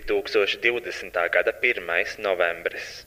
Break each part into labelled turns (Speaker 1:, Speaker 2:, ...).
Speaker 1: 2020. gada 1. novembris.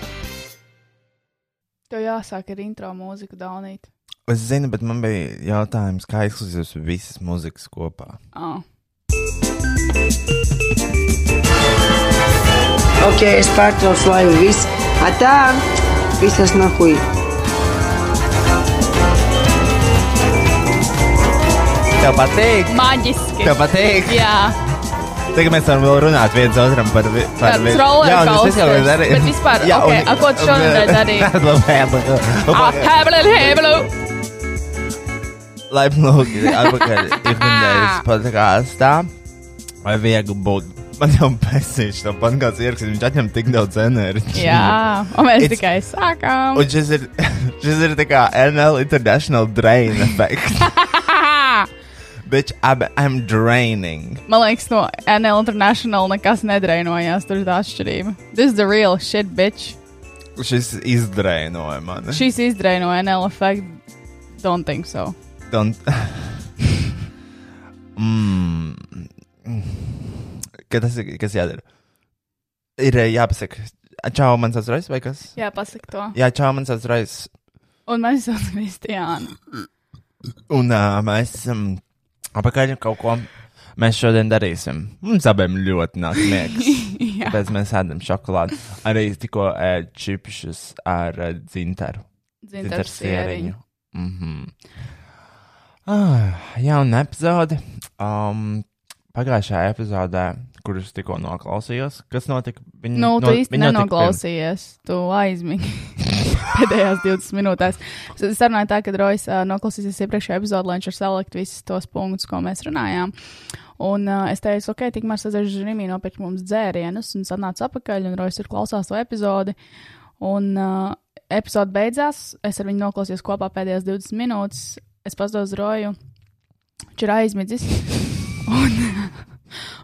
Speaker 2: Tev jāsāk ar intro mūziku daunīt.
Speaker 3: Es zinu, bet man bija jautājums, kā izklausās visas muzikas kopā.
Speaker 2: Oh.
Speaker 4: Ok, es pārtraucu visu. Atā, visas nahuj.
Speaker 3: Tev patīk,
Speaker 2: Maģiski!
Speaker 3: tev patīk.
Speaker 2: Jā,
Speaker 3: Tagad mēs varam vēl runāt viens otram par vi- par
Speaker 2: Tāds
Speaker 3: vi-
Speaker 2: roller
Speaker 3: Jā, un es
Speaker 2: coaster,
Speaker 3: vispār jau darīju.
Speaker 2: bet vispār, ok, a ko tu šonadēļ darīji? ah,
Speaker 3: darīji?
Speaker 2: hebelu, hebelu!
Speaker 3: Laipni lūgti, atpakaļ
Speaker 2: Ah.
Speaker 3: ikdienas podkāstā. Vai viegli būt? Man jau pēcīši to podkāstu ierakstīt, viņš atņem tik daudz enerģijas.
Speaker 2: Jā, un mēs
Speaker 3: It's-
Speaker 2: tikai sākām.
Speaker 3: Un šis ir, šis ir tā kā NL International Drain Effect. Bitch, I'm, I'm draining.
Speaker 2: Man liekas, no NL International nekas nedrēnojās. Tur ir tā atšķirība. This is the real shit, bitch.
Speaker 3: Šis izdrainoja mani.
Speaker 2: Šīs izdrēno NL efektu. Don't think so.
Speaker 3: Don't... mm. Ka tas ir kas jādara? Ir eh, jāpasaka, čau, man sauc Raisa vai kas?
Speaker 2: Jā, pasak to.
Speaker 3: Jā, čau, man sauc Raisa.
Speaker 2: Un mēs esam Kristiāna.
Speaker 3: Un uh, mēs esam apakaļ kaut ko. Mēs šodien darīsim. Mums abiem ļoti nāk miegs.
Speaker 2: Jā.
Speaker 3: Tāpēc mēs ēdam šokolādi. Arī tikko ēd čipšus ar eh, dzintaru.
Speaker 2: Dzintars sieriņu.
Speaker 3: Mhm. Ah, jauna epizode. Um, pagājušajā epizodē, kurus tikko noklausījos, kas notika? Viņa,
Speaker 2: Nu, tu īsti
Speaker 3: viņa notika
Speaker 2: nenoklausījies. Tu aizmigi pēdējās 20 minūtēs. Es runāju tā, ka Rojas uh, noklausīsies iepriekšējā epizodē, lai viņš var salikt visus tos punktus, ko mēs runājām. Un uh, es teicu, ok, tikmēr sazināšu Rimī nopirkt mums dzērienus, un sanāca apakaļ, un Rojas ir klausās to epizodi. Un uh, epizode beidzās, es ar viņu noklausījos kopā pēdējās 20 minūtes. Es pazdodu Roju, viņš ir aizmidzis.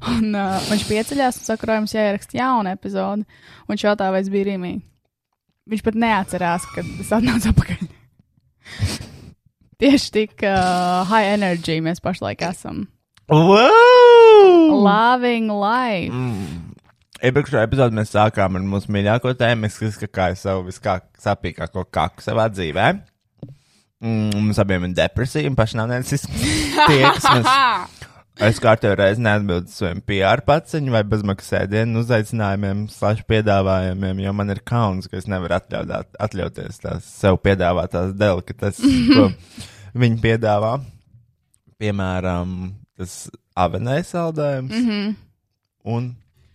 Speaker 2: Un uh, viņš pieceļās un saka, ka mums jāieraksta jauna epizode. Un Viņš jautā, vai es biju Rīgā. Viņš pat neatcerās, kad es atnācu atpakaļ. Tieši tik uh, high energy mēs pašlaik esam.
Speaker 3: Wow!
Speaker 2: Loving life.
Speaker 3: Iepriekšējā epizodē mēs sākām ar mūsu mīļāko tēmu. Es skatīju savu viskāpīgāko kaku savā dzīvē. Mm, mums abiem ir depresija, un pašam nav necis. Tieksmes.
Speaker 5: Es kārtējo reizi neatbildu saviem PR paciņiem vai bezmaksas ēdienu uzaicinājumiem, slash piedāvājumiem, jo man ir kauns, ka es nevaru atļaut, atļauties tās sev piedāvātās delikates, ko viņi piedāvā. Piemēram, tas avenais saldējums mm -hmm. un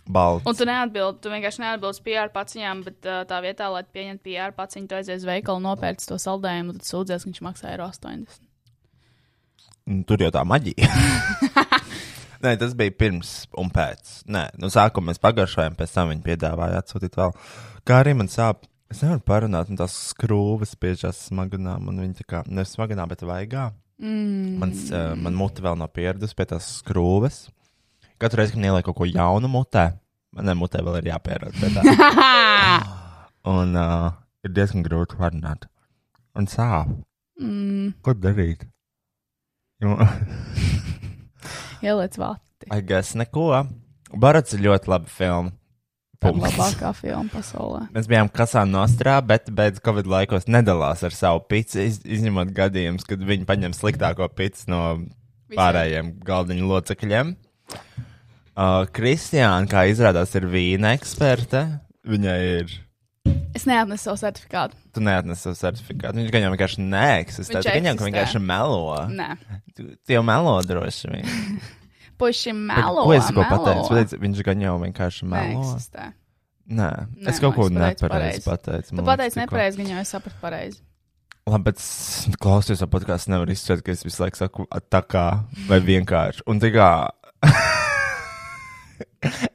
Speaker 5: balts.
Speaker 3: Un tu neatbildi, tu vienkārši neatbildi uz PR paciņām, bet uh, tā vietā, lai pieņemtu PR paciņu, tu aizies uz veikalu, nopērci to saldējumu, tad sūdzies, ka viņš maksā eiro 80.
Speaker 5: Nu, Tur jau tā maģija. Nē, tas bija pirms un pēc. Nē, nu, sākumā mēs pagaršojām, pēc tam viņi piedāvāja atsūtīt vēl. Kā arī man sāp, es nevaru parunāt, un tās skrūves spiežās smaganā, un viņi tā kā ne smaganā, bet vaigā. Mm. Mans, uh, man mute vēl nav pieradusi pie tās skrūves. Katru reizi, kad ieliek kaut ko jaunu mutē, man mutē vēl ir jāpierod pie tā. un uh, ir diezgan grūti parunāt. Un sāp. Mm. Ko darīt? Jo-
Speaker 3: Ieliec vārti.
Speaker 5: I guess neko. Barats ir ļoti laba filma.
Speaker 3: Tā ir
Speaker 5: Punkts.
Speaker 3: labākā filma pasaulē.
Speaker 5: Mēs bijām kasā nostrā, bet beidz Covid laikos nedalās ar savu pici, iz, izņemot gadījumus, kad viņi paņem sliktāko pici no pārējiem galdiņu locekļiem. Uh, Kristiāna, kā izrādās, ir vīna eksperte. Viņai ir.
Speaker 3: Es neatnesu savu certifikātu.
Speaker 5: Tu neatnesi savu certifikātu. Viņš gan jau vienkārši neeksistē.
Speaker 3: Viņš
Speaker 5: Viņš gan jau
Speaker 3: eksistē.
Speaker 5: vienkārši melo.
Speaker 3: Nē,
Speaker 5: Tu, tu jau melo droši vien.
Speaker 3: puši melo.
Speaker 5: ko es tikko
Speaker 3: melo.
Speaker 5: pateicu? Pateicu, Viņš gan jau vienkārši melo.
Speaker 3: Neeksistē.
Speaker 5: Nē,
Speaker 3: Nē,
Speaker 5: es kaut ko
Speaker 3: man liekas, pareizi,
Speaker 5: nepareizi pateicu.
Speaker 3: Tu
Speaker 5: man liekas,
Speaker 3: pateici
Speaker 5: Nu, tikko.
Speaker 3: nepareizi, gan jau es sapratu pareizi.
Speaker 5: Labi, bet s- klausies, jau pat kā es nevaru izsvērt, ka es visu laiku saku, "A, tā kā, vai vienkārši. Un tā kā.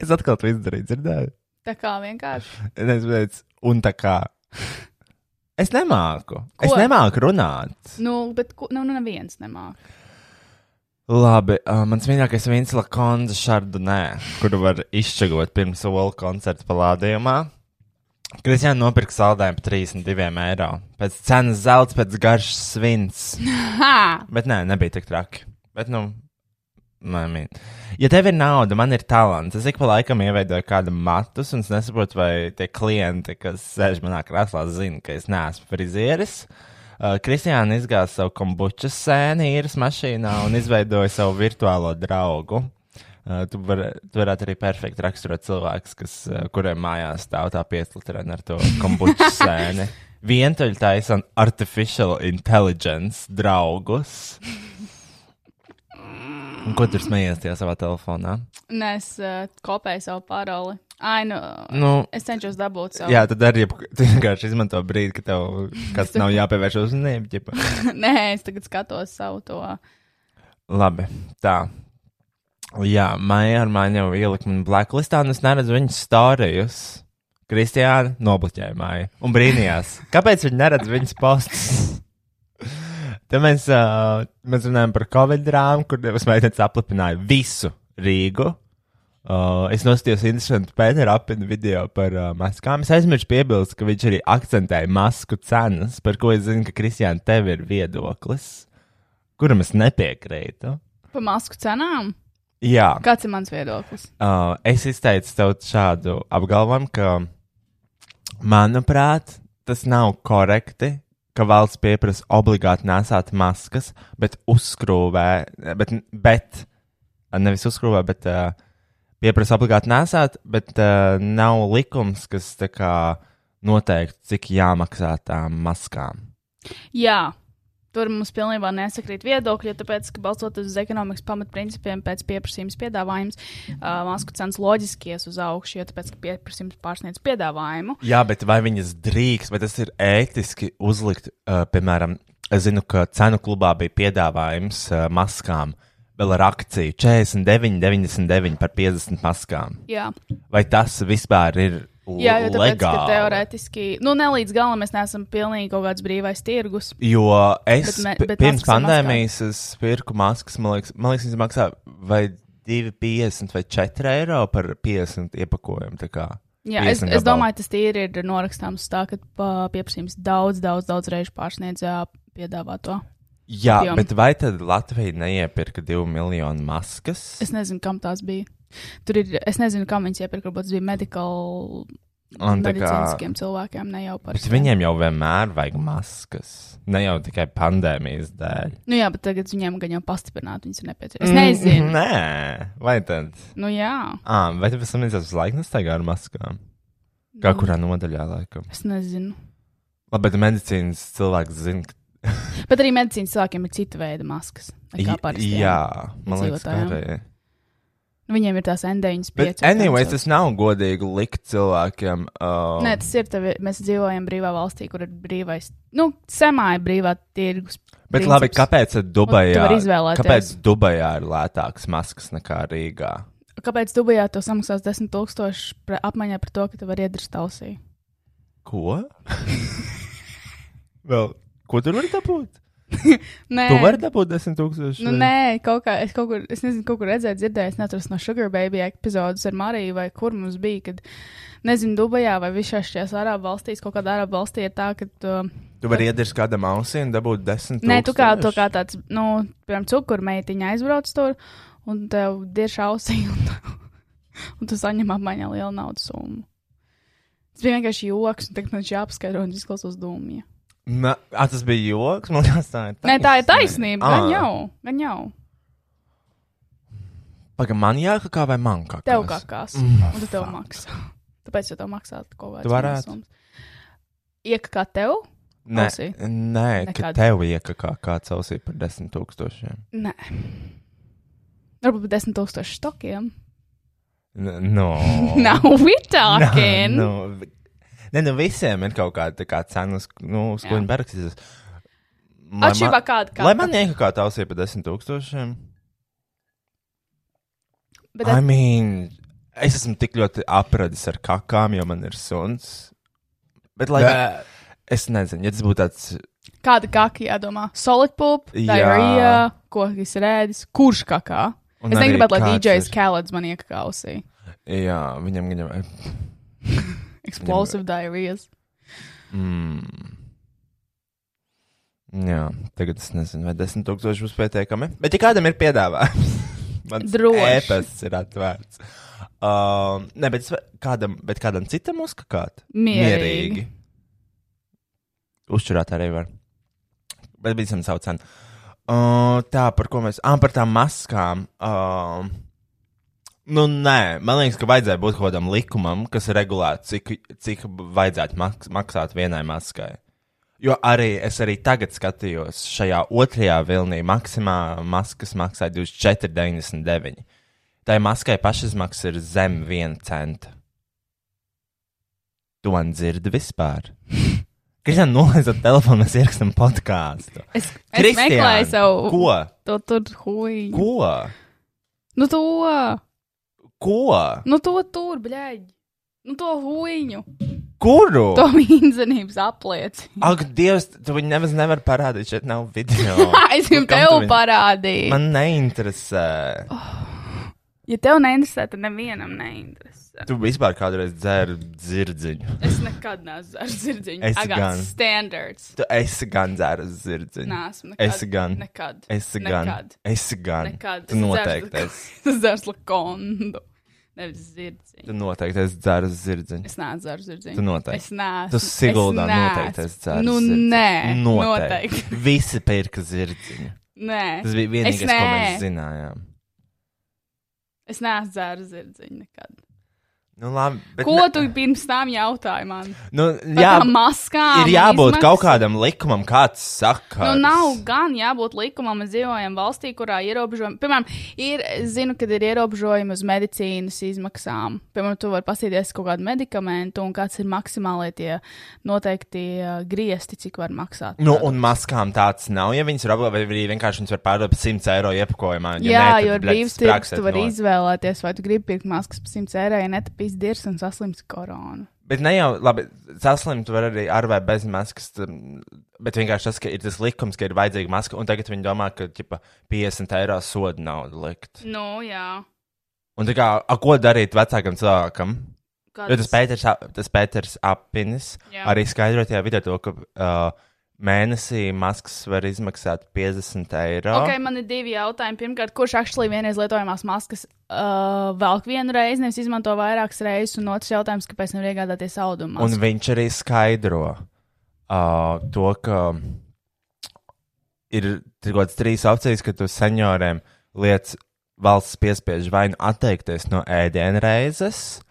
Speaker 5: es atkal to izdarīju, dzirdēju.
Speaker 3: Tā kā vienkārši.
Speaker 5: Un es teicu, un tā kā. Es nemāku. Ko? Es
Speaker 3: Ko?
Speaker 5: nemāku runāt.
Speaker 3: Nu, bet ko, nu, nu neviens nemāk.
Speaker 5: Labi, uh, mans mīļākais ir Vinsla Konza Šardonē, kuru var izšķagot pirms Ola koncerta palādījumā. Kristiāna nopirka saldējumu par 32 eiro. Pēc cenas zelta, pēc garšas svins.
Speaker 3: Ha!
Speaker 5: Bet nē, nebija tik traki. Bet, nu, I mean. ja tev ir nauda, man ir talants. Es ik pa laikam ieveidoju kādu matus, un es nesaprotu, vai tie klienti, kas sēž manā krēslā, zina, ka es neesmu frizieris. Uh, Kristiāna izgāja savu kombučas sēni īres mašīnā un izveidoja savu virtuālo draugu. Uh, tu, var, tu varētu arī perfekti raksturot cilvēkus, kas, uh, kuriem mājās stāv tā piesliterne ar to kombučas sēni. Vientuļtais un artificial intelligence draugus. Un ko tur smējies tajā savā telefonā?
Speaker 3: Nē, es uh, kopēju savu paroli. Ai, nu,
Speaker 5: Nu,
Speaker 3: es cenšos dabūt savu.
Speaker 5: jā, tad arī jeb- tu vienkārši izmanto brīdi, kad tev kas nav jāpievērš uzmanība. ģipa.
Speaker 3: Nē, es tagad skatos savu to.
Speaker 5: Labi, tā. Jā, Maija ar mani jau ielika man blacklistā, un es neredzu viņas stārijus. Kristiāna nobloķēja māju un brīnījās, kāpēc viņi neredz viņas postus. Tad mēs, uh, mēs runājam par Covid drāmu, kur divas meitenes aplipināja visu Rīgu. Uh, es nostājos interesantu pēdu apinu video par uh, maskām. Es aizmirsu piebilst, ka viņš arī akcentēja masku cenas, par ko es zinu, ka Kristiāna tev ir viedoklis, kuram es nepiekrītu.
Speaker 3: Pa masku cenām?
Speaker 5: Jā,
Speaker 3: Kāds ir mans viedoklis?
Speaker 5: uh, es izteicu tev šādu apgalvojumu, ka, manuprāt, tas nav korekti, ka valsts pieprasa obligāti nesāt maskas, bet uzskrūvē, bet, bet nevis uzskrūvē, bet uh, pieprasa obligāti nesāt, bet uh, nav likums, kas tā kā noteikti, cik jāmaksā tām maskām.
Speaker 3: Jā. Tur mums pilnībā nesakrīt viedokļi, jo tāpēc, ka balstoties uz ekonomikas pamatprincipiem, pēc pieprasījuma piedāvājums, uh, masku cenas loģiskies uz augšu, jo tāpēc, ka pieprasījums pārsniedz piedāvājumu.
Speaker 5: Jā, bet vai viņas drīkst, vai tas ir ētiski uzlikt, uh, piemēram, es zinu, ka cenu klubā bija piedāvājums uh, maskām, vēl ar akciju 49, 99 par 50 maskām.
Speaker 3: Jā,
Speaker 5: Vai tas vispār ir
Speaker 3: Jā jo tāpēc, ka
Speaker 5: legāli?
Speaker 3: teorētiski, nu, ne līdz galam mēs neesam pilnīgi kaut kāds brīvais tirgus.
Speaker 5: Jo es
Speaker 3: Bet me-
Speaker 5: bet me,
Speaker 3: bet
Speaker 5: bet pirms
Speaker 3: maskas ir
Speaker 5: pandēmijas es pirku maskas, man liekas, man liekas viņas maksā vai 2,50 vai 4 eiro par 50 iepakojumu. tā kā
Speaker 3: Jā, es,
Speaker 5: 50
Speaker 3: es
Speaker 5: gabalu.
Speaker 3: domāju, tas tīri ir norakstāms uz tā, ka pā, pieprasījums daudz, daudz, daudz reižu pārsniedz ā, piedāvāto.
Speaker 5: Jā,
Speaker 3: apjomu.
Speaker 5: bet vai tad Latvija neiepirka 2 miljonu maskas?
Speaker 3: Es nezinu, kam tās bija. Tur ir, es nezinu, kam viņas iepirka, varbūt tas bija medical
Speaker 5: Un tā kā-
Speaker 3: medicīniskiem cilvēkiem, ne jau par
Speaker 5: Bet viņiem jau vienmēr vajag maskas. Ne jau tikai pandēmijas dēļ.
Speaker 3: Nu jā, bet tagad viņiem gan jau pastiprināt, viņas ir nepieciešamas. Es
Speaker 5: Mhm.
Speaker 3: nezinu.
Speaker 5: Nē, vai tad?
Speaker 3: Nu jā,
Speaker 5: Ah, vai tu pēc tam iesies uz laiku nestaigā ar maskām? Kā
Speaker 3: Nu.
Speaker 5: kurā nodaļā laikam?
Speaker 3: es nezinu.
Speaker 5: Labi, bet medicīnas cilvēks zina, ka.
Speaker 3: Bet arī medicīnas cilvēkiem ir cita veida maskas. nekā parastiem.
Speaker 5: jā, man liekas, ka
Speaker 3: Iedzīvotājiem.
Speaker 5: arī.
Speaker 3: Viņiem ir tās N95.
Speaker 5: Bet,
Speaker 3: un
Speaker 5: anyways,
Speaker 3: tāds-
Speaker 5: tas nav godīgi likt cilvēkiem. Uh,
Speaker 3: Nē, tas ir. Tevi, mēs dzīvojam brīvā valstī, kur ir brīvais, nu, semāja brīvā tirgus.
Speaker 5: bet
Speaker 3: princips.
Speaker 5: labi, kāpēc tad Dubajā?
Speaker 3: vari izvēlēties.
Speaker 5: Kāpēc Dubajā ir lētāks maskas nekā Rīgā?
Speaker 3: Kāpēc Dubajā to samaksās 10,000 pre- apmaiņā par to, ka tu vari iedrist ausī?
Speaker 5: Ko? Vēl, ko tur var dabūt?
Speaker 3: Nē,
Speaker 5: Tu vari dabūt desmit tūkstošus.
Speaker 3: Nu, nē, kaut kā es kaut kur, es nezinu, kaut kur redzēju, dzirdēju, es neatrastu no Sugar Baby epizodes ar Mariju, vai kur mums bija, kad, nezinu, Dubajā vai visās šajās Arābu valstīs, kaut kādā Arābu valstī ir tā, ka, uh,
Speaker 5: Tu vari iedirst kādam ausī un dabūt desmit tūkstošus.
Speaker 3: nē, tu kā, tu kā tāds, nu, piemēram, cukurmeitiņa aizbrauc tur, un tev dirš ausī, un, un tu saņem apmaiņā lielu naudas summu. Tas bija vienkārši joks, un tagad man šī apskaidro un izklausās dūmija.
Speaker 5: Nē, tas bija joks. Man liekas, tā ir taisnība. Ah.
Speaker 3: Nē, tā ir taisnība, gan
Speaker 5: Ā.
Speaker 3: jau, gan jau,
Speaker 5: Paga, man jākakā vai man kakā?
Speaker 3: tev kā kās, un tu tev
Speaker 5: Mm. Ah, fuck.
Speaker 3: maksā. Tāpēc, ja tev maksātu kaut kādas
Speaker 5: Tu varētu.
Speaker 3: Iek kā tev?
Speaker 5: Nē,
Speaker 3: ausī.
Speaker 5: nē ka
Speaker 3: Nekad.
Speaker 5: tev iekakā kāds ausī par desmit tūkstošiem.
Speaker 3: Nē. Varbūt par 10,000 stokiem.
Speaker 5: N- No.
Speaker 3: Now we're
Speaker 5: Nē,
Speaker 3: talking.
Speaker 5: nu, nē, nu visiem ir kaut kāda tā kā cena, uz- nu, uz ko
Speaker 3: Jā.
Speaker 5: viņi parakstīsies. Lai
Speaker 3: Atšķirībā
Speaker 5: man-
Speaker 3: kāda
Speaker 5: Lai man iekakā tā ausī par desmit tūkstošiem.
Speaker 3: Bet
Speaker 5: I
Speaker 3: at-
Speaker 5: mean, es esmu tik ļoti apradis ar kakām, jo man ir suns. Bet, lai. Es nezinu, ja tas būtu tāds.
Speaker 3: kāda kaka jādomā? Solid poop,
Speaker 5: Jā.
Speaker 3: diarrhea, kokas rēdis, kurš kakā?
Speaker 5: un
Speaker 3: Es
Speaker 5: arī
Speaker 3: negribu, lai
Speaker 5: kāds
Speaker 3: DJs
Speaker 5: ir-
Speaker 3: Kaleds man iekakausī.
Speaker 5: Jā, viņam gan jau.
Speaker 3: Explosive diarrhea.
Speaker 5: Mm. Jā, tagad es nezinu, vai 10,000 būs pietiekami. Bet, ja kādam ir piedāvājums, man
Speaker 3: Droši.
Speaker 5: tas ir atvērts. Um, nē, bet, es va- kādam, bet kādam citam uzkakāt?
Speaker 3: Mierīgi.
Speaker 5: Uzturēt arī var. Bet bija zem savu cenu. Uh, tā, par ko mēs. Ah, par tām maskām. Uh, nu, nē, man liekas, ka vajadzēja būt kaut kādam likumam, kas regulētu, cik, cik vajadzētu maks maksāt vienai maskai. Jo arī es arī tagad skatījos, šajā otrajā vilnī maksimā maskas maksāja 24,99. Tā maskai pašizmaksas ir zem viena centa. Tu man dzirdi vispār? Kristian, nolaizot telefonu, mēs ierakstām podkāstu.
Speaker 3: Es, es meklēju savu.
Speaker 5: Ko?
Speaker 3: To tur huī.
Speaker 5: Ko?
Speaker 3: Nu to,
Speaker 5: Ko?
Speaker 3: nu to tur, bļēģi. Nu to huīņu.
Speaker 5: Kuru?
Speaker 3: To mīnzinības aplieci.
Speaker 5: Ak, Dievs, tu viņu nemaz nevar parādīt, šeit nav video.
Speaker 3: Es jums
Speaker 5: Nu, kam tu
Speaker 3: tev
Speaker 5: viņu-
Speaker 3: parādīju.
Speaker 5: Man neinteresē.
Speaker 3: Ja tev neinteresē, tad nevienam neinteresē.
Speaker 5: Tu vispār kādreiz dzēri dzirdziņu.
Speaker 3: Es nekad neesmu ar zirdziņu.
Speaker 5: Es
Speaker 3: I got
Speaker 5: gan.
Speaker 3: Standards.
Speaker 5: Tu esi gan dzēris dzirdziņu.
Speaker 3: Nē, esmu nekad.
Speaker 5: Es gan.
Speaker 3: Nekad.
Speaker 5: Esi gan.
Speaker 3: Nekad.
Speaker 5: Esi gan.
Speaker 3: Nekad.
Speaker 5: Tu noteikti esi.
Speaker 3: Tas dzērs lakondu. Nevis zirdziņu.
Speaker 5: Tu noteikti esi dzēris dzirdziņu.
Speaker 3: Es neesmu ar zirdziņu.
Speaker 5: Tu noteikti.
Speaker 3: Es neesmu.
Speaker 5: Tu siguldā
Speaker 3: Es
Speaker 5: noteikti
Speaker 3: neesmu.
Speaker 5: esi dzēris.
Speaker 3: Nu,
Speaker 5: dzirdziņu.
Speaker 3: nē.
Speaker 5: Noteikti.
Speaker 3: Noteikti.
Speaker 5: Visi pirka dzirdziņu.
Speaker 3: Nē.
Speaker 5: Tas bija vienīgais, ko
Speaker 3: nē.
Speaker 5: mēs zinājām.
Speaker 3: Es neesmu dzērs zirdziņu nekad.
Speaker 5: Nu, labi. bet
Speaker 3: Ko
Speaker 5: ne-
Speaker 3: tu pirms tam jautāji man?
Speaker 5: Nu,
Speaker 3: Par
Speaker 5: jā,
Speaker 3: tām maskām.
Speaker 5: ir
Speaker 3: un
Speaker 5: jābūt
Speaker 3: izmaksām?
Speaker 5: kaut kādam likumam, kāds saka.
Speaker 3: Nu, nav gan jābūt likumam, mēs dzīvojam valstī, kurā ierobežojumi, piemēram, ir, es zinu, kad ir ierobežojumi uz medicīnas izmaksām. Piemēram, tu vari pasīties kaut kādu medikamentu un kāds ir maksimālie tie noteikti eh, griesti, cik var maksāt.
Speaker 5: Nu, un maskām tāds nav. Ja viņas ir apgādātas, vai arī vienkārši viņas var pārdot par 100 eiro iepakojumā. Ja
Speaker 3: Jā,
Speaker 5: nē, tad,
Speaker 3: jo ir
Speaker 5: bļaļ,
Speaker 3: brīvs
Speaker 5: spraksēt
Speaker 3: tirgus, tu vari
Speaker 5: no-
Speaker 3: izvēlēties, vai tu gribi pirkt maskas par 100 eiro, ja netapīs dirs un saslims koronu.
Speaker 5: Bet ne jau, labi, saslimt var arī ar vai bez maskas. tad- Bet vienkārši tas, ka ir tas likums, ka ir vajadzīga maska, un tagad viņi domā, ka ķipa, 50 eiro soda naudu likt.
Speaker 3: Nu, jā.
Speaker 5: Un tā kā, a, ko darīt vecākam cilvēkam? Jo tas Pēters, ap- tas Pēters apinis
Speaker 3: Jā.
Speaker 5: arī skaidroja tajā video, to, ka uh, Mēnesī maskas var izmaksāt 50 eiro.
Speaker 3: Ok, man ir divi jautājumi. Pirmkārt, kurš akšlī vienreiz lietojamās maskas uh, velk vienu reizi, nevis izmanto vairākas reizes, un otrs jautājums, kāpēc nevar iegādāties audumu?
Speaker 5: Un
Speaker 3: masku?
Speaker 5: viņš arī skaidro uh, to, ka ir kaut kādas trīs opcijas, ka tu senioriem lietas valsts piespiež vai nu atteikties no ēdienreizes,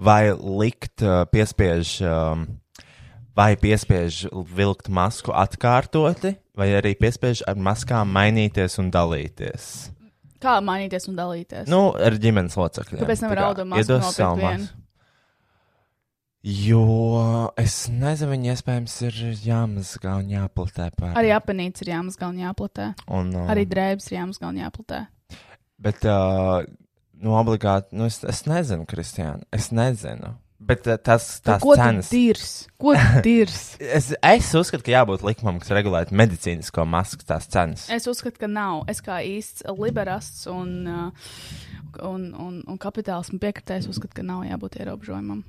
Speaker 5: vai likt uh, piespiež. Um, Vai piespiež vilkt masku atkārtoti, vai arī piespiež ar maskām mainīties un dalīties?
Speaker 3: Kā mainīties un dalīties?
Speaker 5: Nu, ar ģimenes locekļiem.
Speaker 3: Kāpēc nevar
Speaker 5: Tā kā
Speaker 3: audumu masku
Speaker 5: iedos
Speaker 3: nopirkt
Speaker 5: savu
Speaker 3: vienu?
Speaker 5: masku. Jo es nezinu, viņa iespējams ir jāmazgā un jāplatē pārāk.
Speaker 3: Arī apanīts ir jāmazgā un jāplatē.
Speaker 5: Un, uh,
Speaker 3: Arī drēbes ir jāmazgā un jāplatē.
Speaker 5: Bet, uh, nu, obligāti, nu, es, es nezinu, Kristiāna, es nezinu. Bet uh, tas,
Speaker 3: Nu,
Speaker 5: tas
Speaker 3: Ko
Speaker 5: cenas.
Speaker 3: tas ir? Ko tas ir?
Speaker 5: Es, es uzskatu, ka jābūt likumam, kas regulētu medicīnisko masku tās cenas.
Speaker 3: Es uzskatu, ka nav. Es kā īsts liberasts un, uh, un, un, un kapitālismu piekritējs uzskatu, ka nav jābūt ierobežojumam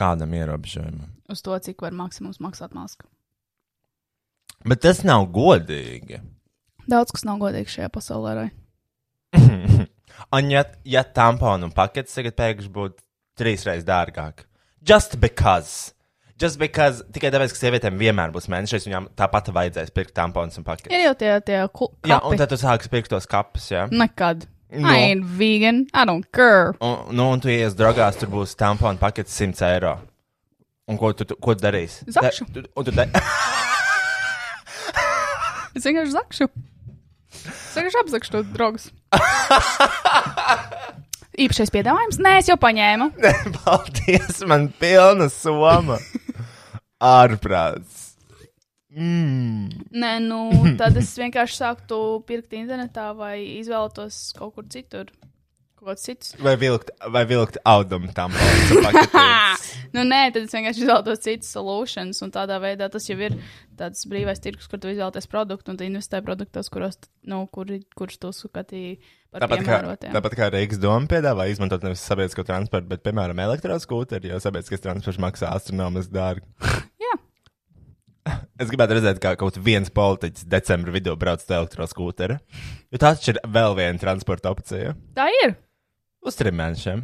Speaker 5: Kādam ierobežojumam.
Speaker 3: uz to, cik var maksimums maksāt masku.
Speaker 5: Bet tas nav godīgi.
Speaker 3: Daudz kas nav godīgs šajā pasaulē. Roj.
Speaker 5: Un, ja, ja tamponu un paketes tagad pēkšņi būtu trīsreiz dārgāk, just because. Just because tikai tāpēc, ka sievietēm vienmēr būs mēnešais, viņām tāpat vajadzēs pirkt tamponus un paketes.
Speaker 3: Ir jau tie, tie ku-
Speaker 5: Jā, un
Speaker 3: kapi. Mm, nu.
Speaker 5: tad tu sāksi pirkt tos kapus, jā.
Speaker 3: Nekad.
Speaker 5: No.
Speaker 3: I ain't vegan. I don't care.
Speaker 5: Un, nu, un tu ies drogās, tur būs tamponu paketes 100 eiro. Un ko tu, tu, ko tu darīsi?
Speaker 3: Zakšu.
Speaker 5: Da, tu, un tu da,
Speaker 3: Es vienkārši zakšu. Es vienkārši apzakšu tos draugus. Īpašais piedāvājums? Nē, es jau paņēmu.
Speaker 5: paldies, man pilna soma. Ārprāts.
Speaker 3: Nē, nu, tad es vienkārši sāktu pirkt internetā vai izvēlētos kaut kur citur. Kaut kas cits.
Speaker 5: Vai vilkt, vai vilkt audumu tamponus un paketes?
Speaker 3: Nu, nē, tad es vienkārši izvēlētos citas solūcijas, un tādā veidā tas jau ir tāds brīvais tirgus, kur tu izvēlēties produktu un tu investē produktos, kuros, nu, kuri, kurš tu uzskatīji par
Speaker 5: Tāpat kā,
Speaker 3: piemērotiem.
Speaker 5: tāpat kā Rīgas doma piedāvā izmantot nevis sabiedrisko transportu, bet, piemēram, elektroskūteri, jo sabiedriskais transports maksā astronomiski dārgi.
Speaker 3: Jā.
Speaker 5: Es gribētu redzēt, kā kaut viens politiķis decembra vidū brauc ar elektroskūteri. Jo tā taču ir vēl viena transporta opcija.
Speaker 3: Tā ir.
Speaker 5: Uz trim mēnešiem,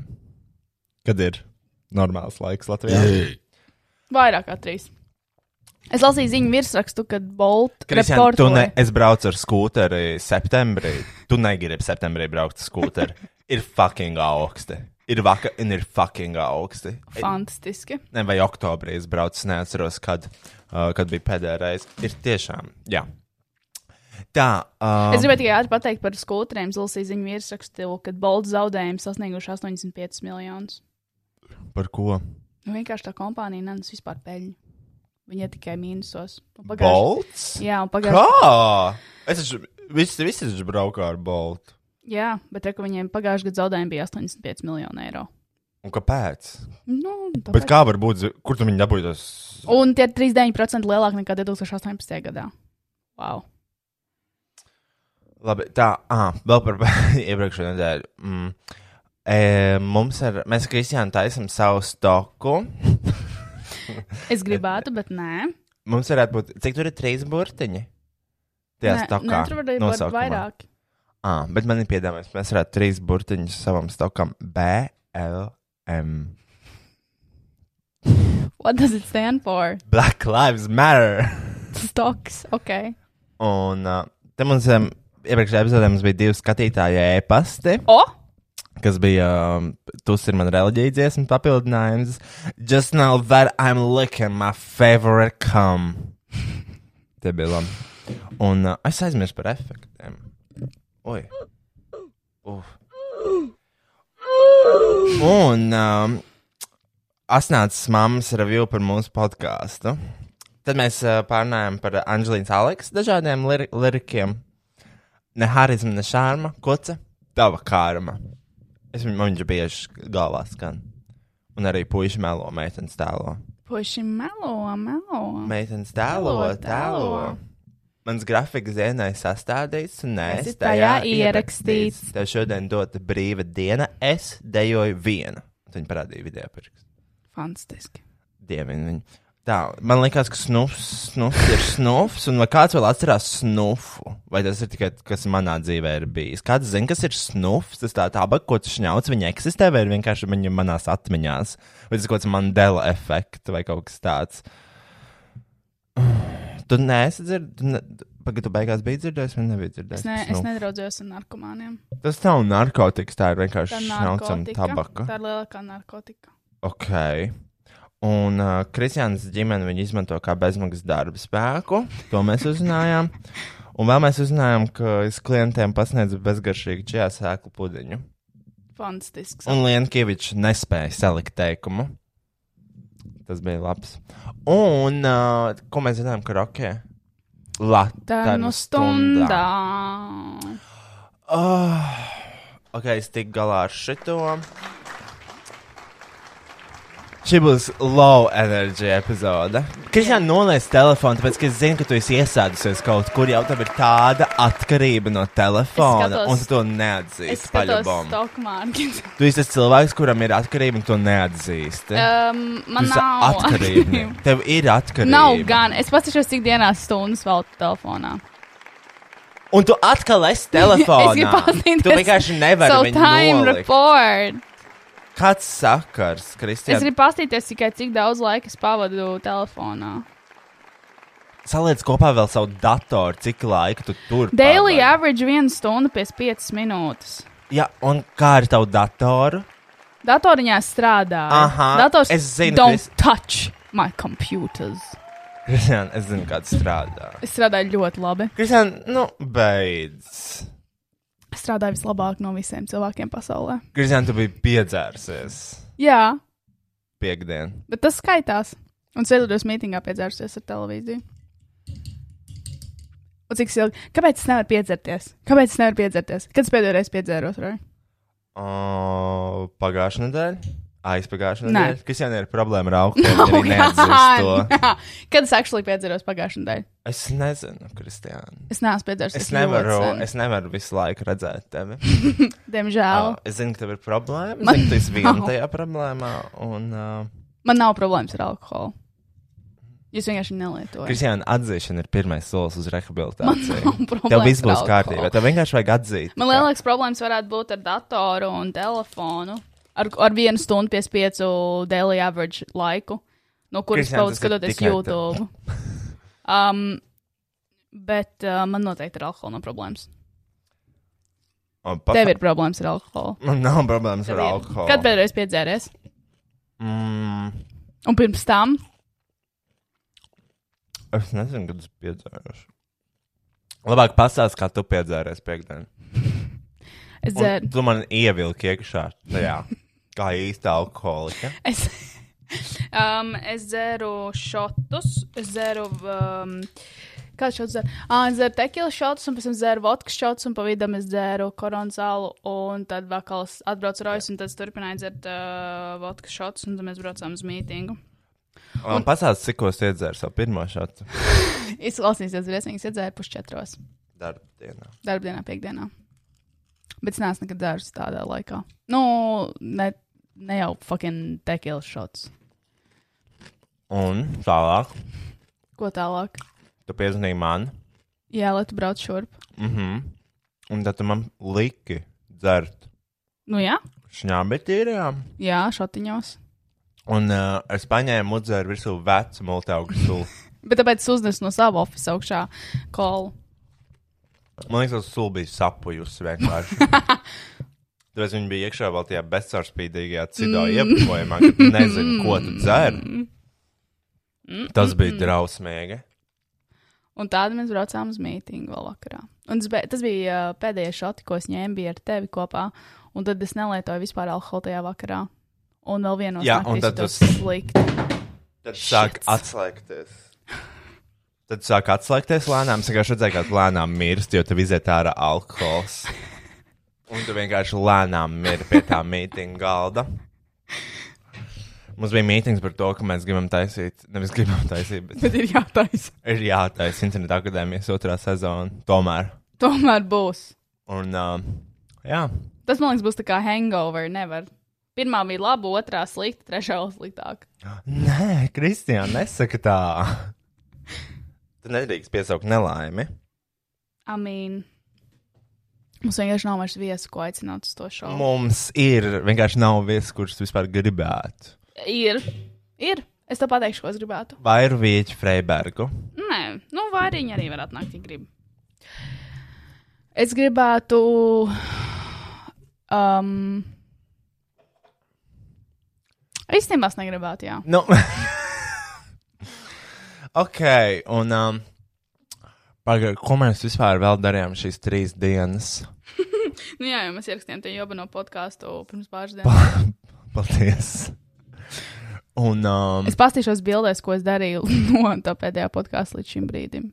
Speaker 5: kad ir normāls laiks Latvijā.
Speaker 3: Vairāk kā trīs. Es lasīju ziņu virsrakstu, kad Bolts
Speaker 5: Kristian, tu ne,
Speaker 3: reportēja.
Speaker 5: es braucu ar skūteri septembrī. Tu negribi septembrī braukt ar skūteri. Ir fucking augsti. Ir vakar, un ir fucking augsti.
Speaker 3: Fantastiski.
Speaker 5: ne, vai oktobrī es braucu, es neatceros, kad, uh, kad bija pēdējā reize. Ir tiešām, jā. Tā,
Speaker 3: Es
Speaker 5: uh,
Speaker 3: gribēju tikai ātri pateikt par skūteriem. Es lasīju ziņu virsrakstu, kad Bolts zaudējumi sasnieguši 85 miljonus.
Speaker 5: par ko?
Speaker 3: Nu, vienkārši tā kompānija nenes vispār peļņu. Viņa ir tikai mīnusos. Un pagājuši-
Speaker 5: Bolts?
Speaker 3: Jā, un pagājuši.
Speaker 5: Kā? Es taču, visi, visi taču braucu ar Boltu.
Speaker 3: Jā, bet reku viņiem pagājušajā gadā zaudējumi bija 85 miljoni eiro.
Speaker 5: Un kāpēc?
Speaker 3: Nu, tāpēc-
Speaker 5: Bet kā var būt, zi- kur tu viņu dabūji? Tas...
Speaker 3: Un tie ir 39% lielāki nekā 2018. gadā. Wow.
Speaker 5: Labi, tā, ah, vēl par iepriekšējo nedēļu. Mm. E, mums ir, mēs Kristiāna taisam savu stoku.
Speaker 3: Es gribētu, bet nē.
Speaker 5: Mums varētu būt, cik tur ir trīs burtiņi? Tajā
Speaker 3: Nē,
Speaker 5: stokā.
Speaker 3: nē, tur var būt
Speaker 5: nosaukumā.
Speaker 3: vairāk.
Speaker 5: Ah, bet man ir piedāvājums, mēs varētu trīs burtiņus savam stokam BLM.
Speaker 3: What does it stand for?
Speaker 5: Black Lives Matter!
Speaker 3: Stocks, ok.
Speaker 5: Un uh, te mums um, iepriekšējā epizodē mums bija divi skatītāji e-pasti,
Speaker 3: O,
Speaker 5: kas bija um, tas ir man reliģija dziesma papildinājums. Just now that I'm licking my favorite cum. Te bija labi. Un uh, es aizmirsu par efektiem. Oi! Uf. Un um, asnācis mammas review par mūsu podkāstu. Tad mēs uh, pārunājām par Anģelīnas Aleksa dažādiem lir lirikiem. Ne harizma, ne šārma, koca, tava kārma. Es viņu man viņš bieži galvā skan. Un arī puiši melo, meitenes tēlo.
Speaker 3: puši melo, melo.
Speaker 5: Meitenes tēlo, tēlo.
Speaker 3: Tēlo, tēlo.
Speaker 5: Mans grafiks dienai sastādīts, un nē,
Speaker 3: Esi
Speaker 5: es tajā
Speaker 3: tajā
Speaker 5: ierakstīts.
Speaker 3: ierakstīts.
Speaker 5: Tev šodien dota brīva diena, es dejoju viena. Un Viņa parādīja video pirkstu.
Speaker 3: Fantastiski.
Speaker 5: Dievinu viņu. Tā, man liekas, ka snufs, snufs ir snufs, un vai kāds vēl atcerās snufu? Vai tas ir tikai, kas manā dzīvē ir bijis? Kāds zina, kas ir snufs? Tas tā tāba, ko tas šņauts, viņa eksistē, vai ir vienkārši viņa manās atmiņās? Vai tas ir kaut kāds Mandela efekts vai kaut kas tāds? Tu neesi dzirdējis, pagaidu, beigās bija dzirdējis, vai nebija dzirdējis?
Speaker 3: Es, ne,
Speaker 5: par
Speaker 3: es
Speaker 5: snufu?
Speaker 3: nedraudzējos ar narkomāniem.
Speaker 5: Tas nav narkotikas, tā ir
Speaker 3: Tā
Speaker 5: vienkārši
Speaker 3: ir
Speaker 5: šņaucama
Speaker 3: narkotika.
Speaker 5: tabaka.
Speaker 3: Tā ir lielākā narkotika.
Speaker 5: Ok. Un uh, Kristiāns ģimene viņu izmanto kā bezmaksas darba spēku. To mēs uzzinājām. Un vēl mēs uzzinājām, ka es klientiem pasniedzu bezgaršīgu čijā sēklu pudiņu.
Speaker 3: Fantastisks.
Speaker 5: Un Lienkevičs nespēja salikt teikumu. Tas bija labs. Un uh, ko mēs zinām, ka rokkē? La,
Speaker 3: Tā ir no stundā.
Speaker 5: Oh, ok, es tiku galā ar šito. Šī būs low energy epizode. Kristiāna nolaist telefonu, tāpēc ka es zinu, ka tu esi iesēdusies kaut kur. Jau tam ir tāda atkarība no telefona,
Speaker 3: skatos-
Speaker 5: un tu to
Speaker 3: Es
Speaker 5: neatzīsti.
Speaker 3: skatos
Speaker 5: paļabom.
Speaker 3: stock market.
Speaker 5: Tu esi tas cilvēks, kuram ir atkarība, un to neatzīsti.
Speaker 3: Um, man
Speaker 5: Tu esi
Speaker 3: nav
Speaker 5: atkarība. Tev ir atkarība.
Speaker 3: Nav gan. Es paskatīšos, cik dienās stundas veltu telefonā.
Speaker 5: Un tu atkal esi telefonā.
Speaker 3: Es gribu paskatīties
Speaker 5: tu vienkārši nevari
Speaker 3: savu
Speaker 5: viņu
Speaker 3: time
Speaker 5: nolikt.
Speaker 3: report.
Speaker 5: Kāds sakars,
Speaker 3: Es
Speaker 5: Kristija?
Speaker 3: gribu paskatīties tikai, cik daudz laika es pavadu telefonā.
Speaker 5: Saliec kopā vēl savu datoru, cik laika tu tur
Speaker 3: Daily
Speaker 5: pavadi.
Speaker 3: average 1 stunda 5 minūtes.
Speaker 5: Jā, un kā ar tavu datoru?
Speaker 3: Datoriņā strādā.
Speaker 5: Aha,
Speaker 3: Dators
Speaker 5: es zinu,
Speaker 3: don't
Speaker 5: Kris-
Speaker 3: touch my computers.
Speaker 5: Kristian, es zinu, kāds strādā.
Speaker 3: Es strādāju ļoti labi.
Speaker 5: Kristian, nu, beidz.
Speaker 3: Es strādāju vislabāk no visiem cilvēkiem pasaulē.
Speaker 5: Kristian, tu biji piedzērsies
Speaker 3: Jā,
Speaker 5: piekdien.
Speaker 3: bet tas skaitās. Un sēdoties mītingā piedzērsies ar televīziju. Un cik ilgi? Kāpēc es nevaru piedzerties? Kāpēc es nevaru piedzerties? Kad es pēdējo reizi piedzēros? Roy?
Speaker 5: O, pagājušā nedēļa? Aizpagājušā
Speaker 3: Nē. Oh,
Speaker 5: nedēļa. Kristian, ir problēma ar augstu. No,
Speaker 3: Kad es actually piedzēros pagājušajā nedēļā?
Speaker 5: es nezinu, Kristian.
Speaker 3: Es neesmu piedzēries.
Speaker 5: Es nevaru, es nevaru visu laiku redzēt tevi.
Speaker 3: Diemžēl.
Speaker 5: Uh, es zinu, ka tev ir problēma.
Speaker 3: Man
Speaker 5: Es zinu, ka tu esi viena
Speaker 3: nav.
Speaker 5: tajā problēmā. Un, uh,
Speaker 3: Man nav problēmas ar alkoholu. Jūs vienkārši nelietojat.
Speaker 5: Kristiāna atzīšana ir pirmais solis uz
Speaker 3: Man nav
Speaker 5: rehabilitāciju.
Speaker 3: problēmas
Speaker 5: Tev viss
Speaker 3: ar
Speaker 5: būs
Speaker 3: alkoholu.
Speaker 5: kārtībā. Tev vienkārši vajag atzīt.
Speaker 3: Man lielāks problēmas varētu būt ar datoru un telefonu. Ar, ar vienu stundu pēc piecu daily average laiku, no kuras
Speaker 5: Kristian,
Speaker 3: pavadu
Speaker 5: tas ir
Speaker 3: skatoties
Speaker 5: tikai
Speaker 3: YouTube. Um, bet uh, man noteikti ir alkohola no problēmas.
Speaker 5: Un
Speaker 3: Pasa.
Speaker 5: pasa-
Speaker 3: Tev ir problēmas ar alkoholu.
Speaker 5: Man nav problēmas
Speaker 3: Tev
Speaker 5: ar
Speaker 3: ir.
Speaker 5: alkoholu.
Speaker 3: Kad pēdējais piedzēries?
Speaker 5: Mm,
Speaker 3: Un pirms tam
Speaker 5: es nezinu, kad es piedzērušu. Labāk pasāst, kā tu piedzēries piekdien.
Speaker 3: es
Speaker 5: Un
Speaker 3: dzēru.
Speaker 5: Tu man ievilki iekšā tajā. Kā īsta alkoholika.
Speaker 3: Es, um, es dzēru šotus, es dzēru. Um, Kādu šādu dzēru? Ah, es dzēru tekilu šotus, un pēc tam dzēru vodkas šotus, un pa vidam es dzēru koronzālu, un tad vakals atbrauca rojas, un tad es turpināju dzert uh, vodkas šotus, un tad mēs braucām uz mītingu.
Speaker 5: Un pasāst, cik es iedzēru savu pirmo šādu
Speaker 3: Izklausīsies briesmīgs, iedzēru pusčetros
Speaker 5: darbu dienu.
Speaker 3: darbdienā, piekdienā. Bet es neesmu nekad dzēris tādā laikā. Nu, ne, ne jau fucking tekilu šotus.
Speaker 5: Un tālāk,
Speaker 3: Ko tālāk?
Speaker 5: tu piezvanīji man.
Speaker 3: Jā, lai tu brauc šurp.
Speaker 5: Mm -hmm. Un tad tu man liki dzert
Speaker 3: Nu jā,
Speaker 5: šņābi tīrajām.
Speaker 3: jā šotiņos.
Speaker 5: Un uh, es paņēmu udzēru virsū vecu multiaugstu sulu.
Speaker 3: Bet tāpēc es uznesu no sava oficiāla augšā kolu.
Speaker 5: Man liekas, tas sulu bija sapujusi vienkārši. Tāpēc viņi bija iekšā vēl tajā bezsārspīdīgajā cidā mm. iepakojumā, kad tu nezinu, ko tu dzer. Tas bija drausmīgi.
Speaker 3: Un tādā mēs braucām uz mītingu vēl vakarā. Un tas, be, tas bija uh, pēdējais šoti, ko es ņēmu bija ar tevi kopā. Un tad es nelietoju vispār alkoholu tajā vakarā. Un vēl vienos
Speaker 5: Jā, un
Speaker 3: naktīs
Speaker 5: tad
Speaker 3: tas
Speaker 5: tu-
Speaker 3: slikti.
Speaker 5: Tad sāk
Speaker 3: Shits.
Speaker 5: atslēgties. Tad sāk atslēgties lēnām. Es vienkārši redzēju, kā tu lēnām mirst, jo tev iziet ārā alkohols. Un tu vienkārši lēnām mirsti pie tā mītīņa galda. Mums bija mītīns par to, ka mēs gribam taisīt, nevis gribam taisīt, bet
Speaker 3: Bet ir jātaisa.
Speaker 5: ir jātaisa interneta akadēmijas otrā sezona. Tomēr.
Speaker 3: Tomēr būs.
Speaker 5: Un, uh, jā,
Speaker 3: Tas man liekas būs tā kā hangover. Nevar. Pirmā bija laba, otrā slikta, trešā vēl sliktāka.
Speaker 5: Nē, Kristija, nesaka tā. Tu nedrīkst piesaukt nelaimi.
Speaker 3: I mean, mums vienkārši nav vairs viesu, ko aicināt uz to šovu.
Speaker 5: Mums ir vienkārši nav viesis, kurš vispār gribētu.
Speaker 3: Ir, ir. Es tev pateikšu, ko es gribētu.
Speaker 5: Vai ir vīķi Freibergu?
Speaker 3: Nē, nu, vāriņi arī var atnākt, ja grib. Es gribētu. Um, Īstenībā es negribētu, jā.
Speaker 5: Nu, ok, un um, pagaid, ko mēs vispār vēl darījām šīs trīs dienas?
Speaker 3: Nu, jā, jo mēs ierakstījām te jobu no podkāstu pirms pāris dienām.
Speaker 5: Paldies! Un, um,
Speaker 3: Es pastīšos bildēs, ko es darīju no tā pēdējā podkāsta līdz šim brīdim.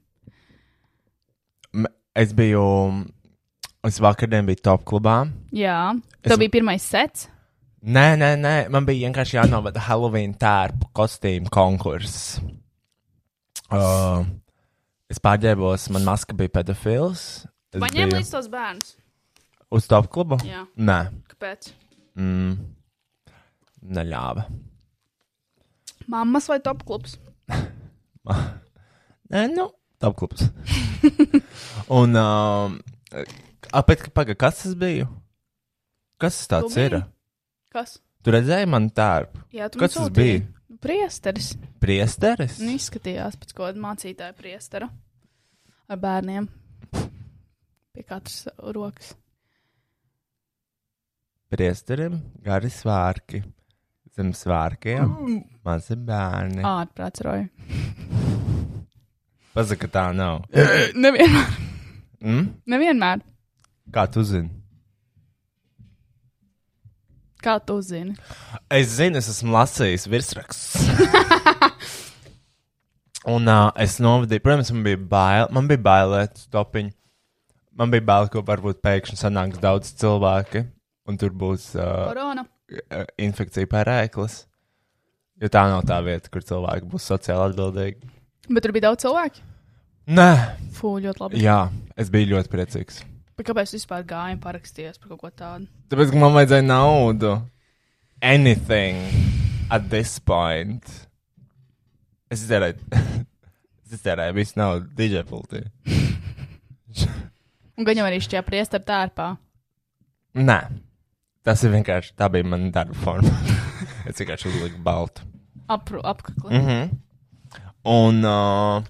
Speaker 5: m- es biju, es vakardien biju top klubā.
Speaker 3: Jā, tas
Speaker 5: Es-
Speaker 3: bija pirmais sets.
Speaker 5: Nē, nē, nē, man bija vienkārši jānovada Halloween tērpu kostīmu konkurss. Uh, es pārģērbos, man maska bija pedofils. Es
Speaker 3: Paņēma līdz tos bērnus.
Speaker 5: uz top klubu?
Speaker 3: Jā.
Speaker 5: Nē,
Speaker 3: Kāpēc?
Speaker 5: mm, neļāva.
Speaker 3: Māmas vai top klubs?
Speaker 5: Nē, nu, top klubs. Un, um, apēc, pagaid, kas tas bija? Kas tas tāds
Speaker 3: Tu
Speaker 5: ir?
Speaker 3: biji? Kas?
Speaker 5: Tu redzēji man tērpu?
Speaker 3: Jā, tu man
Speaker 5: Kas tas
Speaker 3: sūtīji.
Speaker 5: bija?
Speaker 3: Nu, Priesteris.
Speaker 5: Priesteris?
Speaker 3: Nu, izskatījās pēc kaut kāda mācītāja priestera ar bērniem. Pie katras rokas.
Speaker 5: Priesterim gari svārki. Zem svārkiem mazi bērni.
Speaker 3: Ah. Ārprāts roja.
Speaker 5: Pasaka, tā nav.
Speaker 3: Nevienmēr.
Speaker 5: Mm?
Speaker 3: Nevienmēr.
Speaker 5: Kā tu zini?
Speaker 3: Kā tu zini?
Speaker 5: Es zinu, es esmu lasījis virsrakstus. Un uh, es novadīju, protams, man bija bail, man bija bailēt stopiņu. Man bija bail, ka varbūt pēkšņi sanāks daudz cilvēki, un tur būs uh,
Speaker 3: Korona.
Speaker 5: uh, infekcija pērēklis. Jo tā nav tā vieta, kur cilvēki būs sociāli atbildīgi.
Speaker 3: Bet tur bija daudz cilvēku.
Speaker 5: Nē,
Speaker 3: Fū, ļoti labi.
Speaker 5: jā, es biju ļoti priecīgs.
Speaker 3: Bet kāpēc es vispār gāju un parakstījos par kaut ko tādu?
Speaker 5: Tāpēc, ka man vajadzēja naudu. Anything at this point. E Es izdarīju, es izdarīju visu naudu digitālā.
Speaker 3: Un gan jau arī šķiet priestera tērpā.
Speaker 5: Nē, tas ir vienkārši tā bija mana darba forma. es vienkārši uzliku baltu.
Speaker 3: Apru, apkakli.
Speaker 5: Mm -hmm. Un uh,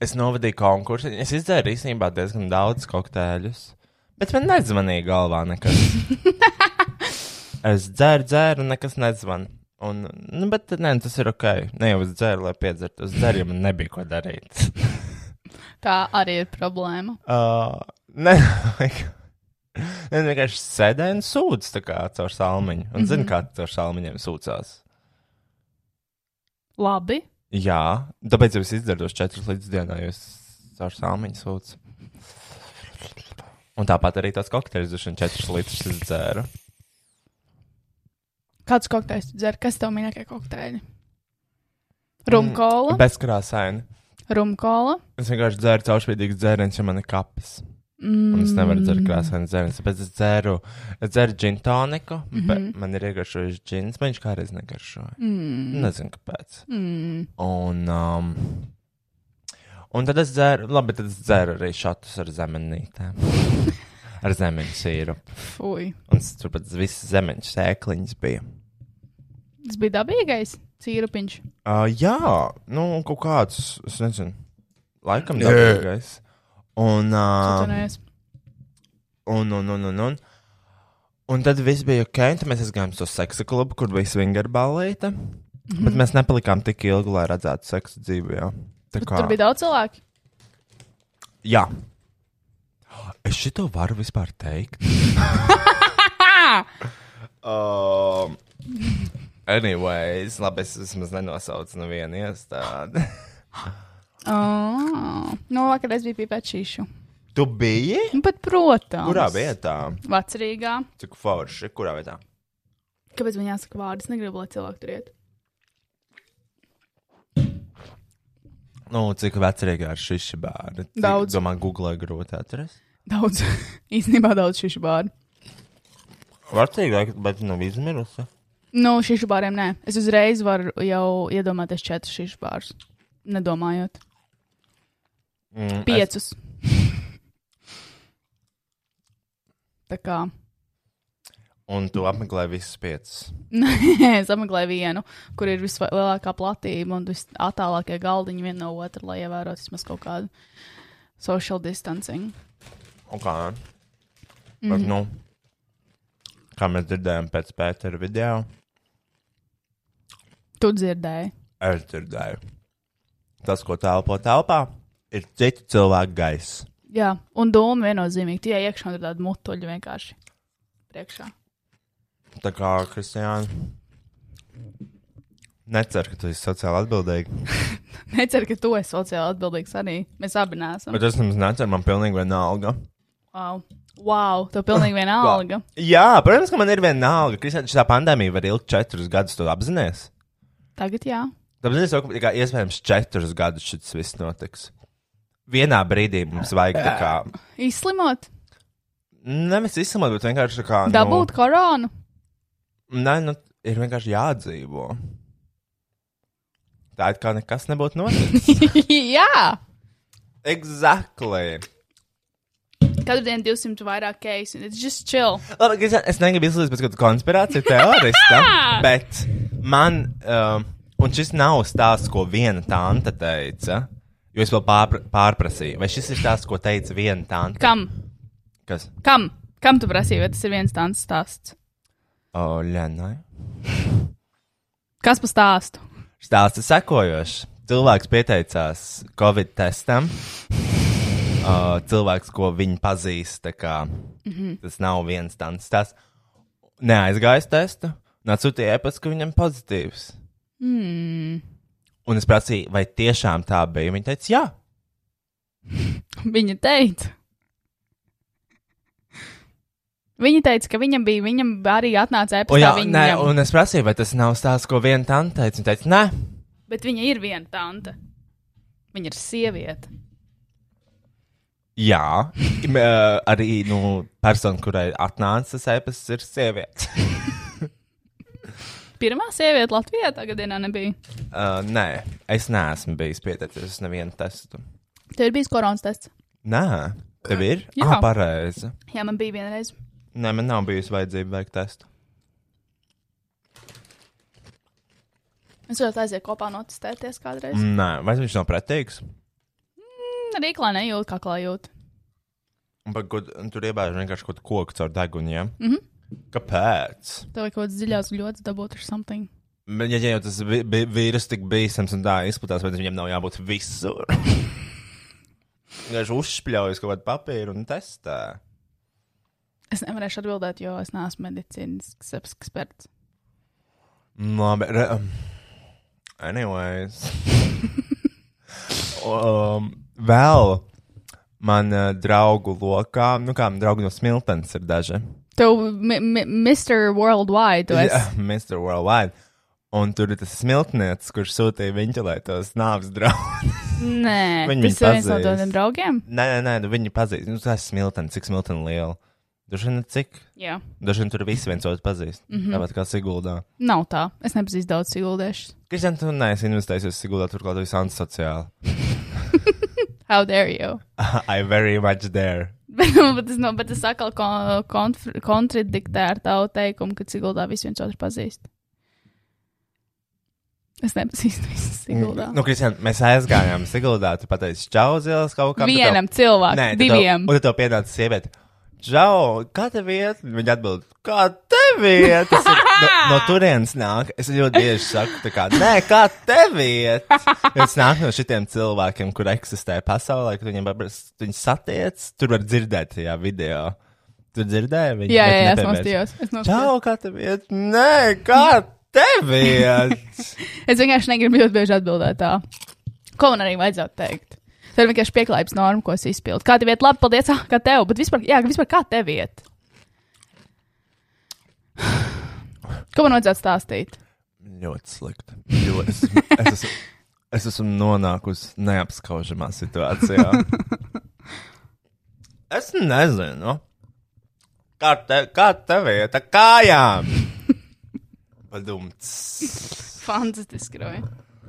Speaker 5: es novadīju konkursu. Es izdarīju īstenībā diezgan daudz kokteļus, bet man nezvanīja galvā nekas. es dzēru, dzēru, un nekas nezvanīja. Un, nu, bet nē, tas ir ok. Ne jau es dzēru, lai piedzertu. Es dzēru, ja man nebija ko darīt.
Speaker 3: Tā arī ir problēma.
Speaker 5: Uh, nē, nē, vienkārši sēdēju un sūdzu tā kā caur salmiņu. Un mm -hmm. zinu, kā caur salmiņiem sūdzās.
Speaker 3: Labi.
Speaker 5: Jā, tāpēc jau es izdarīju četrus līdz dienā, jo es ar sāmiņu sūdzu. Un tāpat arī tās kokteļus, kurš četrus litrus es dzēru.
Speaker 3: Kāds kokteils tu dzer? Kas tev mīļākie kokteili? Rumkola.
Speaker 5: Bezkrāsaini.
Speaker 3: Rumkola.
Speaker 5: Es vienkārši dzēru caurspīdīgu dzērienu, ja man ir kapis. Un es nevaru dzert krāsainu dzērienu, tāpēc es dzēru, es dzēru džintoniku. Mm -hmm. Man ir iegaršojis džins, man viņš kādreiz negaršoja. Mm. Nezinu, kāpēc.
Speaker 3: Mm.
Speaker 5: Un, um, un tad es dzeru, labi, tad es dzeru arī šatus ar zemenītēm. ar zemeņu sīru.
Speaker 3: Fui.
Speaker 5: Un s- turpat visas zemeņu sēkliņas bija.
Speaker 3: Tas bija dabīgais cīrupiņš.
Speaker 5: Uh, jā, nu, kaut kāds, es nezinu, laikam dabīgais. Un, uh,
Speaker 3: Atvainojos.
Speaker 5: un, un, un, un, un. Un tad viss bija ok, un tad mēs aizgājām uz to seksa klubu, kur bija svingra balīta. Mm -hmm. Bet
Speaker 3: Mhm.
Speaker 5: mēs nepalikām tik ilgi, lai redzētu seksu dzīvi. Jā. Tā
Speaker 3: Tur bija daudz cilvēku.
Speaker 5: Jā. Es šito varu vispār teikt. um, anyways, labi, es vismaz nenosaucu nevienu iestādi.
Speaker 3: Oh. No vakar es biju pie pečīšu.
Speaker 5: Tu biji?
Speaker 3: Nu, Bet, protams,
Speaker 5: Kurā vietā?
Speaker 3: Vacerīgā.
Speaker 5: Cik forši? Kurā vietā?
Speaker 3: Kāpēc man jāsaka vārdus? Negribu, lai cilvēki tur iet.
Speaker 5: Nu, cik vecrīgā ir šis bērns?
Speaker 3: Daudz.
Speaker 5: Domāju, Google grūti atrast.
Speaker 3: Daudz, īstenībā daudz šīšu bāru.
Speaker 5: Vecīgāk, bet nav izmirusi.
Speaker 3: Nu, šīšu bāriem nē. Es uzreiz varu jau iedomāties četrus šīšu bārus. Nedomājot.
Speaker 5: Mm, es-
Speaker 3: Piecus. Tā kā.
Speaker 5: Un tu apmeklēji visus piecus.
Speaker 3: Nē, es apmeklēju vienu, kur ir vislielākā platība un visatālākie galdiņi viena no otras, lai ievērotu vismaz kaut kādu social distancing.
Speaker 5: Un kā? Mm. Bet, nu, kā mēs dzirdējām pēc Pētera video,
Speaker 3: Tu dzirdēji.
Speaker 5: es dzirdēju. Tas, ko telpo telpā, ir citu cilvēku gaiss.
Speaker 3: Jā, un dūma viennozīmīgi. Tie iekšā ir tādi mutuļi vienkārši. Priekšā.
Speaker 5: Tā kā, Kristiāna, neceru, ka tu esi sociāli atbildīga.
Speaker 3: Neceru, ka tu esi sociāli atbildīgs arī. Mēs abi neesam.
Speaker 5: Bet es nemaz neceru, man pilnīgi vienalga.
Speaker 3: Wow, wow tev pilnīgi viena alga.
Speaker 5: Jā, protams, ka man ir vienalga. Kristiāna, šī pandēmija var ilgt četrus gadus, tu apzinājies.
Speaker 3: Tagad jā.
Speaker 5: Tāpēc es domāju, ka iespējams četrus gadus šis viss notiks. Vienā brīdī mums vajag tā kā.
Speaker 3: Izslimot,
Speaker 5: Nevis izsmalot, bet vienkārši tā kā. nu,
Speaker 3: dabūt koronu.
Speaker 5: Nē, nu, ir vienkārši jādzīvo. Tā it kā nekas nebūtu noticis.
Speaker 3: jā,
Speaker 5: exactly.
Speaker 3: katru dienu 200 vairāk keisu. It's just chill.
Speaker 5: Labi, Kristian, es negribu izslēgt pēc kāda konspirācija teorista, bet man, um, un šis nav stāsts, ko viena tante teica, jo es vēl pārpr pārprasīju, vai šis ir stāsts, ko teica viena tante.
Speaker 3: Kam?
Speaker 5: Kas?
Speaker 3: Kam? Kam tu prasīji, vai tas ir viens tāds stāsts?
Speaker 5: O, Lenai.
Speaker 3: Kas par stāstu?
Speaker 5: Stāsts ir sekojošs. Cilvēks pieteicās Covid testam. Uh, cilvēks, ko viņi pazīst, tā kā, mm -hmm. tas nav viens tāds stāsts. Neaizgājis testu, atsūtīja ēpastu, ka viņam pozitīvs. Mm. Un es prasīju, vai tiešām tā bija. Viņa teica, jā.
Speaker 3: Viņa teica. Viņa teica, ka viņam bija, viņam arī atnāca
Speaker 5: Un,
Speaker 3: epizode.
Speaker 5: jā nē, un es prasīju, vai tas nav stāsts, ko viena tante teica. Viņa teica, nē,
Speaker 3: Bet viņa ir viena tante. Viņa ir sieviete.
Speaker 5: jā. Im, uh, arī nu, persona, kurai atnāca tas ēpasts, ir sieviete.
Speaker 3: Pirmā sieviete Latvijā tagad dienā nebija.
Speaker 5: Uh, nē, es neesmu bijis pieteicies uz nevienu testu.
Speaker 3: Tev ir bijis koronas tests.
Speaker 5: Nē, tev ir?
Speaker 3: Jā.
Speaker 5: Jā, ah, pareizi.
Speaker 3: Jā, man bija vienreiz.
Speaker 5: Nē, man nav bijusi vajadzība veikt testu.
Speaker 3: Es varētu aiziet kopā notestēties kādreiz. Mm.
Speaker 5: Nē, vai viņš nav pretīgs?
Speaker 3: Arī klā nejūt, kā klā jūt.
Speaker 5: Un par ko- un Tur iebāž vienkārši kaut ko koku caur degunu. Ja? Mm -hmm. Kāpēc?
Speaker 3: Tev ir kaut kāds dziļāks ļots dabūt ar something.
Speaker 5: Bet, ja, ja jau tas vi- bi- vīrus tik bīstams un tā izplatās, tad viņam nav jābūt visur. Viņš uzspļaujas kaut kādu papīru un testē.
Speaker 3: Es nevarēšu atbildēt, jo es neesmu medicīnisks eksperts.
Speaker 5: Mm, Labi. Re, um, anyways. um, vēl man uh, draugu lokā, nu kā man draugi no Smiltenes ir daži.
Speaker 3: Tev, mi- mi- Mr. Worldwide, tu esi.
Speaker 5: Jā, Mr. Worldwide. Un tur ir tas smiltnieks, kurš sūtīja viņu, lai tos nāves draugus.
Speaker 3: Nē,
Speaker 5: Viņi
Speaker 3: tas
Speaker 5: viņu
Speaker 3: ir viens no
Speaker 5: pazīst.
Speaker 3: tādiem draugiem.
Speaker 5: nē, nē, nē, nu viņi pazīst. Nu, tas ir smiltens, cik smiltens liela. Dažiem ir cik,
Speaker 3: Jā,
Speaker 5: dažiem tur visi viens otru pazīst. Mm -hmm. Tāpat kā Siguldā.
Speaker 3: nav tā. Es nepazīstu daudz sīguldiešus.
Speaker 5: Kristian, tu neesi investējis uz Siguldā, turklāt tu esi antisociāli.
Speaker 3: How dare you?
Speaker 5: I very much dare.
Speaker 3: bet, nu, bet tas, no, bet tas atkal kon- konfr- kontradiktē ar tavu teikumu, ka Siguldā visi viens otru pazīst. Es nepazīstu visus Siguldā.
Speaker 5: Nu, Kristian, mēs aizgājām Siguldā. Tu pateici, čau, zils kaut kā.
Speaker 3: Vienam cilvēkam, diviem.
Speaker 5: Un tad tev pienāca sieviete. Čau, kā tev iet? Viņa atbild, kā tev iet? Tas ir, no, no turienes nāk. Es ļoti bieži saku, tā kā, nē, kā tev iet? Tas nāk no šitiem cilvēkiem, kur eksistē pasaulē, kad viņiem paprasti, viņi satiec, tur var dzirdēt tajā video. Tu dzirdēji viņu?
Speaker 3: Jā, jā, jā, es
Speaker 5: Bet nepiemērsi.
Speaker 3: nostījos. Es, nostījos.
Speaker 5: Čau, kā tev iet? Nē, kā tev iet?
Speaker 3: es vienkārši negribu ļoti bieži atbildēt tā. Ko man arī vajadzētu teikt? Tā ir vienkārši pieklājības norma, ko es izpildu. Kā tev iet? Labi, paldies, ah, kā tev. Bet vispār, jā, vispār kā tev iet? Ko man vajadzētu stāstīt?
Speaker 5: Ļoti slikti. Jo Es, es, esmu, es esmu nonākusi neapskaužamā situācijā. Es nezinu. Kā, te, kā tev iet ar kājām? Padumts.
Speaker 3: Fantastiski, Roja.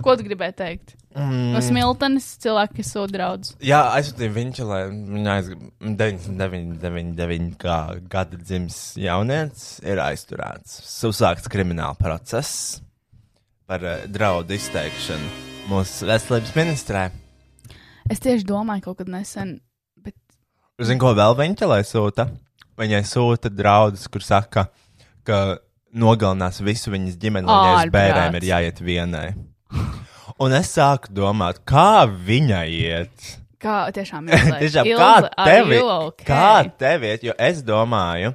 Speaker 3: Ko tu gribēji teikt? Mm. No smiltenes cilvēki, kas sūta draudz.
Speaker 5: Jā, aizsūtīju viņu, lai viņa aizgāja 99,99 kā gada dzimis jaunietis, ir aizturēts. Uzsākts krimināla process par eh, draudu izteikšanu mūsu veselības ministrē.
Speaker 3: Es tieši domāju kaut kad nesen, bet
Speaker 5: Zini, ko vēl viņa lai sūta? Viņai sūta draudus, kur saka, ka nogalinās visu viņas ģimeni, lai viņai uz
Speaker 3: Ārprāts.
Speaker 5: bērniem ir jāiet vienai. Un es sāku domāt, kā viņai iet.
Speaker 3: kā tiešām
Speaker 5: Tiešām,
Speaker 3: Ilze,
Speaker 5: kā
Speaker 3: are
Speaker 5: tev
Speaker 3: you
Speaker 5: ir?
Speaker 3: okay?
Speaker 5: Kā tev ir? Jo es domāju,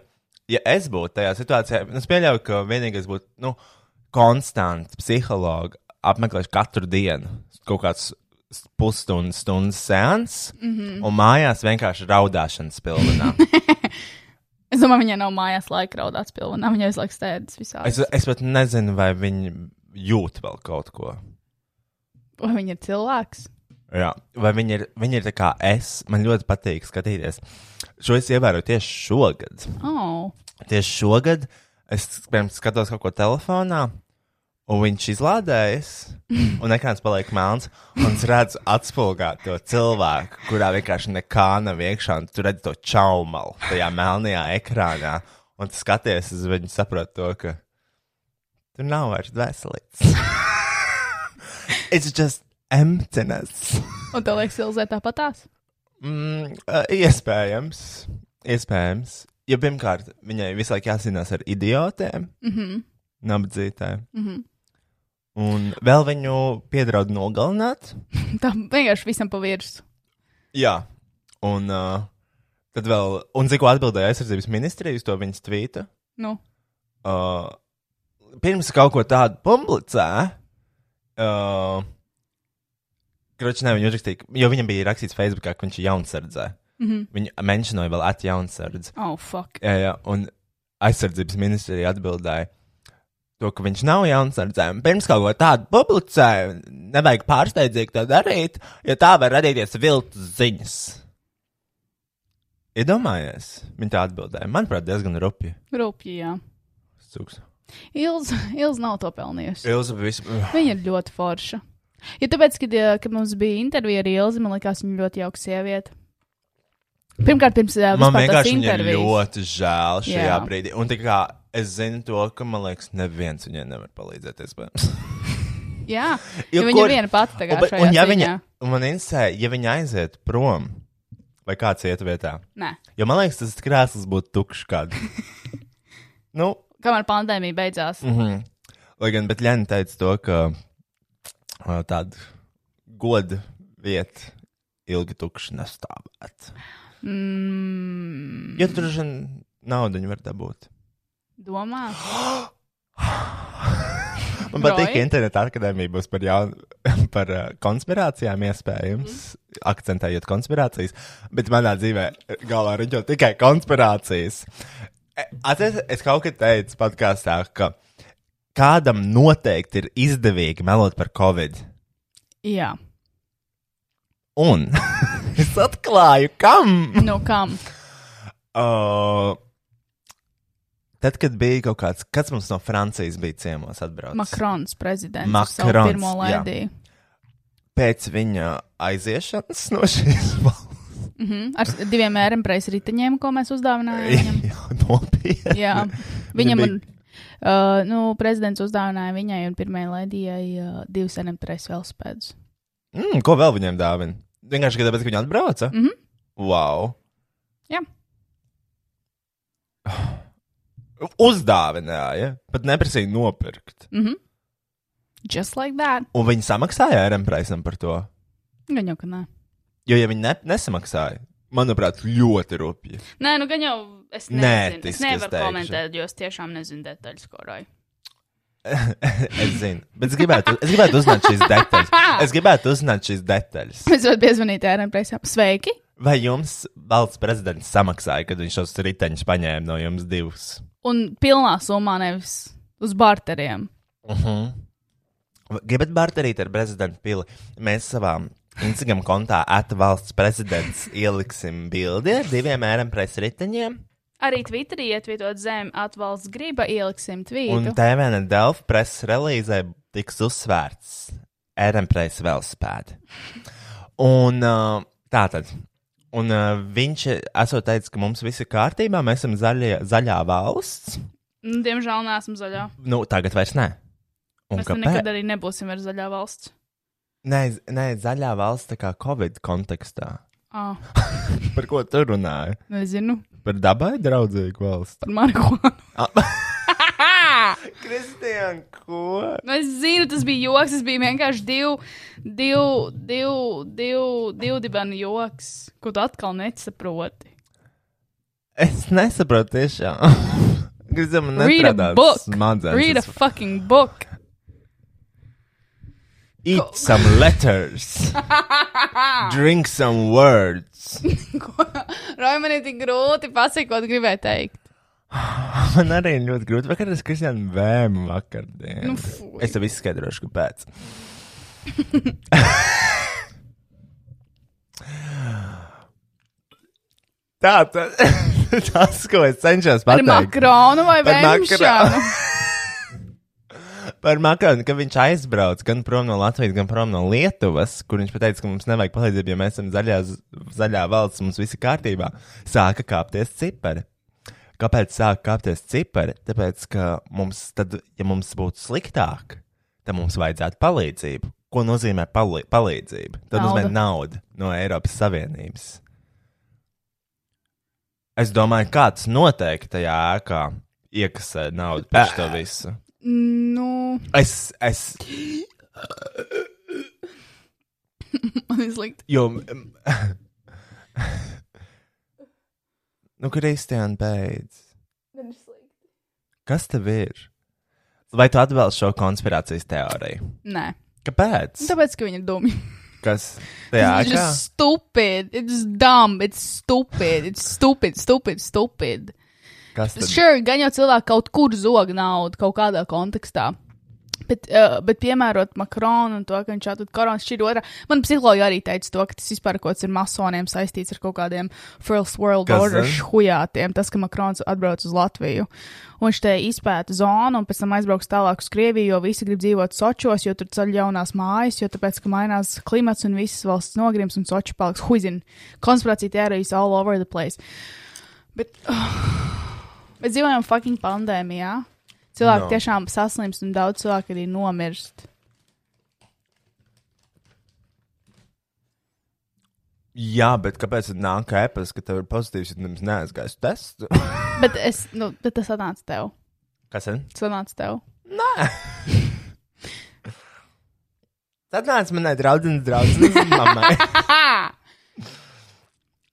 Speaker 5: ja es būtu tajā situācijā, nu, es pieļauju, ka vienīgais būtu nu, konstants psihologs, apmeklējis katru dienu kaut kāds s- pusstundas, stundas sēns, mm -hmm. un mājās vienkārši raudāšanas pilnā.
Speaker 3: Es domāju, viņai nav mājās laika raudāt pilvā. Viņai visu laiku stēdas visā.
Speaker 5: es, es pat nezinu, vai viņi jūt vēl kaut ko.
Speaker 3: Vai viņa ir cilvēks?
Speaker 5: Jā. Vai viņi ir, viņi ir tā kā es? Man ļoti patīk skatīties. Šo es ievēroju tieši šogad.
Speaker 3: Oh.
Speaker 5: tieši šogad es piemēram, skatos kaut ko telefonā, un viņš izlādējas, un ekrāns paliek melns, un es redzu atspulgāto cilvēku, kurā vienkārši nekā nav iekšā, un tu redz to čaumalu tajā melnajā ekrānā, un tu skaties uz viņu, saproti to, ka tur nav vairs veselības. It's just emptiness.
Speaker 3: Un tev liekas, Ilzē tāpatās?
Speaker 5: Mm, ā, iespējams. Iespējams. Jo pirmkārt, viņai visu laiku jāsīnās ar idiotiem, mm -hmm. nabadzītājiem. Mm -hmm. Un vēl viņu piedraud nogalināt.
Speaker 3: Tā vienkārši visam pa virsmu.
Speaker 5: Jā. Un uh, tad vēl, un cik atbildēja aizsardzības ministrija uz to viņas tvītu.
Speaker 3: Nu,
Speaker 5: Uh, pirms kaut ko tādu publicē, uh, Kroķis nevienu uzrakstīja, jo viņam bija rakstīts Facebookā, ka viņš ir jaunsardzē. Mm -hmm. Viņa menšinoja vēl at jaunsardzi.
Speaker 3: oh, fuck.
Speaker 5: Jā, jā, un aizsardzības ministrija atbildēja, to, ka viņš nav jauns ar dzēmu. Pirms kaut ko tādu publicēja, nevajag pārsteidzīgi to darīt, jo tā var radīties viltus ziņas. Iedomājies, viņa tā atbildēja. Manuprāt, diezgan rupji.
Speaker 3: Rūpīgi, jā.
Speaker 5: Cuks.
Speaker 3: Ilze, Ilze nav to pelnījusi.
Speaker 5: Ilza vispār.
Speaker 3: Viņa ir ļoti forša. Ja tāpēc, kad, eh, kad mums bija intervija ar Ilzi, man liekas, viņa ļoti jauka sieviete. Pirmkārt, pirms eh,
Speaker 5: Man
Speaker 3: vispār tās
Speaker 5: vienkārši viņa ir
Speaker 3: intervijas.
Speaker 5: ļoti žēl šajā jā.
Speaker 3: Jā.
Speaker 5: brīdī. Un tā kā es zinu to, ka man liekas, neviens viņai nevar palīdzēt. iespējams.
Speaker 3: Jā,
Speaker 5: Jo
Speaker 3: jo viņa
Speaker 5: kur-
Speaker 3: ir viena pati
Speaker 5: Un,
Speaker 3: tagad.
Speaker 5: bet-
Speaker 3: šajā
Speaker 5: un ja
Speaker 3: ziņā.
Speaker 5: viņa, un man interesē, ja viņa aiziet prom vai kāds iet vietā,
Speaker 3: Nē,
Speaker 5: jo man liekas, tas krēsls būtu tukšs kādu. nu, mhm.
Speaker 3: kamēr pandēmija beidzās. Mm.
Speaker 5: lai gan, bet Lena teica to, ka ā, tāda goda vieta ilgi tukša nestāvēt. Mm. Jo tur žin naudu var dabūt.
Speaker 3: Domā?
Speaker 5: Man patīk, ka
Speaker 3: Roy?
Speaker 5: interneta akadēmija būs par, jaun, par uh, konspirācijām, iespējams, mm. akcentējot konspirācijas. Bet manā dzīvē galvā riņķo tikai konspirācijas. E, Atceries, es kaut kad teicu podkāstā, ka kādam noteikti ir izdevīgi melot par covid.
Speaker 3: Jā,
Speaker 5: Un es atklāju, kam!
Speaker 3: nu kam?
Speaker 5: Uh, tad, kad bija kaut kāds, kas mums no Francijas bija ciemos atbraucis.
Speaker 3: Makrons prezidents.
Speaker 5: Makrons,
Speaker 3: Makrons. Pirmo
Speaker 5: jā.
Speaker 3: laidīju.
Speaker 5: pēc viņa aiziešanas no šīs valsts.
Speaker 3: Mhm, Ar s- diviem ērnpreis riteņiem, ko mēs uzdāvinājām. viņam.
Speaker 5: Jā, nopietni.
Speaker 3: Jā,
Speaker 5: Viņa
Speaker 3: viņam
Speaker 5: bija-
Speaker 3: un, uh, nu, prezidents uzdāvināja viņai un pirmajai laidījai uh, divus ērnpreis velospēdus.
Speaker 5: Mm, ko vēl viņiem dāvina? Vienkārši tikai tāpēc, ka viņi atbrauca. Mm -hmm. Wow!
Speaker 3: Jā.
Speaker 5: Uzdāvināja, pat neprasīja nopirkt. Mm.
Speaker 3: Just like that.
Speaker 5: Un viņi samaksāja ērem prasam par to.
Speaker 3: Gan jau, ka nē.
Speaker 5: Jo, ja viņi ne, nesamaksāja, manuprāt, ļoti rupji.
Speaker 3: Nē, nu gan jau es
Speaker 5: Nē,
Speaker 3: nezinu.
Speaker 5: tiski es
Speaker 3: es nevaru
Speaker 5: teikšu.
Speaker 3: komentēt, jo es tiešām nezinu detaļas, ko roju.
Speaker 5: Es zinu, bet es gribētu, es gribētu uzzināt šīs detaļas. Es gribētu uzzināt šīs detaļas.
Speaker 3: Mēs varam piezvanīt ērnpreisam. Sveiki!
Speaker 5: Vai jums valsts prezidents samaksāja, kad viņš šos riteņus paņēma no jums divus?
Speaker 3: Un pilnā summā nevis uz barteriem.
Speaker 5: Gribat barterīt ar prezidentu pili? Mēs savā Instagram kontā atvalsts prezidents ieliksim bildi ar diviem ērnpreses riteņiem.
Speaker 3: arī Twitterī ietvietot zem atvalsts griba, ieliksim
Speaker 5: Un
Speaker 3: tvītu.
Speaker 5: TVN Delfa preses relīzē tiks uzsvērts Eremprēs vēl spēd. Un uh, tā tad. Un uh, viņš esot teicis, ka mums viss ir kārtībā, mēs esam zaļie, zaļā valsts.
Speaker 3: Nu, diemžēl neesam zaļā.
Speaker 5: Nu, tagad vairs nē. Un
Speaker 3: Mēs te nekad arī nebūsim ar zaļā valsts.
Speaker 5: Nē, z- nē, zaļā valsts tā kā Covid kontekstā.
Speaker 3: Ah,
Speaker 5: Par ko tu runāji?
Speaker 3: nezinu,
Speaker 5: Par dabai draudzīgu valsts.
Speaker 3: par marihuānu.
Speaker 5: Kristian, ko?
Speaker 3: Nu, es zinu, tas bija joks. Tas bija vienkārši divu, divu, divu, divu, divu dibenu joks, ko tu atkal nesaproti.
Speaker 5: Es nesaprotu tiešām. Kristian, man
Speaker 3: Read a
Speaker 5: nestrādā
Speaker 3: book.
Speaker 5: smadzenes.
Speaker 3: Read a
Speaker 5: Es
Speaker 3: fucking book.
Speaker 5: Eat some letters. Drink some words.
Speaker 3: Roj, man ir tik grūti pasakot, ko tu gribēji teikt.
Speaker 5: Man arī ir ļoti grūti. Vakar es Kristiānu vēmu vakardien.
Speaker 3: Nu, fuj.
Speaker 5: es tev izskaidrošu, kāpēc. Tā tad tas, ko es cenšos
Speaker 3: Par
Speaker 5: pateikt
Speaker 3: makronu vai
Speaker 5: Par
Speaker 3: vēmšanu?
Speaker 5: par Makronu, ka viņš aizbrauc gan prom no Latvijas, gan prom no Lietuvas, kur viņš pateica, ka mums nevajag palīdzību, ja mēs esam zaļā, zaļā valsts, mums viss ir kārtībā, sāka kāpties cipari. Kāpēc sāk kāpties cipari? Tāpēc, ka mums, tad, ja mums būtu sliktāk, tad mums vajadzētu palīdzību. Ko nozīmē pali palīdzība? Tas nozīmē
Speaker 3: Nauda.
Speaker 5: naudu no Eiropas Savienības. Es domāju, kāds noteikti tajā ēkā iekasē naudu par to visu.
Speaker 3: Nu,
Speaker 5: Es, es,
Speaker 3: man ir slikti.
Speaker 5: jo. mm, nu, Kristiāna, beidz. Kas tev ir? Vai tu atbalsti šo konspirācijas teoriju?
Speaker 3: Nē, Nu,
Speaker 5: Kāpēc?
Speaker 3: tāpēc, ka viņi ir dumi.
Speaker 5: Kas tajā
Speaker 3: It's
Speaker 5: kā?
Speaker 3: just stupid. It's dumb. It's stupid. It's stupid, stupid, stupid.
Speaker 5: Kas tad?
Speaker 3: Sure, gan jau cilvēki kaut kur zog naudu kaut kādā kontekstā. Bet, uh, bet piemērot Makronu un to, ka viņš atrod koronas, šī ir otrā. Man psiholoģija arī teica to, ka tas vispār kaut kas ir masoniem saistīts ar kaut kādiem First World
Speaker 5: Kas
Speaker 3: Order
Speaker 5: zina?
Speaker 3: šhujātiem. Tas, ka Makrons atbrauc uz Latviju. Un viņš te izpēta zonu un pēc tam aizbrauks tālāk uz Krieviju, jo visi grib dzīvot Sočos, jo tur ceļ jaunās mājas, jo tāpēc, ka mainās klimats un visas valsts nogrims un Soči paliks huizin. Konspirācija teorijas all over the place. Bet, Mēs dzīvojam fucking pandēmijā. Cilvēki no.
Speaker 5: No.
Speaker 3: tiešām saslimst, un daudz cilvēku arī nomirst.
Speaker 5: Jā, bet kāpēc tad nāk ēpas, ka tev ir pozitīvs, ja nemaz neaizgājis tests?
Speaker 3: Bet, es, nu, bet tas atnāca tev.
Speaker 5: Kas tad?
Speaker 3: Tas atnāca tev.
Speaker 5: Tad nāc manai draudzenes draudzenes mammai.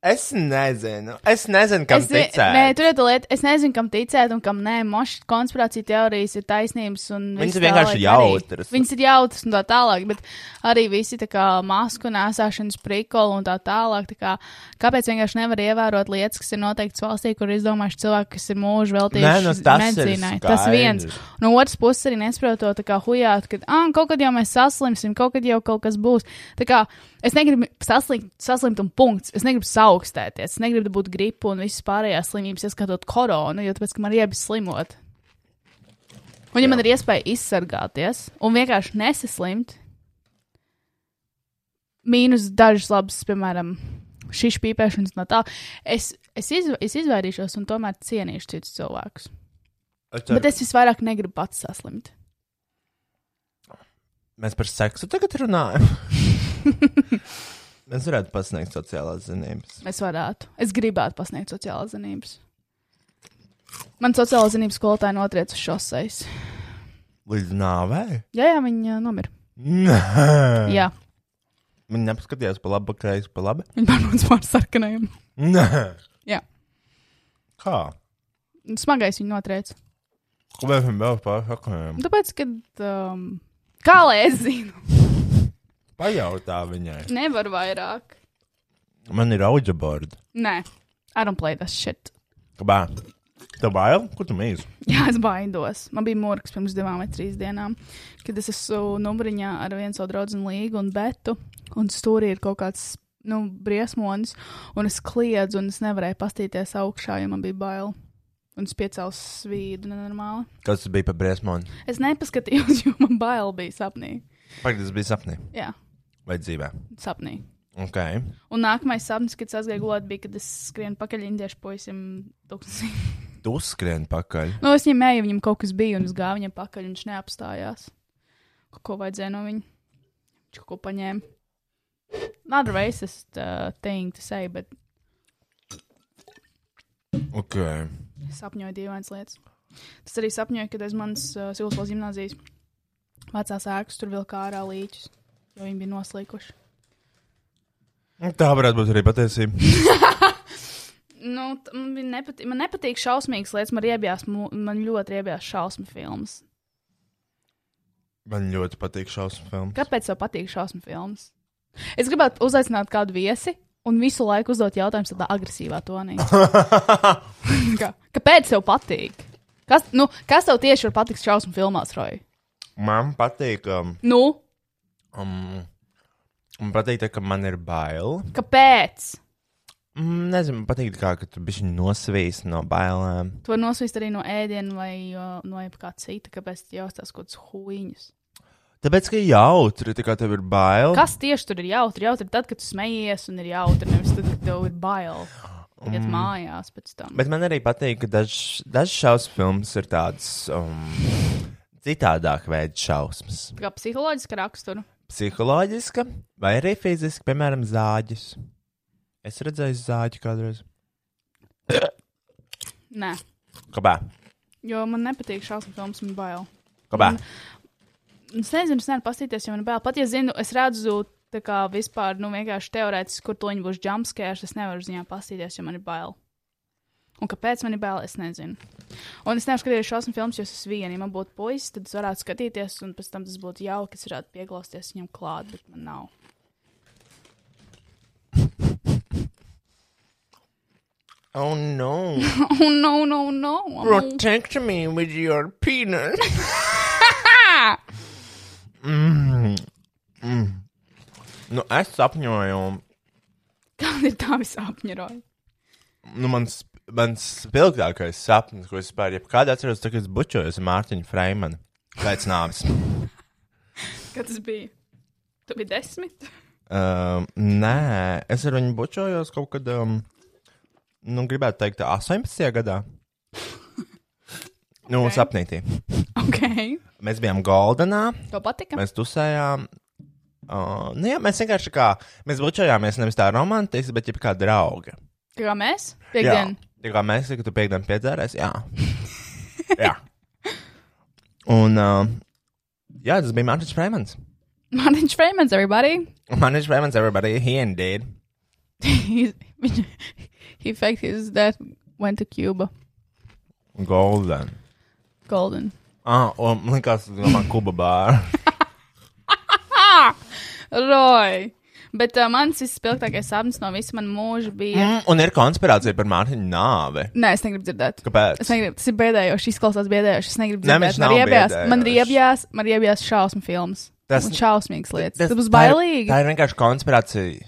Speaker 5: Es nezinu. Es nezinu, kam
Speaker 3: Es, ne-
Speaker 5: ticēt.
Speaker 3: nē, tur ir tā lieta. Es nezinu, kam ticēt un kam nē. Mošas konspirācija teorijas ir taisnības. un
Speaker 5: Viņas
Speaker 3: viss
Speaker 5: ir vienkārši
Speaker 3: tā, lai arī-
Speaker 5: jautras.
Speaker 3: Viņas ir jautras un tā tālāk. Bet arī visi tā kā masku nēsāšanas prikoli un tā tālāk. Tā kā, kāpēc vienkārši nevar ievērot lietas, kas ir noteikts valstī, kur ir izdomājuši cilvēki, kas ir
Speaker 5: Nē,
Speaker 3: mūžu veltījuši
Speaker 5: nu, tas ir
Speaker 3: medicīnai? Tas
Speaker 5: skaidrs.
Speaker 3: viens. No otras puses, arī nesprotot, tā kā hujāt, ka ah, kaut kad jau mēs saslimsim, kaut kad jau kaut kas būs. Tā kā es negribu saslimt, saslimt un punkts. Es negribu saaugstēties, es negribu būt gripu un visas pārējās slimības, ieskatot koronu, jo tāpēc, ka man ir iebis slimot. Un ja man ir iespēja izsargāties un vienkārši nesaslimt, mīnus dažas labas, piemēram, šīs pīpēšanas no tā, es, es, izv es izvairīšos un tomēr cienīšu citus cilvēkus.
Speaker 5: Es
Speaker 3: Bet
Speaker 5: ceru-
Speaker 3: es visvairāk negribu pats saslimt.
Speaker 5: Mēs par seksu tagad runājam. Mēs varētu pasniegt sociālās zinības.
Speaker 3: Es varētu. Es gribētu pasniegt sociālās zinības. Man sociālā zinības skolotāja notrieca uz šoseis.
Speaker 5: Līdz nāvei?
Speaker 3: Jā, jā, viņa ā, nomira.
Speaker 5: Nē,
Speaker 3: Jā,
Speaker 5: viņi nepaskatījās pa labi, ka reizes pa labi.
Speaker 3: viņa pārnāca pār sarkanajiem.
Speaker 5: Nē,
Speaker 3: Jā,
Speaker 5: kā?
Speaker 3: smagais viņa notrieca.
Speaker 5: Ko mēs viņam vēl pasakām?
Speaker 3: Tāpēc, kad. Um, kā lai es zinu,
Speaker 5: Pajautā viņai.
Speaker 3: nevar vairāk.
Speaker 5: Man ir auga borda.
Speaker 3: Nē, I don't play this shit.
Speaker 5: Kā? Tev bail? Kur tu mīli?
Speaker 3: Jā, es baidos. Man bija morgs pirms divām vai trīs dienām, kad es esmu numuriņā ar vienu savu draugu Līgu un Betu, un stūrī ir kaut kāds nu, briesmonis, un es kliedzu, un es nevarēju pastīties augšā, jo man bija bail. Un es piecēlos svīdu nenormāli.
Speaker 5: Kas tas bija par briesmoni?
Speaker 3: Es nepaskatījos, jo man bail bija sapnī.
Speaker 5: Pagaidzi, tas bija sapnī
Speaker 3: Jā,
Speaker 5: vai dzīvē.
Speaker 3: sapnī.
Speaker 5: Ok.
Speaker 3: Un nākamais sapnis, kad es aizgāju gulēt, bija, kad es skrienu pakaļ indiešu puisim tūkstnesī.
Speaker 5: Tu skrieni pakaļ.
Speaker 3: nu, es viņam eju, viņam kaut kas bija, un es gāju viņam pakaļ, un viņš neapstājās. Kaut ko vajadzēja no viņa. Viņš kaut ko paņēma. Not a racist uh, thing to say, bet
Speaker 5: Ok.
Speaker 3: Es sapņoju dīvainas lietas. Tas arī sapņoju, kad aiz manas uh, Silvas gimnāzijas vecās ēkas tur vilka ārā līķus, jo viņi bija noslīkuši.
Speaker 5: Tā varētu būt arī patiesība.
Speaker 3: Nu, t- man, bija nepati man nepatīk šausmīgas lietas, man, riebjās, mu- man ļoti riebjās šausmu filmas.
Speaker 5: Man ļoti patīk šausmu filmas.
Speaker 3: Kāpēc tev patīk šausmu filmas? Es gribētu uzaicināt kādu viesi un visu laiku uzdot jautājumu tādā agresīvā tonī. Kā, kāpēc tev patīk? Kas, nu, kas tev tieši var patikt šausmu filmās, Roja?
Speaker 5: Man patīk, um,
Speaker 3: Nu,
Speaker 5: um, man patīk, tā, ka man ir bail.
Speaker 3: kāpēc?
Speaker 5: Mm, nezinu, man patīk, tā kā, ka tu biji nosvīs no bailēm.
Speaker 3: To var nosvīst arī no ēdiena vai uh, no jebkā cita, kāpēc tu jaustās kaut kādas huīņas.
Speaker 5: Tāpēc, ka jautri, tā kā tev ir bail.
Speaker 3: Kas tieši tur ir jautri? Jautri tad, kad tu smejies un ir jautri, nevis tad, kad tev ir bail. Iet mājās pēc tam.
Speaker 5: Bet man arī patīk, ka dažs daž šausmu filmas ir tādas um, citādāk veida šausmas.
Speaker 3: Tā kā psiholoģiska rakstura.
Speaker 5: Psiholoģiska vai arī fiziska, piemēram, zāģis. Es redzēju zāģi kādreiz.
Speaker 3: Nē,
Speaker 5: Kabā?
Speaker 3: jo man nepatīk šausmu filmas, man bail.
Speaker 5: Kabā?
Speaker 3: Es nezinu, es nevaru pastīties, jo man bail. Pat ja zinu, es redzu, tā kā vispār, nu vienkārši teorētiski, kur toņi būs jumpscares, es nevaru uz viņām pastīties, jo man ir bail. Un kāpēc man ir bail, es nezinu. Un es nevaru skatīties šausmu filmas, jo es esmu viena. Ja man būtu puisis, tad es varētu skatīties, un pēc tam tas būtu jauki, es varētu pieglausties viņam klāt, bet man nav.
Speaker 5: Oh, no!
Speaker 3: Oh, no, no, no! I'm-
Speaker 5: Protect me with your penis! mm. Mm. Nu, es sapņoju,
Speaker 3: Kāda ir tā visapņeroja?
Speaker 5: nu, mans, mans spilgtākais sapnis, ko es vispār jebkad atceros, tas, kad es bučojos ar Mārtiņu Freimanu pēc nāves.
Speaker 3: Kad tas bija? Tu biji desmit?
Speaker 5: Um, nē, es ar viņu bučojos kaut kad, um, nu, gribētu teikt, 18. gadā. Nu, okay. sapnītī.
Speaker 3: Ok.
Speaker 5: Mēs bijām Goldenā,
Speaker 3: Tev patika?
Speaker 5: mēs tusējām. Uh, nu, jā, mēs vienkārši kā, mēs bučojāmies nevis tā romantiski, bet kā draugi.
Speaker 3: Tā kā mēs?
Speaker 5: Jā,
Speaker 3: Piekdien.
Speaker 5: tā kā mēs, ka tu piekdienu piedzērēs, jā. jā. Un, uh, jā, tas bija Mārcis Freimans.
Speaker 3: Mārtiņš Freimans, everybody!
Speaker 5: Mārcis Freimans, everybody, he indeed.
Speaker 3: He's- he faked his death, went to Cuba.
Speaker 5: Golden.
Speaker 3: Golden.
Speaker 5: Ah, o, man liekas, tas ir Kuba bāra.
Speaker 3: Roy! Bet uh, mans izspilgtākais sapnis no visa mana mūža bija.
Speaker 5: Mm, un ir konspirācija par Mārtiņu nāvi.
Speaker 3: Nē, es negribu dzirdēt.
Speaker 5: Kāpēc?
Speaker 3: Es negribu, tas ir bēdējoši, izklausās bēdējoši. Es negribu
Speaker 5: Nē, viņš
Speaker 3: dzirdēt, man
Speaker 5: nav
Speaker 3: riebjās, man
Speaker 5: biedējošs.
Speaker 3: riebjās, man riebjās šausmu filmas.
Speaker 5: Tas-
Speaker 3: Tas ir šausmīgs lietas. Tas
Speaker 5: tā
Speaker 3: būs
Speaker 5: ir-
Speaker 3: bailīgi.
Speaker 5: Tā ir vienkārši konspirācija.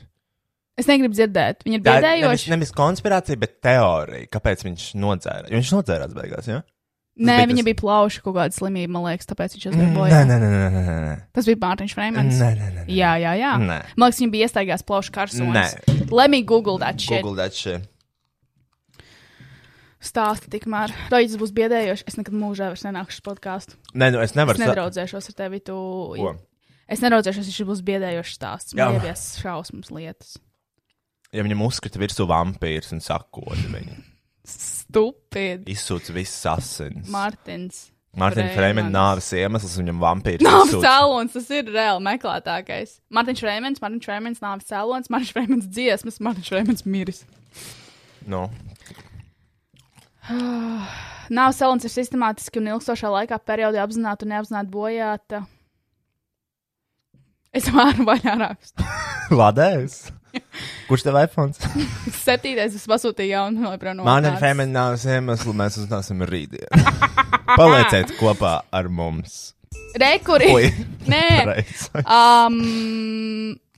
Speaker 3: Es negribu dzirdēt. Viņi ir
Speaker 5: Tā ir nevis,
Speaker 3: bēdējoši.
Speaker 5: nevis konspirācija, bet teorija, kāpēc viņš nodzēra. Jo viņš nodzērās beigās, jā?
Speaker 3: Nē,
Speaker 5: bija
Speaker 3: viņa
Speaker 5: tas-
Speaker 3: bija plauša kaut kāda slimība, man liekas, tāpēc viņš
Speaker 5: Nē, nē,
Speaker 3: uzlidoja.
Speaker 5: nē, nē, nē, nē, nē.
Speaker 3: Tas bija Mārtiņš Freimans.
Speaker 5: Nē, nē, nē, nē.
Speaker 3: Jā, jā, jā.
Speaker 5: Nē.
Speaker 3: Man liekas, viņa bija iestaigās plaušu karsonis. Let me google that shit.
Speaker 5: Google that shit.
Speaker 3: stāsti tikmēr. Roģis būs biedējošs. Es nekad mūžā vairs nenākšu uz podkāstu.
Speaker 5: Nē, nu es nevaru.
Speaker 3: Es nedraudzēšos ar tevi. Tu...
Speaker 5: Ko?
Speaker 3: Es nedraudzēšos, ja šis būs biedējošs stāsts.
Speaker 5: Jā.
Speaker 3: Man liekas, šausmas lietas.
Speaker 5: Ja viņam uzkrita virsū vampīrs un sakodi viņu,
Speaker 3: Stupid.
Speaker 5: izsūc visas asins.
Speaker 3: Mārtiņš.
Speaker 5: Mārtiņa Freimena nāves iemesls, viņam vampīrs
Speaker 3: Nāves
Speaker 5: izsūc-
Speaker 3: cēlonis, tas ir reāli meklētākais. Mārtiņš Rēmens, Mārtiņš Rēmens, nāves cēlonis, Mārtiņš Rēmens dziesmas, Mārtiņš Rēmens miris.
Speaker 5: Nu,
Speaker 3: Nāves cēlonis ir sistemātiski un ilgstošā laikā periodi apzināti un neapzināti bojāta. Es vāru vaļā rakstu.
Speaker 5: Ladēs. Kurš tev iPhone?
Speaker 3: Septītais es pasūtīju jaunu, lai prānu.
Speaker 5: Mārtiņa Freimena nāves iemeslu mēs uzzināsim rītdien. Palieciet kopā ar mums.
Speaker 3: Rekuri!
Speaker 5: Oi,
Speaker 3: Nē,
Speaker 5: pareizi.
Speaker 3: um,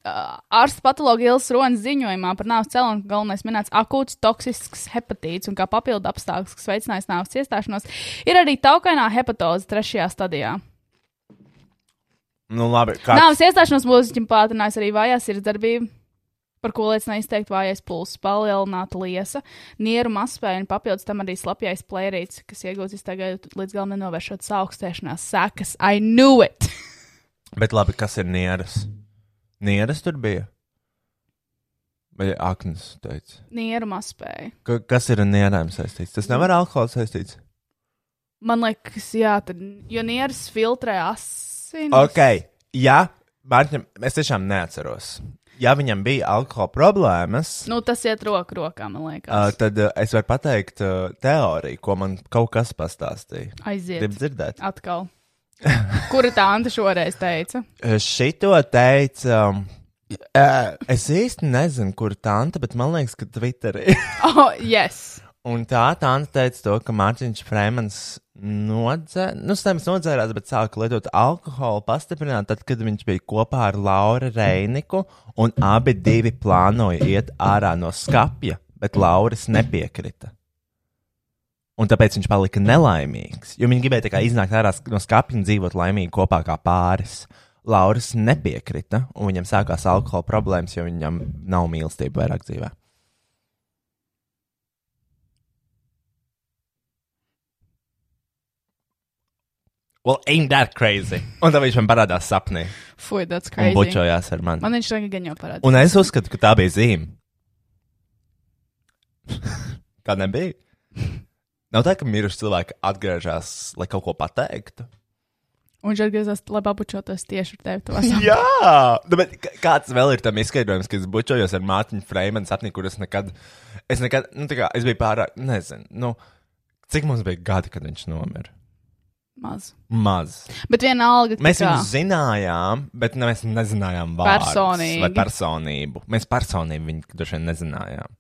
Speaker 3: uh, ārsta patologa Ilas Ronas ziņojumā par nāves cēloni galvenais minēts akūts toksisks hepatīts un kā papildu apstākļus, kas veicinājis nāves iestāšanos, ir arī taukainā hepatoze trešajā stadijā.
Speaker 5: Nu, labi,
Speaker 3: Kāds?
Speaker 5: kāds...
Speaker 3: Nāves iestāšanos mūziķim pātrinājis arī vājā sirdsdarbība, par ko liecina izteikti vājais pulss, palielināta liesa, nieru mazspēja un papildus tam arī slapjais plērīts, kas iegūts tagad līdz galam nenovēršot saaugstēšanās sekas. I knew it!
Speaker 5: Bet labi, kas ir nieras? Nieras tur bija. Vai aknas teica?
Speaker 3: Nieru mazspēja.
Speaker 5: Ka, kas ir ar nierēm saistīts? Tas nevar ar alkoholu saistīts.
Speaker 3: Man liekas, jā, tad, jo nieras filtrē nu, asins.
Speaker 5: Ok, jā, Mārķim, es tiešām neatceros. Ja viņam bija alkohola problēmas,
Speaker 3: Nu, tas iet roku rokā, man
Speaker 5: Uh,
Speaker 3: liekas. Uh,
Speaker 5: tad uh, es varu pateikt uh, teoriju, ko man kaut kas pastāstīja.
Speaker 3: Aiziet.
Speaker 5: Gribu dzirdēt.
Speaker 3: Atkal. Kura tā Anta šoreiz teica?
Speaker 5: Uh, Šito teica. Um, uh, es īsti nezinu, kur tā anta, bet man liekas, ka Twitterī.
Speaker 3: Oh, yes.
Speaker 5: Un tā tā anta teica to, ka Mārtiņš Frēmans nodzērās, nu, nevis nodzērās, bet sāka lietot alkoholu pastiprināt, tad, kad viņš bija kopā ar Laura Reiniku, un abi divi plānoja iet ārā no skapja, bet Lauris nepiekrita. Un tāpēc viņš palika nelaimīgs, jo viņi gribēja tā kā iznākt ārā sk- no skapja un dzīvot laimīgi kopā kā pāris. Lauris nepiekrita, un viņam sākās alkohola problēmas, jo viņam nav mīlestība vairāk dzīvē. Well, ain't that crazy? Un tad viņš man parādās sapnī
Speaker 3: Fui, that's
Speaker 5: un
Speaker 3: crazy.
Speaker 5: bučojās ar mani.
Speaker 3: Man viņš tagad gan jau parādīja.
Speaker 5: Un es uzskatu, ka tā bija zīme. tā nebija. Nav tā, ka miruši cilvēki atgriežas, lai kaut ko pateiktu.
Speaker 3: Un viņš atgriezās, lai papučotos tieši ar tevi. tuvā sapnī.
Speaker 5: Jā, nu, bet k- kāds vēl ir tam izskaidrojums, ka es bučojos ar Mārtiņu Freemanu sapnī, kur es nekad, es nekad, nu, tā kā es biju pārāk, nezinu, nu, cik mums bija gadi, kad viņš nomira?
Speaker 3: Maz.
Speaker 5: Maz.
Speaker 3: Bet vienalga,
Speaker 5: Mēs
Speaker 3: tā kā-
Speaker 5: viņu zinājām, bet ne, mēs nezinājām vārdus
Speaker 3: Personīgi.
Speaker 5: vai personību. Mēs personību viņu droši vien nezinājām.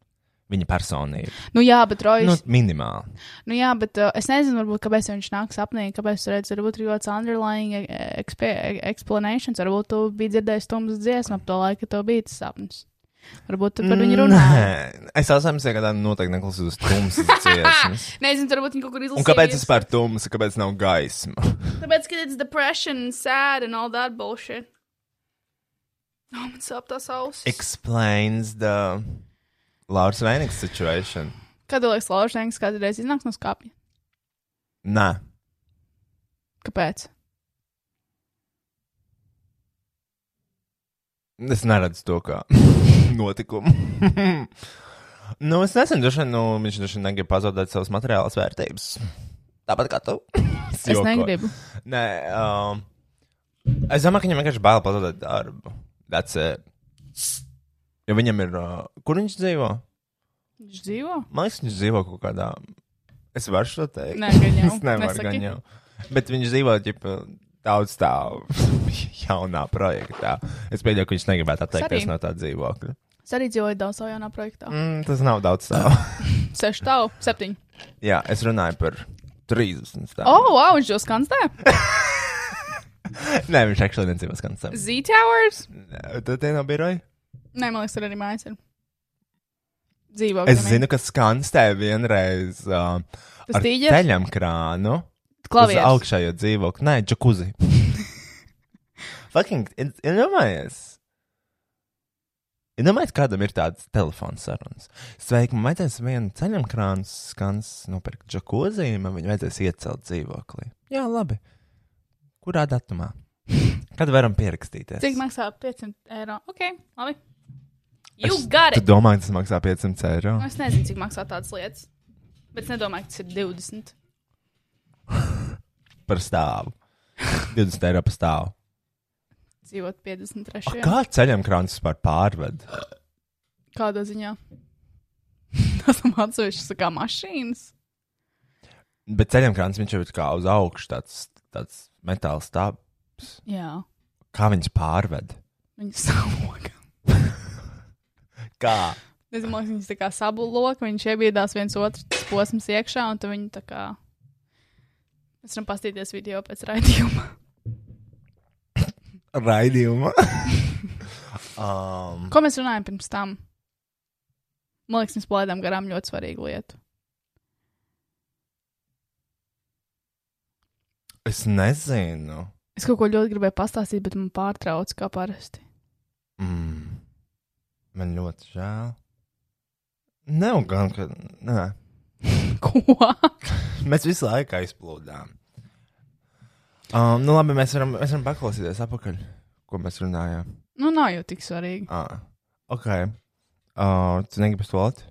Speaker 5: Viņa personība.
Speaker 3: Nu, jā, bet Rojas.
Speaker 5: Nu,
Speaker 3: Nu,
Speaker 5: minimāli.
Speaker 3: nu, jā, bet uh, es nezinu, varbūt, kāpēc viņš nāk sapnī, kāpēc tur redz, varbūt ir kāds underlying eh, expe- explanations. Varbūt tu biji dzirdējis tumsas dziesmu ap to laiku, kad tev bija tas sapnis. Varbūt tu par
Speaker 5: Mm.
Speaker 3: viņu runāji.
Speaker 5: Nē, es asams, ka tā noteikti neklausās uz tumsas dziesmas.
Speaker 3: Nezinu, varbūt viņi kaut kur izlasīja.
Speaker 5: Un kāpēc vispār tumsa, kāpēc nav gaisma?
Speaker 3: Tāpēc, ka it's depression, sad and all that bullshit. Oh, man sāp tās ausis.
Speaker 5: Explains the Lārs Vainiks situation.
Speaker 3: Kad liekas, Laužņēns kādreiz iznāks no skāpja?
Speaker 5: Nē,
Speaker 3: Kāpēc?
Speaker 5: es neredzu to kā notikumu. nu, es nezinu, droši vien, nu, viņš droši vien negrib pazaudēt savas materiālās vērtības. Tāpat kā tu.
Speaker 3: Es Joko. negribu.
Speaker 5: Nē, um, es domāju, ka viņam vienkārši bail pazaudēt darbu. That's it. Jo viņam ir. Uh, kur viņš dzīvo?
Speaker 3: Viņš dzīvo?
Speaker 5: Man liekas, viņš dzīvo kaut kādā. Es varu to teikt.
Speaker 3: Nē, gan jau.
Speaker 5: es nevaru
Speaker 3: Nesaki.
Speaker 5: gan jau. Bet viņš dzīvo ģipa, daudz tā jaunā projektā. Es pieļauju, ka viņš negribētu atteikties
Speaker 3: Sarī.
Speaker 5: no tā dzīvokļa.
Speaker 3: Es arī dzīvoju daudz savā jaunā projektā. Mm.
Speaker 5: Mm, tas nav daudz stāvu.
Speaker 3: Seši tavu, septiņi.
Speaker 5: Jā, es runāju par 30 stāvu.
Speaker 3: O, oh, wow, viņš jau skanstē.
Speaker 5: Nē, viņš actually nedzīvo skansam.
Speaker 3: Z Towers?
Speaker 5: Tad tie nav biroji?
Speaker 3: Nē, man liekas, tur arī mājas ir. Dzīvo.
Speaker 5: Es zinu, ka skanstē vienreiz uh,
Speaker 3: Tas
Speaker 5: ar
Speaker 3: tīģeris?
Speaker 5: ceļam krānu. Uz
Speaker 3: Klavieris.
Speaker 5: augšējo dzīvokli. Nē, džekuzi. Fucking, i- iedomājies. Iedomājieties, kādam ir tāds telefons sarunas. Sveiki, man vajadzēs vienu ceļam krānu skans nopirkt džekuzi, man viņu vajadzēs iecelt dzīvoklī. Jā, labi. Kurā datumā? Kad varam pierakstīties?
Speaker 3: Cik maksā 500 eiro? Ok, labi. You
Speaker 5: Es-
Speaker 3: got
Speaker 5: Tu
Speaker 3: it!
Speaker 5: domā, tas maksā 500 eiro?
Speaker 3: Nu, es nezinu, cik maksā tādas lietas. Bet es nedomāju, ka tas ir 20.
Speaker 5: Par stāvu. 20 eiro par stāvu.
Speaker 3: Dzīvot 53.
Speaker 5: A, Kā ceļam krāns vispār pārved?
Speaker 3: Kādā ziņā? Tas man atsevišķi sakā mašīnas.
Speaker 5: Bet ceļojumkrāns viņš jau ir kā uz augšu, tāds, tāds metāls stāvs.
Speaker 3: Jā,
Speaker 5: Kā viņas pārved?
Speaker 3: viņas savoka.
Speaker 5: Kā?
Speaker 3: Es domāju, ka viņas tā kā sabloka, viņš iebiedās viens otru tas posms iekšā, un tad viņi tā kā. Mēs varam paskatīties video pēc raidījuma.
Speaker 5: Raidījuma. Um,
Speaker 6: Ko mēs runājam pirms tam? Man liekas, mēs palaidām garām ļoti svarīgu lietu.
Speaker 5: es nezinu.
Speaker 6: Es kaut ko ļoti gribēju pastāstīt, bet man pārtrauc, kā parasti.
Speaker 5: Mm. Man ļoti žēl. Nav gan, ka. Nē.
Speaker 6: Ko?
Speaker 5: Mēs visu laiku aizplūdām. Um, nu, labi, mēs varam, mēs varam paklausīties atpakaļ, ko mēs runājām.
Speaker 6: Nu, nav jau tik svarīgi.
Speaker 5: Ah, ok. Uh, tu negribi stulēt?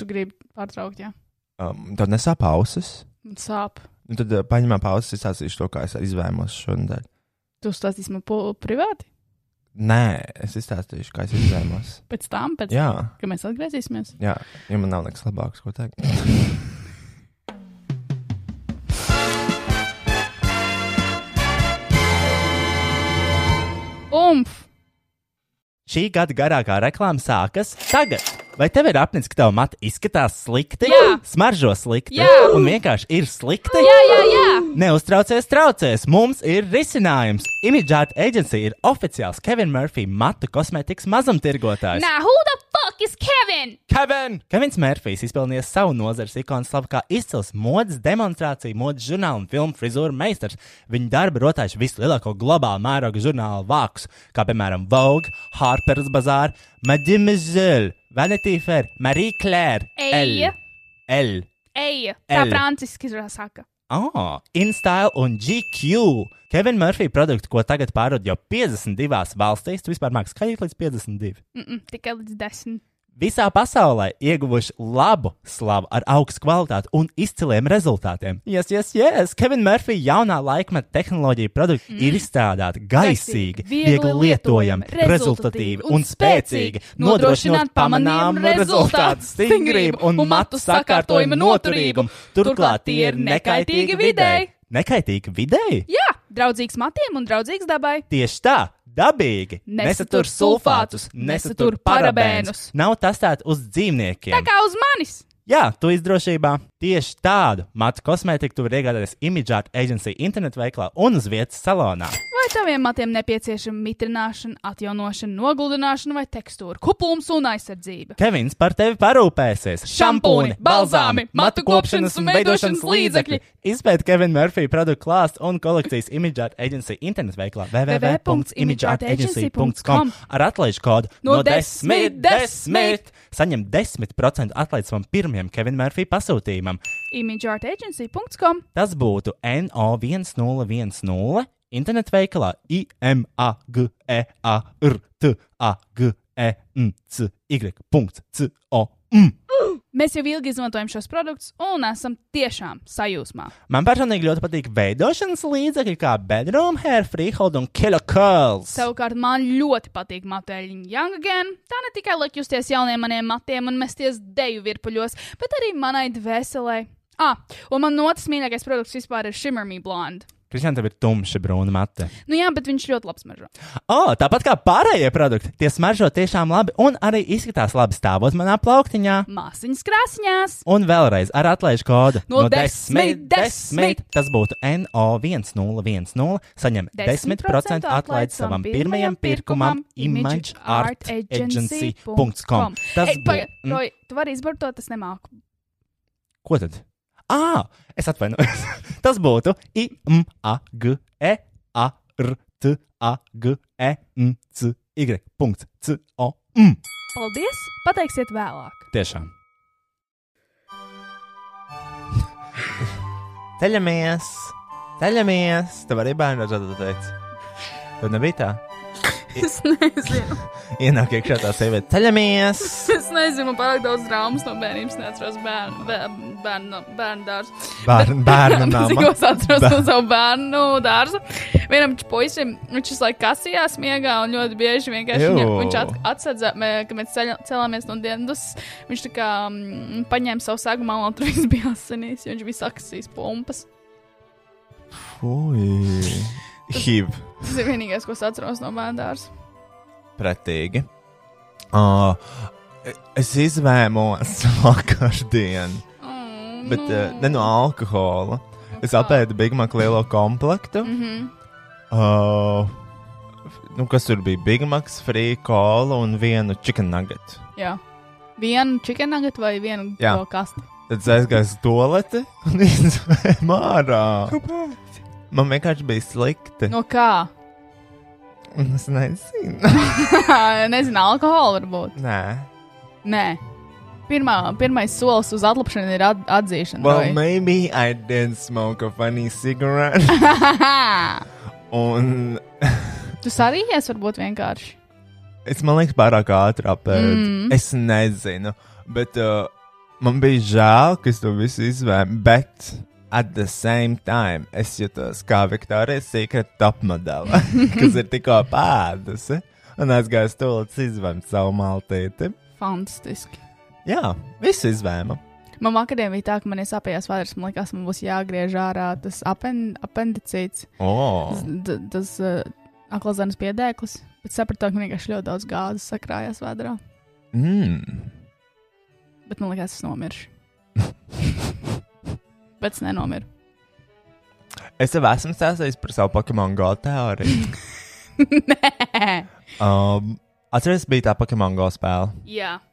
Speaker 6: Tu gribi pārtraukt, jā.
Speaker 5: Um, tad nesā pauzes.
Speaker 6: Man Sāp.
Speaker 5: Nu, tad uh, paņemam pauzes, izstāstīšu to, kā es izvēmos šodien.
Speaker 6: Tu stāstīsi man pu- privāti?
Speaker 5: Nē, es izstāstīšu, kā es izvēmos.
Speaker 6: Pēc tam, pēc
Speaker 5: Jā,
Speaker 6: tam, kad mēs atgriezīsimies.
Speaker 5: jā, ja man nav nekas labāks, ko teikt.
Speaker 6: Umf!
Speaker 1: Šī gada garākā reklāma sākas tagad. Vai tev ir apnicis, ka tava matra izskatās slikti,
Speaker 6: Jā.
Speaker 1: smaržo slikti
Speaker 6: Jā.
Speaker 1: un vienkārši ir slikti?
Speaker 6: Jā, jā, jā!
Speaker 1: Neuztraucies, traucēs! Mums ir risinājums! Imidžāta aģentūra ir oficiāls Kevina Murphy matu kosmētikas mazumtirgotājs.
Speaker 3: Now, who the fuck is Kevin?
Speaker 1: Kevin! Kevins Mērfijs izpelnījis savu nozares ikonu slavu kā izcils modes demonstrācija, modes žurnāla un filmu frizūra meistars. Viņa darbi rotājuši vislielāko globālu mēroga žurnālu vākus, kā piemēram Vogue, Harper's Bazaar, Mademoiselle, Vanity Fair, Marie Claire,
Speaker 3: Eja.
Speaker 1: L. L.
Speaker 3: Ej, tā
Speaker 1: L.
Speaker 3: franciski izrādās saka.
Speaker 1: Ah, InStyle un GQ. Kevina Murphy produkti, ko tagad pārdod jau 52 valstīs, tu vispār mākslinieks skaitīt līdz 52.
Speaker 3: Mm -mm, tikai līdz desmit.
Speaker 1: Visā pasaulē ieguvuši labu slavu ar augstu kvalitāti un izciliem rezultātiem. Jā, jā, jā, Kevina Murphy jaunā laikmeta tehnoloģija produkti mm. ir izstrādāti gaisīgi,
Speaker 3: Gaisīgi, viegli
Speaker 1: viegli lietojami,
Speaker 3: lietojami,
Speaker 1: rezultatīvi un
Speaker 3: un
Speaker 1: spēcīgi,
Speaker 3: spēcīgi,
Speaker 1: nodrošinot
Speaker 3: nodrošināt pamanāmu
Speaker 1: pamanāmu rezultātu,
Speaker 3: rezultātu,
Speaker 1: stingrību un matu sakārtojuma noturīgumu. Turklāt tie ir nekaitīgi videi. Nekaitīgi videi?
Speaker 3: Jā, draudzīgs matiem un draudzīgs dabai.
Speaker 1: Tieši tā, dabīgi.
Speaker 3: Nesatur sulfātus, nesatur parabēnus.
Speaker 1: Nav testēta uz dzīvniekiem.
Speaker 3: Tā kā uz manis!
Speaker 1: Jā, tu izdrošībā tieši tādu matu kosmētiku tu vari iegādāties Imidžāta aģentūra internetu veiklā un uz vietas salonā.
Speaker 3: Vai taviem matiem nepieciešama mitrināšana, atjaunošana, noguldināšana vai tekstūra, kupums un aizsardzība?
Speaker 1: Kevins par tevi parūpēsies.
Speaker 3: Šampūni, balzāmi, matu kopšanas un veidošanas līdzekļi.
Speaker 1: Izpēt Kevina Murphy produktu klāstu un kolekcijas Imidžāta aģentūra internetu veiklā www.imidžātaagency.com ar atlaižu kodu
Speaker 3: No
Speaker 1: no 10,
Speaker 3: 10,
Speaker 1: 10. Saņem 10% atlaidi savam pirmajam Kevina Murphy pasūtījumam.
Speaker 3: imageartagency.com
Speaker 1: Tas būtu NO1010 internetu veikalā E IMAGEARTAGENCY.COM.
Speaker 3: Mēs jau ilgi izmantojam šos produktus un esam tiešām sajūsmā.
Speaker 1: Man personīgi ļoti patīk veidošanas līdzekļi, kā bedroom hair, freehold un killer curls.
Speaker 3: Savukārt, man ļoti patīk matēļiņa Young Again. Tā ne tikai liek justies jauniem maniem matiem un mesties deju virpuļos, bet arī manai dvēselē. Ah, un man otrs mīļākais produkts vispār ir Shimmer Me Blonde.
Speaker 1: Kristian, tev ir tumša brūna mate.
Speaker 3: Nu jā, bet viņš ļoti labs mažo.
Speaker 1: Oh, tāpat kā pārējie produkti, tie smaržo tiešām labi un arī izskatās labi stāvot manā plauktiņā.
Speaker 3: Māsiņas krāsņās!
Speaker 1: Un vēlreiz ar atlaižu kodu
Speaker 3: No desmit, desmit.
Speaker 1: Tas būtu NO1010. Saņem 10% atlaidi savam pirmajam pirkumam imageartagency.com. Tas
Speaker 3: Ei,
Speaker 1: būtu. mm.
Speaker 3: pagaid, Roy, Tu vari izbarot, es nemāku.
Speaker 1: Ko tad? Ā, es atvainojos. Tas būtu E imageartagency.com.
Speaker 3: Paldies! Pateiksiet vēlāk.
Speaker 1: E. Tiešām. Ceļamies! Ceļamies! Tev arī bērnu redzēt, teikt. Tev nebija tā.
Speaker 3: Es nezinu,
Speaker 1: Ienāk iekšā tā sieviete. Ceļamies!
Speaker 3: es nezinu, pārāk daudz traumas no bērnības neatceros bērnu, bērnu, bērnu, bērnu dārstu.
Speaker 5: Bērn, bērnu
Speaker 3: Cik
Speaker 5: nama.
Speaker 3: es atceros no savu bērnu dārza. Vienam puisim, viņš visu laiku kasījās miegā un ļoti bieži vienkārši
Speaker 5: Jū.
Speaker 3: viņa, viņš atsadza, mē- kad mēs ceļa- celāmies no dienas, viņš tā kā mm, paņēma savu sagu malā un tur viss bija asinīs, jo viņš visu aksīs pumpas.
Speaker 5: Fui. Hiv.
Speaker 3: Tas ir vienīgais, ko es atceros no bērnu dārza.
Speaker 5: Pretīgi. Uh, es izvēmos vakardien,
Speaker 3: Mm,
Speaker 5: bet uh, ne no alkohola. Es apēdu Big Mac lielo komplektu.
Speaker 3: Mhm.
Speaker 5: Uh, nu, kas tur bija Big Macs, Free Cola un vienu chicken nugget.
Speaker 3: Jā. Vienu chicken nugget vai vienu
Speaker 5: Jā.
Speaker 3: to kastu?
Speaker 5: Tad es aizgāju uz toaleti un izvēlēju mārā. Man vienkārši bija slikti.
Speaker 3: No kā?
Speaker 5: Un Es nezinu.
Speaker 3: Nezinu, alkohola varbūt.
Speaker 5: Nē,
Speaker 3: Nē. Pirmā, pirmais solis uz atlapšanu ir at atzīšana.
Speaker 5: well, maybe I did smoke a funny cigarette.
Speaker 3: Well,
Speaker 5: un
Speaker 3: tu sarījies varbūt vienkārši.
Speaker 5: es man liekas, pārāk ātri apēdu.
Speaker 3: Mm.
Speaker 5: Mm. Es nezinu. Bet uh, man bija žēl, ka es to visu izvēlu. Bet at the same time es jutos kā Viktorijas secret top modele, kas ir tikko pēdusi. Un aizgāju uz to līdz izvēlu savu maltīti.
Speaker 3: Fantastiski.
Speaker 5: Jā, visu izvēlu.
Speaker 3: Man vakarā bija tā, ka man ir sapējās vēders, man liekas, man būs jāgriež ārā tas apen, apendicīts,
Speaker 5: Oh.
Speaker 3: tas, d- tas uh, aklazenes piedēklis. Bet sapratu, ka man vienkārši ļoti daudz gāzes sakrājās vēdā.
Speaker 5: Mm.
Speaker 3: Bet man liekas, es nomiršu. bet es nenomiru.
Speaker 5: Es tev esmu stāstījis par savu Pokemon Go teoriju.
Speaker 3: Nē,
Speaker 5: um, Atceries, bija tā Pokemon Go spēle. Um,
Speaker 2: Jā, tā,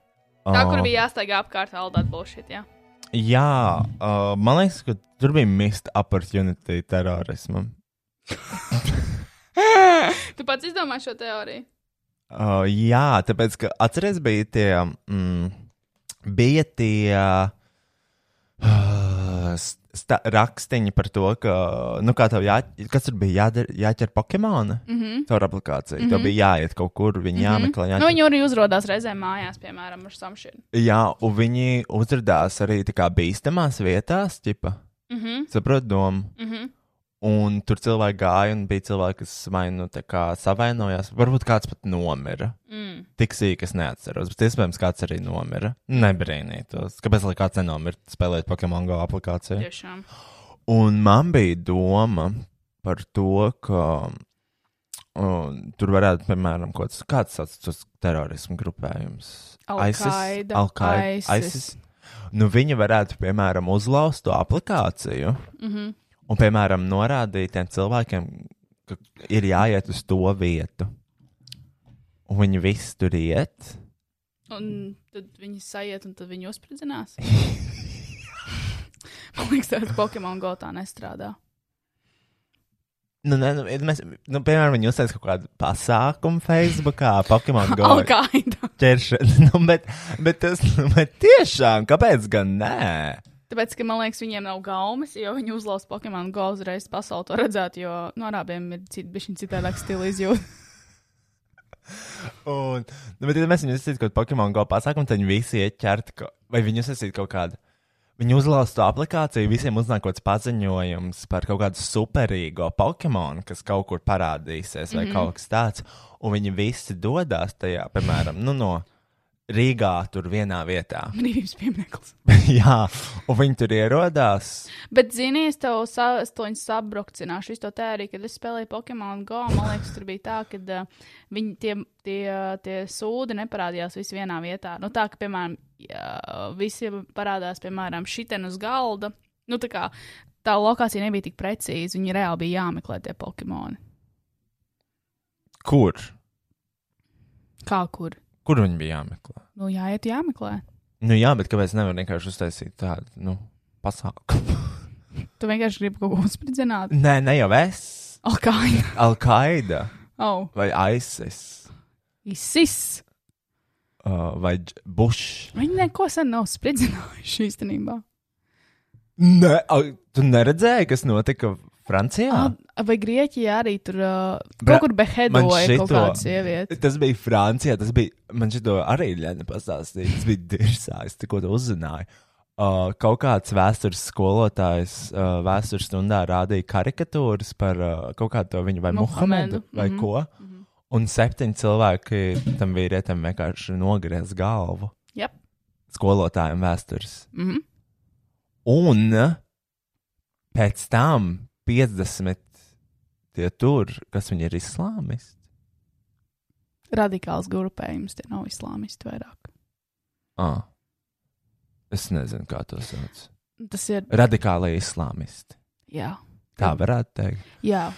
Speaker 5: Ah.
Speaker 2: kur bija jāstaigā apkārt, aldāt bullshit. Jā.
Speaker 5: Jā, uh, man liekas, ka tur bija missed opportunity terorismam.
Speaker 2: Tu pats izdomāji šo teoriju.
Speaker 5: Uh, jā, tāpēc, ka atceries, bija tie, mm, bija tie uh, sta- rakstiņi par to, ka, nu, kā tev jā, kas tur bija jādara, jāķer Pokemona mm -hmm. caur aplikāciju. Mm -hmm. Tev bija jāiet kaut kur, viņi mm -hmm. jāmeklē. Jāķer.
Speaker 2: Nu, viņi arī uzrādās reizē mājās, piemēram, ar samšinu.
Speaker 5: Jā, un viņi uzrādās arī tā kā bīstamās vietās, tipa.
Speaker 2: Mm -hmm.
Speaker 5: Saprotu domu.
Speaker 2: Mm -hmm.
Speaker 5: Un tur cilvēki gāja, un bija cilvēki, kas vai nu tā kā savainojās. Varbūt kāds pat nomira.
Speaker 2: Mm.
Speaker 5: Tik sīk es neatceros, bet iespējams kāds arī nomira. Nebrīnītos, kāpēc lai kāds nenomira spēlēt Pokemon Go aplikāciju.
Speaker 2: Tiešām.
Speaker 5: Un man bija doma par to, ka un, tur varētu, piemēram, kaut kas- kāds sauc tos terorismu grupējums.
Speaker 3: Al-Qaida,
Speaker 5: Al-Qaida,
Speaker 3: ISIS.
Speaker 5: ISIS. Nu, viņi varētu, piemēram, uzlauzt to aplikāciju
Speaker 2: Mm
Speaker 3: Mhm.
Speaker 2: -hmm.
Speaker 5: un, piemēram, norādīt tiem cilvēkiem, ka ir jāiet uz to vietu. Un viņi visi tur iet.
Speaker 2: Un tad viņi sajiet, un tad viņi uzspridzinās. Man liekas, tas Pokemon Go tā nestrādā.
Speaker 5: Nu, ne, nu, mēs, nu, piemēram, viņi uztaisīja kaut kādu pasākumu Facebook, Pokemon Go.
Speaker 2: Alkaida.
Speaker 5: ķeršana. Nu, bet, bet tas nu, bet tiešām, kāpēc gan nē?
Speaker 2: Tāpēc, ka man liekas, viņiem nav gaumas, jo viņi uzlauza Pokemon Go uzreiz pasauli to redzētu, jo no arabiem ir citi, bišķiņ citādāk stila izjūta.
Speaker 5: Un, nu, bet, ja mēs viņus sasprāstām kaut kādā Pokemon Go pasākumā, tad viņi visi iet ķert, ko- vai viņi sasprāstīs kaut kādu. Viņi uzlauza to aplikāciju, visiem uznāk kaut kāds paziņojums par kaut kādu superīgo Pokemonu, kas kaut kur parādīsies, vai mm -hmm. kaut kas tāds. Un viņi visi dodas tajā, piemēram, nu, no Rīgā, tur vienā vietā.
Speaker 2: Brīvības piemineklis.
Speaker 5: Jā, un viņi tur ierodās.
Speaker 2: Bet, zini, es tev sa es to viņu sabrokcināšu. Es to tērēju, kad es spēlēju Pokemon Go. Man liekas, tur bija tā, ka uh, viņi tie, tie, tie sūdi neparādījās visi vienā vietā. Nu, tā, ka, piemēram, jā, visi parādās, piemēram, šitien uz galda. Nu, tā kā tā lokācija nebija tik precīza, viņi reāli bija jāmeklē tie Pokemoni.
Speaker 5: Kur?
Speaker 2: Kā kur?
Speaker 5: Kur viņi bija jāmeklē?
Speaker 3: nu jāiet jāmeklē.
Speaker 5: Nu, jā, bet kāpēc nevar vienkārši uztaisīt tādu nu, pasākumu?
Speaker 3: Tu vienkārši gribi kaut ko uzspridzināt.
Speaker 5: Nē, ne jau es.
Speaker 3: Alkaina.
Speaker 5: Al-Qaida
Speaker 3: Oh,
Speaker 5: vai ISIS
Speaker 3: Isis.
Speaker 5: uh, vai Dž- Bušs.
Speaker 3: Viņi neko sen nav spridzinājuši īstenībā.
Speaker 5: Nē, al- tu neredzēji, kas notika Francijā?
Speaker 3: Ah, Vai Grieķijā arī tur uh,
Speaker 5: Bra-
Speaker 3: kaut kur behedoja kaut kāda sieviete?
Speaker 5: Tas bija Francijā. Tas bija, man šito arī ļauna pastāstīt. Tas bija dirsā, es tikko to uzzināju. Uh, kaut kāds vēstures skolotājs uh, vēstures stundā rādīja karikatūras par uh, kaut kādu to viņu vai
Speaker 3: Muhamedu,
Speaker 5: Muhamedu vai mm -hmm.
Speaker 3: mhm,
Speaker 5: ko. Un septiņi cilvēki tam vīrietim vienkārši nogriez galvu.
Speaker 2: Jep.
Speaker 5: Skolotājiem vēstures.
Speaker 3: Mm -hmm.
Speaker 5: Un pēc tam 50 tie tur, kas viņi ir islāmisti.
Speaker 3: Radikāls grupējums, tie nav islāmisti vairāk.
Speaker 5: Ah. Es nezinu, kā to sauc.
Speaker 3: Tas ir.
Speaker 5: Radikālie islāmisti.
Speaker 3: Jā,
Speaker 5: Tā varētu teikt.
Speaker 3: jā.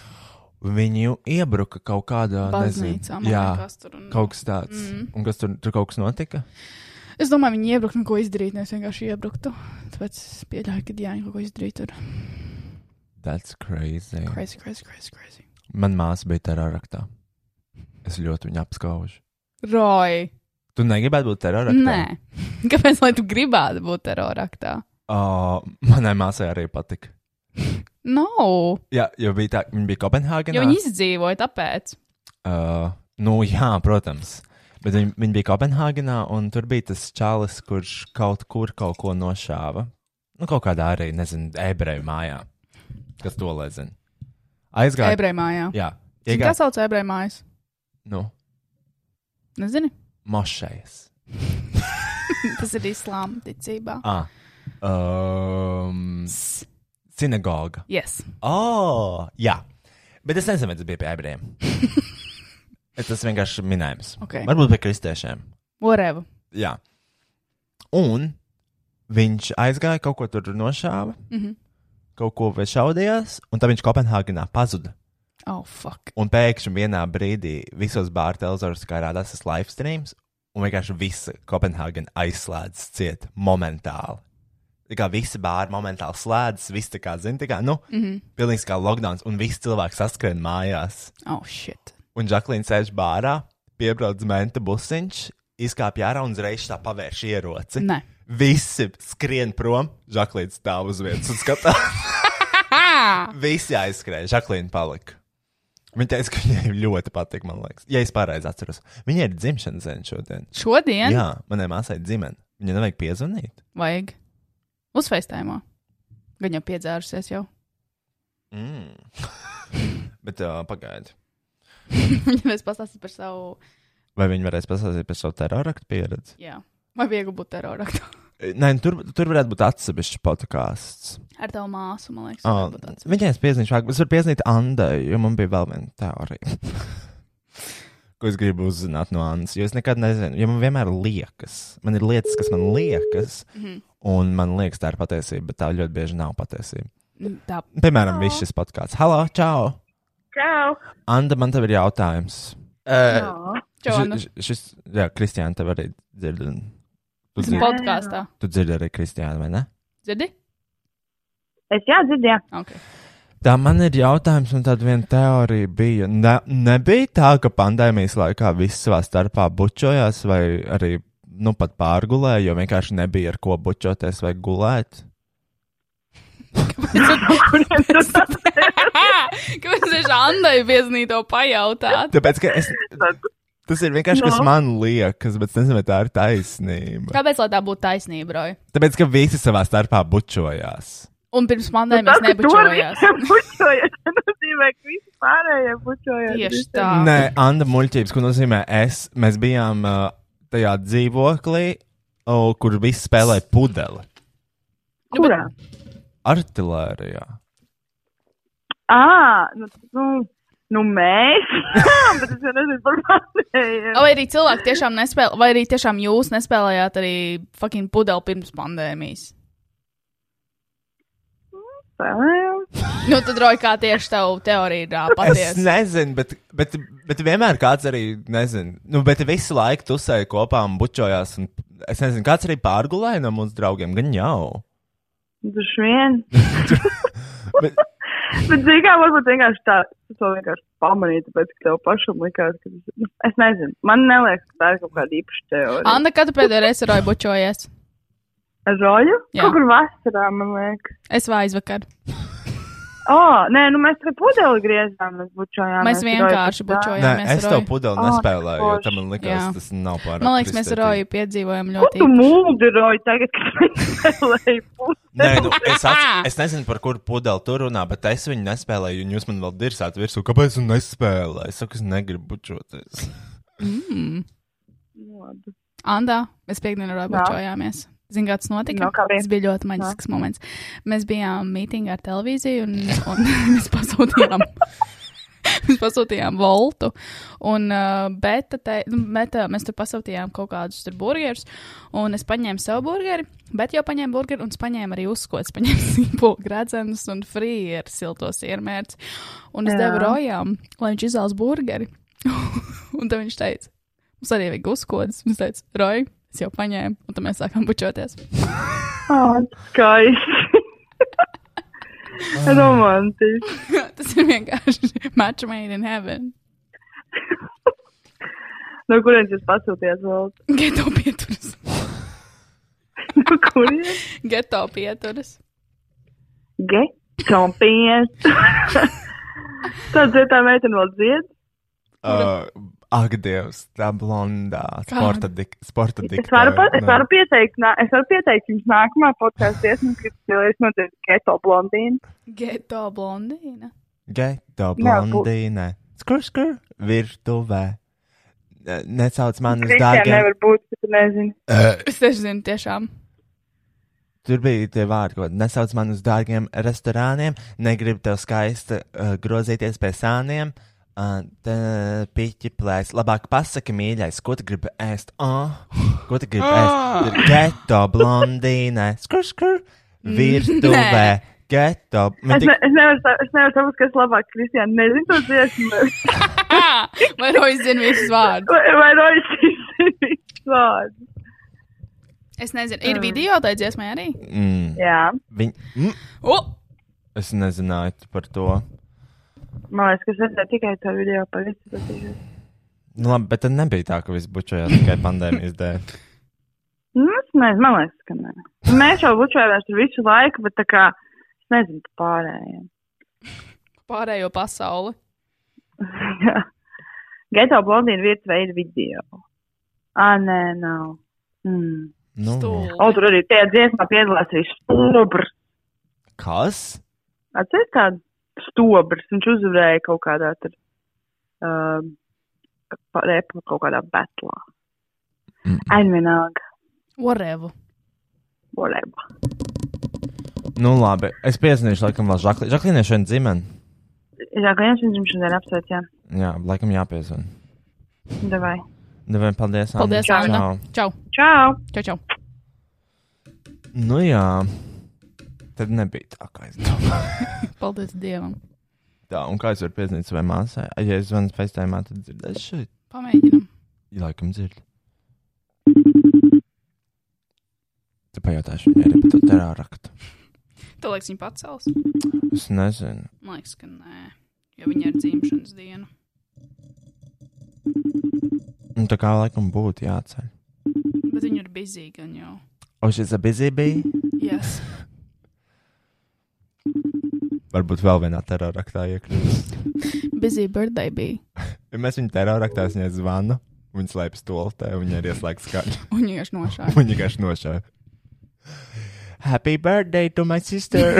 Speaker 5: Viņu iebruka kaut kādā nezinu,
Speaker 3: Baznīcā, man
Speaker 5: Jā,
Speaker 3: liekas, tur un-
Speaker 5: kaut kas tāds. Mm. Un kas tur, tur kaut kas notika?
Speaker 3: Es domāju, viņi iebruka, nu, ko izdarīt. Nevis vienkārši iebruktu. Tāpēc es pieļauju, ka jā, viņi kaut ko izdarīja tur.
Speaker 5: That's crazy. crazy.
Speaker 3: Crazy, crazy, crazy. crazy.
Speaker 5: Man māsa bija teroristā. Es ļoti viņu apskaužu.
Speaker 3: Roji!
Speaker 5: Tu negribētu būt teroristam?
Speaker 3: Nē, kāpēc lai tu gribētu būt teroraktā?
Speaker 5: Uh, manai māsai arī patika.
Speaker 3: No,
Speaker 5: Jā, jo bija tā, viņa bija Kopenhāgenā.
Speaker 3: jo viņi izdzīvoja, tāpēc.
Speaker 5: Uh, nu, jā, protams. Bet viņi, viņi bija Kopenhāgenā, un tur bija tas čalis, kurš kaut kur kaut ko nošāva. Nu, kaut kādā arī, nezinu, ebreju mājā. Kas to lai zina? Aizgāja.
Speaker 3: Ebreju mājā.
Speaker 5: Jā,
Speaker 3: Zini, Kā
Speaker 5: iegāja.
Speaker 3: sauc ebreju mājas?
Speaker 5: Nu,
Speaker 3: Nezinu.
Speaker 5: mošais.
Speaker 3: Tas ir islāma ticībā.
Speaker 5: Ah. Um, sinagoga.
Speaker 3: Yes.
Speaker 5: Oh, jā. Bet es nezinu, vai tas bija pie ebrejiem. Es tas vienkārši minējums.
Speaker 3: Ok.
Speaker 5: Varbūt pie kristiešiem.
Speaker 3: Whatever.
Speaker 5: Jā. Un viņš aizgāja, kaut ko tur nošāva, mm
Speaker 3: Mhm.
Speaker 5: -hmm. kaut ko vēl šaudījās, un tad viņš Kopenhāgenā pazuda.
Speaker 3: Oh, fuck.
Speaker 5: Un pēkšņi vienā brīdī visos bārtelzoros, kā rādās tas live streams, un vienkārši visa Kopenhāgena aizslēdzas ciet momentāli. Tā kā visi bāri momentāli slēdzas, viss tā kā, zina, tā kā, nu, mm
Speaker 3: Mm-hmm.
Speaker 5: -hmm. pilnīgs kā lockdowns, un visi cilvēki saskrien mājās
Speaker 3: Oh, shit.
Speaker 5: un Žaklīns sēž bārā, piebrauc menta busiņš, izkāpj ārā un uzreiz tā pavērš ieroci.
Speaker 3: Nē.
Speaker 5: Visi skrien prom, Žaklīns stāv uz vietas un skatās. Visi aizskrēja, Žaklīna palika. Viņa teica, ka viņai ļoti patīk, man liekas. Ja es pareizi atceros, viņai ir dzimšanas diena šodien.
Speaker 3: Šodien
Speaker 5: Jā, manai māsai ir dzimšana. Viņai nevajag piezvanīt.
Speaker 3: vajag uz FaceTime. Gan jau piedzērusies jau.
Speaker 5: Mm. Bet uh, pagaidi.
Speaker 3: Viņa vēl pastāstīs par savu.
Speaker 5: Vai viņi varēs pastāstīt par savu teroraktu pieredzi?
Speaker 3: Jā. Vai viegli būt teroraktā?
Speaker 5: Nē, nu, tur, tur varētu būt atsevišķs podkāsts.
Speaker 3: Ar tavu māsu, man liekas.
Speaker 5: Oh,
Speaker 3: varētu būt tāds.
Speaker 5: Viņai es piezvanīju šāk, es varu piezvanīt Andai, jo man bija vēl viena teorija. Ko es gribu uzzināt no Annas, jo es nekad nezinu, jo man vienmēr liekas, man ir lietas, kas man liekas,
Speaker 3: Mhm.
Speaker 5: un man liekas, tā ir patiesība, bet tā ļoti bieži nav patiesība.
Speaker 3: Mm, Tā.
Speaker 5: Piemēram, viss šis podkāsts. Halo, čau!
Speaker 7: Čau!
Speaker 5: Anda, man tev ir jautājums.
Speaker 3: Čau, Anna.
Speaker 5: Ši- ši- Šis, jā, Kristiāna, tev arī dzird, un tu
Speaker 3: Esmu
Speaker 5: dzirdi,
Speaker 3: podkāstā.
Speaker 5: tu dzirdi arī Kristiāna, vai ne?
Speaker 3: Dzirdi?
Speaker 7: Es jādzirdēju,
Speaker 3: Okay.
Speaker 5: Tā man ir jautājums, un tāda viena teorija bija. Ne, nebija tā, ka pandēmijas laikā viss savā starpā bučojās, vai arī nu, pat pārgulēja, jo vienkārši nebija ar ko bučoties vai gulēt.
Speaker 7: kuriem tu
Speaker 3: Kāpēc tieši Andai pieznīto pajautāt?
Speaker 5: Tāpēc, ka es, tas ir vienkārši, no. kas
Speaker 7: No.
Speaker 5: man liekas, bet es nezinu, vai tā ir taisnība.
Speaker 3: Kāpēc lai tā būtu taisnība, Roja?
Speaker 5: Tāpēc, ka visi savā starpā bučojās.
Speaker 3: Un pirms pandēmijas nebučojās.
Speaker 7: Bučojās, tas nozīmē, ka visi pārējie bučojās.
Speaker 3: Tieši tā.
Speaker 5: Nē, Anna muļķības, ko nozīmē es. Mēs bijām uh, tajā dzīvoklī, uh, kur viss spēlēja pudeli. Nu,
Speaker 7: Kurā?
Speaker 5: Artilērijā.
Speaker 7: Ā, nu, nu, nu mēs. Jā, bet es jau nezinu par pārējiem.
Speaker 3: Vai arī cilvēki tiešām nespēlēja, vai arī tiešām jūs nespēlējāt arī fucking pudeli pirms pandēmijas?
Speaker 7: Spēlējām.
Speaker 3: Nu, tad, Roja, kā tieši tev teorija ir ā,
Speaker 5: Es
Speaker 3: patiesa?
Speaker 5: nezinu, bet, bet, bet vienmēr kāds arī nezina. Nu, bet visu laiku tusēja kopā un bučojās. Un es nezinu, kāds arī pārgulēja no mūsu draugiem. Gan jau.
Speaker 7: Droši vien.
Speaker 5: Bet,
Speaker 7: Bet, zini, kā varbūt vienkārši tā, tu to vienkārši pamanīji, tāpēc, ka tev pašam likās, ka tas ir. Es nezinu, man neliekas, ka tā ir kaut kāda īpaša teorija.
Speaker 3: Anna, kad tu pēdējo reizi ar Roju bučojies?
Speaker 7: Ar roļu?
Speaker 3: Jā.
Speaker 7: Kaut kur vasarā, man liekas.
Speaker 3: Es vai aizvakar.
Speaker 7: O, nē, nu mēs te pudeli griezām, mēs bučojām.
Speaker 3: Mēs vienkārši
Speaker 5: nē,
Speaker 3: bučojām.
Speaker 5: es to pudeli
Speaker 7: Ā,
Speaker 5: nespēlēju, jo
Speaker 7: forši.
Speaker 5: tam man likās,
Speaker 3: Jā.
Speaker 5: tas nav pārāk.
Speaker 3: Man liekas, mēs ar
Speaker 5: kristētīgi.
Speaker 3: Roju piedzīvojam
Speaker 7: Ko
Speaker 3: ļoti.
Speaker 7: tu mūdiroji tagad, kad es spēlēju
Speaker 5: Nē,
Speaker 7: pudeli?
Speaker 5: nu, es, ats, es nezinu, par kuru pudeli tur runā, bet es viņu nespēlēju. Un jūs man vēl dirsāt virsū, kāpēc tu nespēlēji? Es saku, es negribu bučoties.
Speaker 3: Hmm.
Speaker 7: Nu, labi.
Speaker 3: Andā, mēs piekdienu ar Roju
Speaker 7: Jā.
Speaker 3: bučojāmies. Zini, kā tas notika?
Speaker 7: Nu, kā bija?
Speaker 3: Tas bija ļoti maģisks moments. Mēs bijām mītingā ar televīziju un, un mēs pasūtījām. Mēs pasūtījām voltu. Un, uh, bet, te, nu, bet uh, mēs tur pasūtījām kaut kādus tur burgerus. Un es paņēmu savu burgeri, bet jau paņēmu burgeri un es paņēmu arī uzskots. Paņēmu sīpolu gradzenus un frīru siltos iermērci. Un es
Speaker 7: Jā.
Speaker 3: devu rojām, lai viņš izvēlas burgeri. un tad viņš teica, mums arī vajag uzskots. Viņš teica, roj, es jau paņēmu. Un tad mēs sākām bučoties.
Speaker 7: Skaisti. Romantiski.
Speaker 3: Tas ir vienkārši match made in heaven.
Speaker 7: No kurienes jūs pasūtījāt vēl?
Speaker 3: Geto pieturas.
Speaker 7: No kurienes?
Speaker 3: Geto pieturas.
Speaker 7: Ge? Čompies. Tad dziedāja meitene vēl dzied. Nu.
Speaker 5: Uh, ak, Dievs, tā blondā, sporta dik- sporta nu. dikta.
Speaker 7: Es varu, pa, es varu pieteikt, nā- es varu pieteikt jums nākamā podkāstu iesmu, kad cilvēks notiek geto blondīnu.
Speaker 3: Geto blondīna.
Speaker 5: Geto
Speaker 7: Jā, bū-
Speaker 5: blondīne. Skur, skur, virtuvē. Ne- Necauc man uz
Speaker 7: Kristijam
Speaker 5: dārgiem.
Speaker 7: nevar būt, ka tu nezini.
Speaker 3: Es tieši zinu, tiešām.
Speaker 5: Tur bija tie vārdi, ko nesauc man uz dārgiem restorāniem, negribu tev skaisti uh, grozīties pie sāniem. Uh, tā piķi plēs. Labāk pasaki, mīļais, ko tu gribi ēst? Uh, ko tu gribi ēst? Tur Geto blondīne. Skur, skur, virtuvē. Geto. Man
Speaker 7: Es,
Speaker 5: tik
Speaker 7: ne, es, nevaru, sa- es nevaru saprast, kas labāk Kristijam nezinu to dziesmu.
Speaker 3: Ah, vai Rojas zina visus vārdus?
Speaker 7: Vai, vai Rojas izsaka vārdu?
Speaker 3: Es nezinu, ir video tai dziesmai arī.
Speaker 5: Mm,
Speaker 7: Jā,
Speaker 5: viņ... mm,
Speaker 3: Oh!
Speaker 5: es nezināju par to.
Speaker 7: man liekas, ka es redzēju tikai to video par visu. to dzīvi.
Speaker 5: Nu, labi, bet tad nebija tā, ka viss bučojās tikai pandēmijas dēļ.
Speaker 7: Nu, es nezinu, man liekas, ka nē. Mēs jau bučojāmies tur visu laiku, bet tā kā es nezinu par pārējiem.
Speaker 3: Pārējo pasauli.
Speaker 7: Jā. Geto blondīna virtuvē ir video. Ā, nē, nav. Mm.
Speaker 5: Nu,
Speaker 7: O,
Speaker 3: Stūlis.
Speaker 7: tur arī tajā dziesmā piedalās arī stobrs.
Speaker 5: kas?
Speaker 7: Atceries tādu stobrs, viņš uzvarēja kaut kādā tur. Um, pa- repu kaut kādā betlā.
Speaker 5: Mm.
Speaker 7: Ainvenāga.
Speaker 3: Orevu.
Speaker 7: Volejba.
Speaker 5: Nu, labi, es piezīmēšu, laikam, vēl Žaklī. Žaklīnai šodien dzimene.
Speaker 7: Jā, ka jums viņš šodien apsveic, jā.
Speaker 5: Jā, laikam jāpiezīmē.
Speaker 7: Davai.
Speaker 5: Nevien, paldies. Anna.
Speaker 3: Paldies,
Speaker 5: Čau.
Speaker 3: Anna. Čau.
Speaker 7: Čau!
Speaker 3: Čau, čau.
Speaker 5: Nu, jā. Tad nebija tā, kā es domāju.
Speaker 3: Paldies Dievam.
Speaker 5: tā, un kā es varu piezīmēt savai māsai? Ai, Ja es zvanu FaceTime, tad dzirdēšu šeit.
Speaker 3: Pamēģinam.
Speaker 5: Jā, laikam dzird. Tu pajautāšu, viņai ir pat terā rakta.
Speaker 3: Tu liekas, viņa pacels?
Speaker 5: Es nezinu.
Speaker 3: Man liekas, ka nē. Jo viņa ir dzimšanas diena.
Speaker 5: Nu, tā kā laikam būtu jāceļ.
Speaker 3: Bet viņa ir bizīga un jau.
Speaker 5: O, šis ir busy bija?
Speaker 3: Yes.
Speaker 5: Varbūt vēl vienā terā raktā iekļūst.
Speaker 3: Busy birthday bija.
Speaker 5: Ja mēs viņu teroristā viņai zvanu, viņa slēpjas stulpē, viņa ir ieslēgta skaņa.
Speaker 3: Un viņa ir nošāva.
Speaker 5: Viņa vienkārši nošāva. Happy birthday to my sister!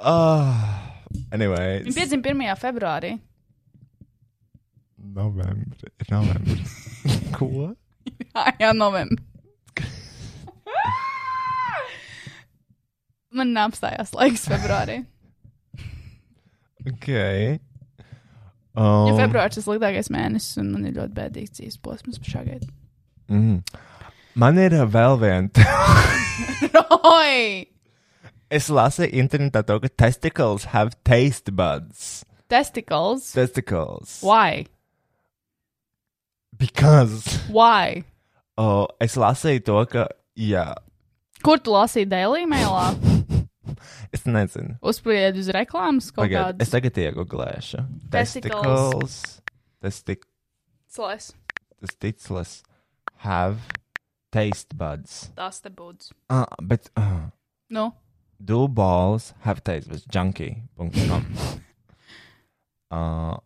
Speaker 5: Ah, anyway,
Speaker 3: Viņa piedzima 1. februārī.
Speaker 5: novembris. novembris. Ko?
Speaker 3: Ah, jā, novembrī. Man neapstājās laiks februārī.
Speaker 5: Ok.
Speaker 3: Jo
Speaker 5: Um,
Speaker 3: februāris ir sliktākais mēnesis, un man ir ļoti bēdīgs dzīves posms pašā gadā.
Speaker 5: mm. Man ir uh, vēl viena
Speaker 3: Oi!
Speaker 5: Es lasīju internetā to, ka testicles have taste buds.
Speaker 3: Testicles.
Speaker 5: Testicles.
Speaker 3: Why?
Speaker 5: Because.
Speaker 3: Why?
Speaker 5: Oh, es lasīju to, ka. Jā,
Speaker 3: Kur tu lasīji Daily Mailā?
Speaker 5: es nezinu.
Speaker 3: Uzspried uz reklāmas kaut
Speaker 5: Pagaid,
Speaker 3: kādas
Speaker 5: es tagad ieguvēšu.
Speaker 3: Testicles.
Speaker 5: Testicles.
Speaker 3: slēs.
Speaker 5: Testicles. Have taste buds.
Speaker 3: Tas te būds.
Speaker 5: Ah, bet. Uh,
Speaker 3: Nu,
Speaker 5: do balls have taste buds? Junkie.com. uh,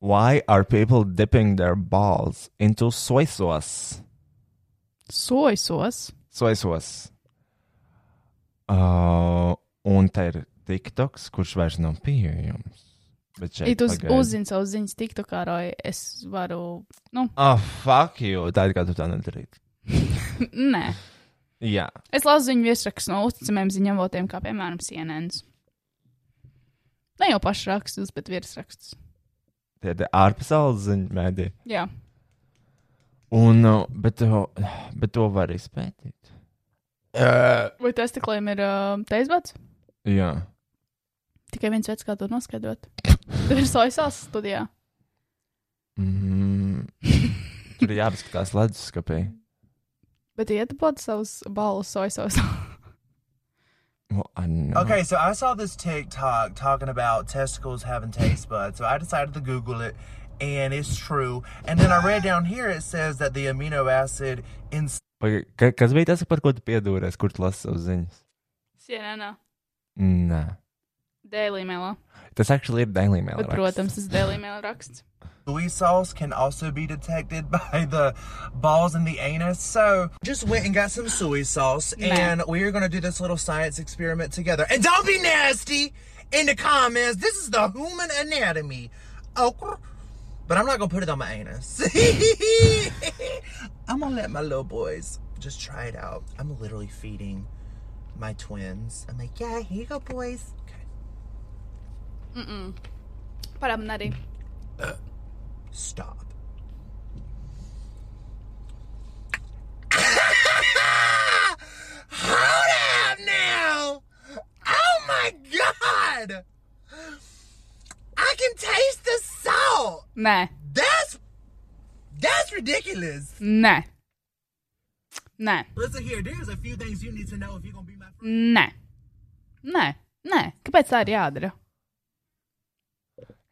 Speaker 5: why are people dipping their balls into soy sauce?
Speaker 3: soisos.
Speaker 5: Soy sauce. Uh, un te ir TikToks, kurš vairs nav pieejams. Bet šeit
Speaker 3: Ja tu uz-
Speaker 5: pagaidi.
Speaker 3: uzzini savu ziņas tiktu kā roju, es varu. Nu,
Speaker 5: Ah, fuck you! Tā ir kā tu tā nedarītu.
Speaker 3: nē.
Speaker 5: Jā,
Speaker 3: Es lasu ziņu virsrakstus no uzticamiem ziņavotiem, kā piemēram CNN. Ne jau pašrakstus, bet virsrakstus.
Speaker 5: Tie ir ārpasaules ziņu mēdī.
Speaker 3: Jā,
Speaker 5: Un, uh, bet, to- bet to var izpētīt.
Speaker 3: vai tas tikliem ir uh, teisbats?
Speaker 5: Jā.
Speaker 3: Tikai viens veids, kā to noskaidrot. Tur ir sojas studijā.
Speaker 5: Mm. Tur ir jāpaskatās leduskapī.
Speaker 3: Bet iedabot savus balus sojas.
Speaker 5: Well, I know.
Speaker 8: Okay, so I saw this TikTok talking about testicles having taste buds, so I decided to Google it, and it's true. And then I read down here it says that the amino acid in
Speaker 5: Paga- ka- Kas bija tas, par ko tu piedūries, kur tu lasi savas ziņas?
Speaker 2: Sienā,
Speaker 5: Nē.
Speaker 2: Daily Mail.
Speaker 5: Tas actually ir Daily Mail.
Speaker 3: Bet, protams, tas dēlī mēl raksts.
Speaker 8: soy sauce can also be detected by the balls in the anus. So just went and got some soy sauce, and we are gonna do this little science experiment together. And don't be nasty in the comments. This is the human anatomy. Oh, but I'm not gonna put it on my anus. I'm gonna let my little boys just try it out. I'm literally feeding my twins. I'm like, yeah, here you go, boys. Okay.
Speaker 2: Parāda man arī.
Speaker 8: Stop. Hold up now! Oh my god! I can taste the salt!
Speaker 2: Nē,
Speaker 8: That's that's ridiculous!
Speaker 2: nē, nē,
Speaker 8: Listen here, there's a few things you need to know if you're gonna be my friend.
Speaker 2: nē, nē, nē. Kāpēc tā ir jādara?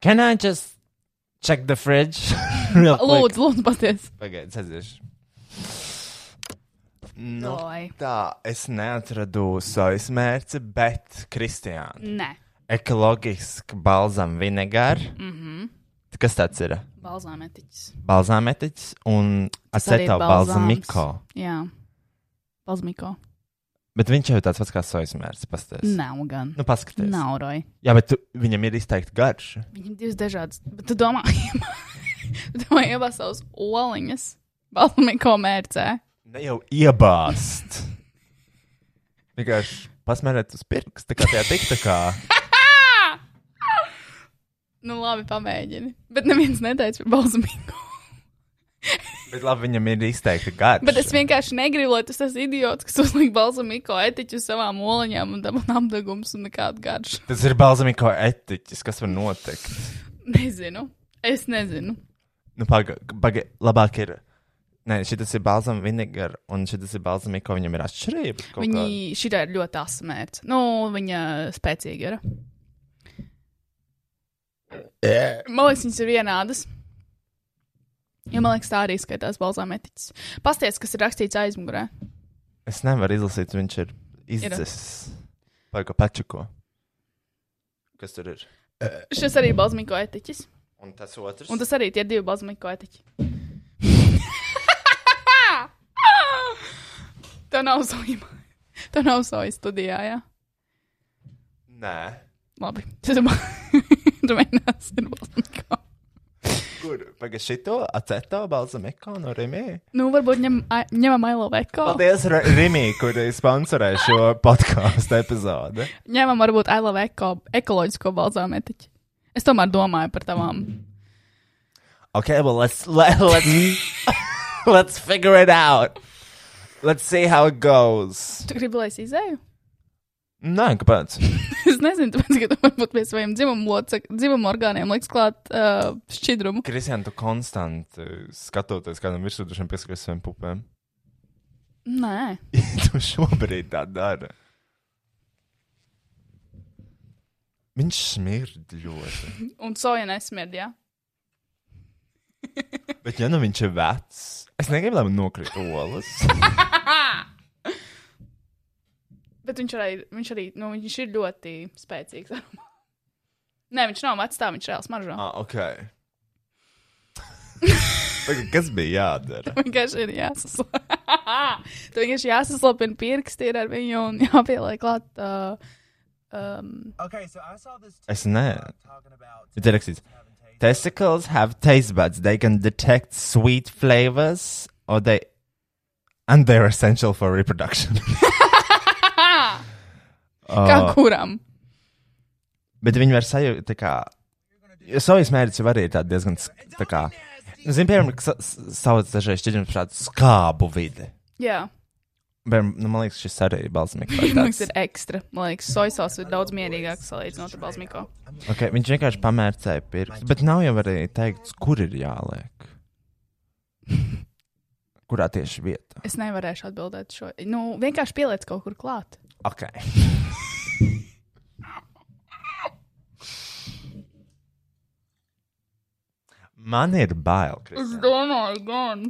Speaker 5: Can I just check the fridge? Real quick.
Speaker 2: Lūdzu, lūdzu, paties.
Speaker 5: Pagaidiet, saziešu.
Speaker 2: No.
Speaker 5: Nu, tā, es neatradu sojas mērci, bet Kristiāna.
Speaker 2: Nē,
Speaker 5: Ekoloģiski balzam vinegāri. Mm -hmm. Kas tāds ir?
Speaker 2: balzāmetiķis.
Speaker 5: Balzāmetiķis un
Speaker 3: arī
Speaker 5: aceto
Speaker 3: balzāms.
Speaker 5: balzamiko.
Speaker 3: Jā, balzmiko.
Speaker 5: Bet viņš jau ir tāds pats kā sojas mērci. pasties.
Speaker 3: Nav gan.
Speaker 5: Nu, paskaties.
Speaker 3: Nav roja.
Speaker 5: Jā, bet tu, viņam ir izteikti garš.
Speaker 3: Viņam divas dažādas. Bet tu domā, tu domā iebāz savus oliņas balzmiko mērcē.
Speaker 5: Ne jau iebāzt. Vienkārši pasmērēt uz pirksta, kā tajā tiktakā.
Speaker 3: Nu, labi, pamēģini. Bet neviens neteica par balzmiko.
Speaker 5: Bet labi, viņam ir izteikti gadi.
Speaker 3: Bet es vienkārši negribu, lai tas tas idiots, kas uzliek balzamiko etiķu uz savām oliņām un dabū apgabals un nekādu garšu.
Speaker 5: Tas ir balzamīko etiķis, kas var notikt.
Speaker 3: Nezinu. Es nezinu.
Speaker 5: Nu, pagaidi, paga, labāk ir. Nē, šis ir balzam vinegar, un šis ir balzamīko, viņam ir atšķirība. kaut
Speaker 3: Viņi
Speaker 5: kāda.
Speaker 3: šī ir ļoti asa mērķa. Nu, viņa spēcīga ir. Man liekas, viņas ir vienādas. Jo man liekas, tā arī skaitās balzām etiķis. Pasties, kas ir rakstīts aizmugurē.
Speaker 5: Es nevaru izlasīt, viņš ir izdzis. Pagaidi, pačuko. Kas tur ir?
Speaker 3: Šis arī ir balzamīko etiķis.
Speaker 5: Un tas otrs.
Speaker 3: Un tas arī tie divi balzamīko etiķi. Tā nav soja. Tā nav soja studijā, jā.
Speaker 5: Nē,
Speaker 3: Labi. Tad tu mēģināsi ar balzamīko.
Speaker 5: kur? Pagaidi, šito aceto balzamīko no Rimija.
Speaker 3: Nu, varbūt ņem, ai- ņemam Ailo Veko.
Speaker 5: Paldies, Ra- Rimī, kur sponsorē šo podkāstu epizodi.
Speaker 3: Ņemam, varbūt I love eko, ekoloģisko balzāmetiķi. Es tomēr domāju par tavām.
Speaker 5: Okay, well let's let, let's let's figure it out. Let's see how it goes.
Speaker 3: Tu gribi, lai es izēju?
Speaker 5: Nē, kāpēc?
Speaker 3: Es nezinu, tāpēc, ka tu varbūt pie saviem dzimumu orgāniem liks klāt uh, šķidrumu.
Speaker 5: Kristian, tu konstanti skatoties kādam virsūdušam pieskaries saviem pupēm.
Speaker 3: Nē,
Speaker 5: tu šobrīd tā dara. Viņš smird ļoti.
Speaker 3: un soja nesmird, jā.
Speaker 5: Bet ja nu viņš ir vecs, es negribu, lai man nokrīt olas.
Speaker 3: Bet viņš arī, viņš arī, nu, viņš ir ļoti spēcīgs. Nē, viņš nav vecs, tā viņš reāli smaržo.
Speaker 5: ah, ok. Tagad Kas bija jādara?
Speaker 3: Vienkārši ir jāsaslapina. Tur vienkārši jāsaslapina pirksti ir ar viņu un jāpieliek klāt. Uh, um,
Speaker 8: Okay, so I saw this
Speaker 5: Es ne.
Speaker 8: talking about
Speaker 5: Ir te rakstīts, testicles have taste buds. They can detect sweet flavors, or they, and they're essential for reproduction.
Speaker 3: kā kuram?
Speaker 5: Bet viņi var sajust, tā kā. Jo savs mērķis jau arī ir tāds diezgan. s- Tā kā, nu, zini, piemēram, ka sa- s- sauc dažreiz šķidrums prāt skābu vidi.
Speaker 2: Jā,
Speaker 5: Bet, nu, man liekas, šis arī ir balsmīgs.
Speaker 2: mums ir ekstra. Man liekas, sojas ir daudz mierīgāks salīdzinot ar balsmīko.
Speaker 5: Okay, viņš vienkārši pamērcēja pirkstu. Bet nav jau arī teikts, kur ir jāliek. Kurā tieši vietā?
Speaker 2: Es nevarēšu atbildēt šo. Nu, vienkārši pieliec kaut kur klāt.
Speaker 5: Okay. Man ir bail. Kristian.
Speaker 2: Domāju, gan.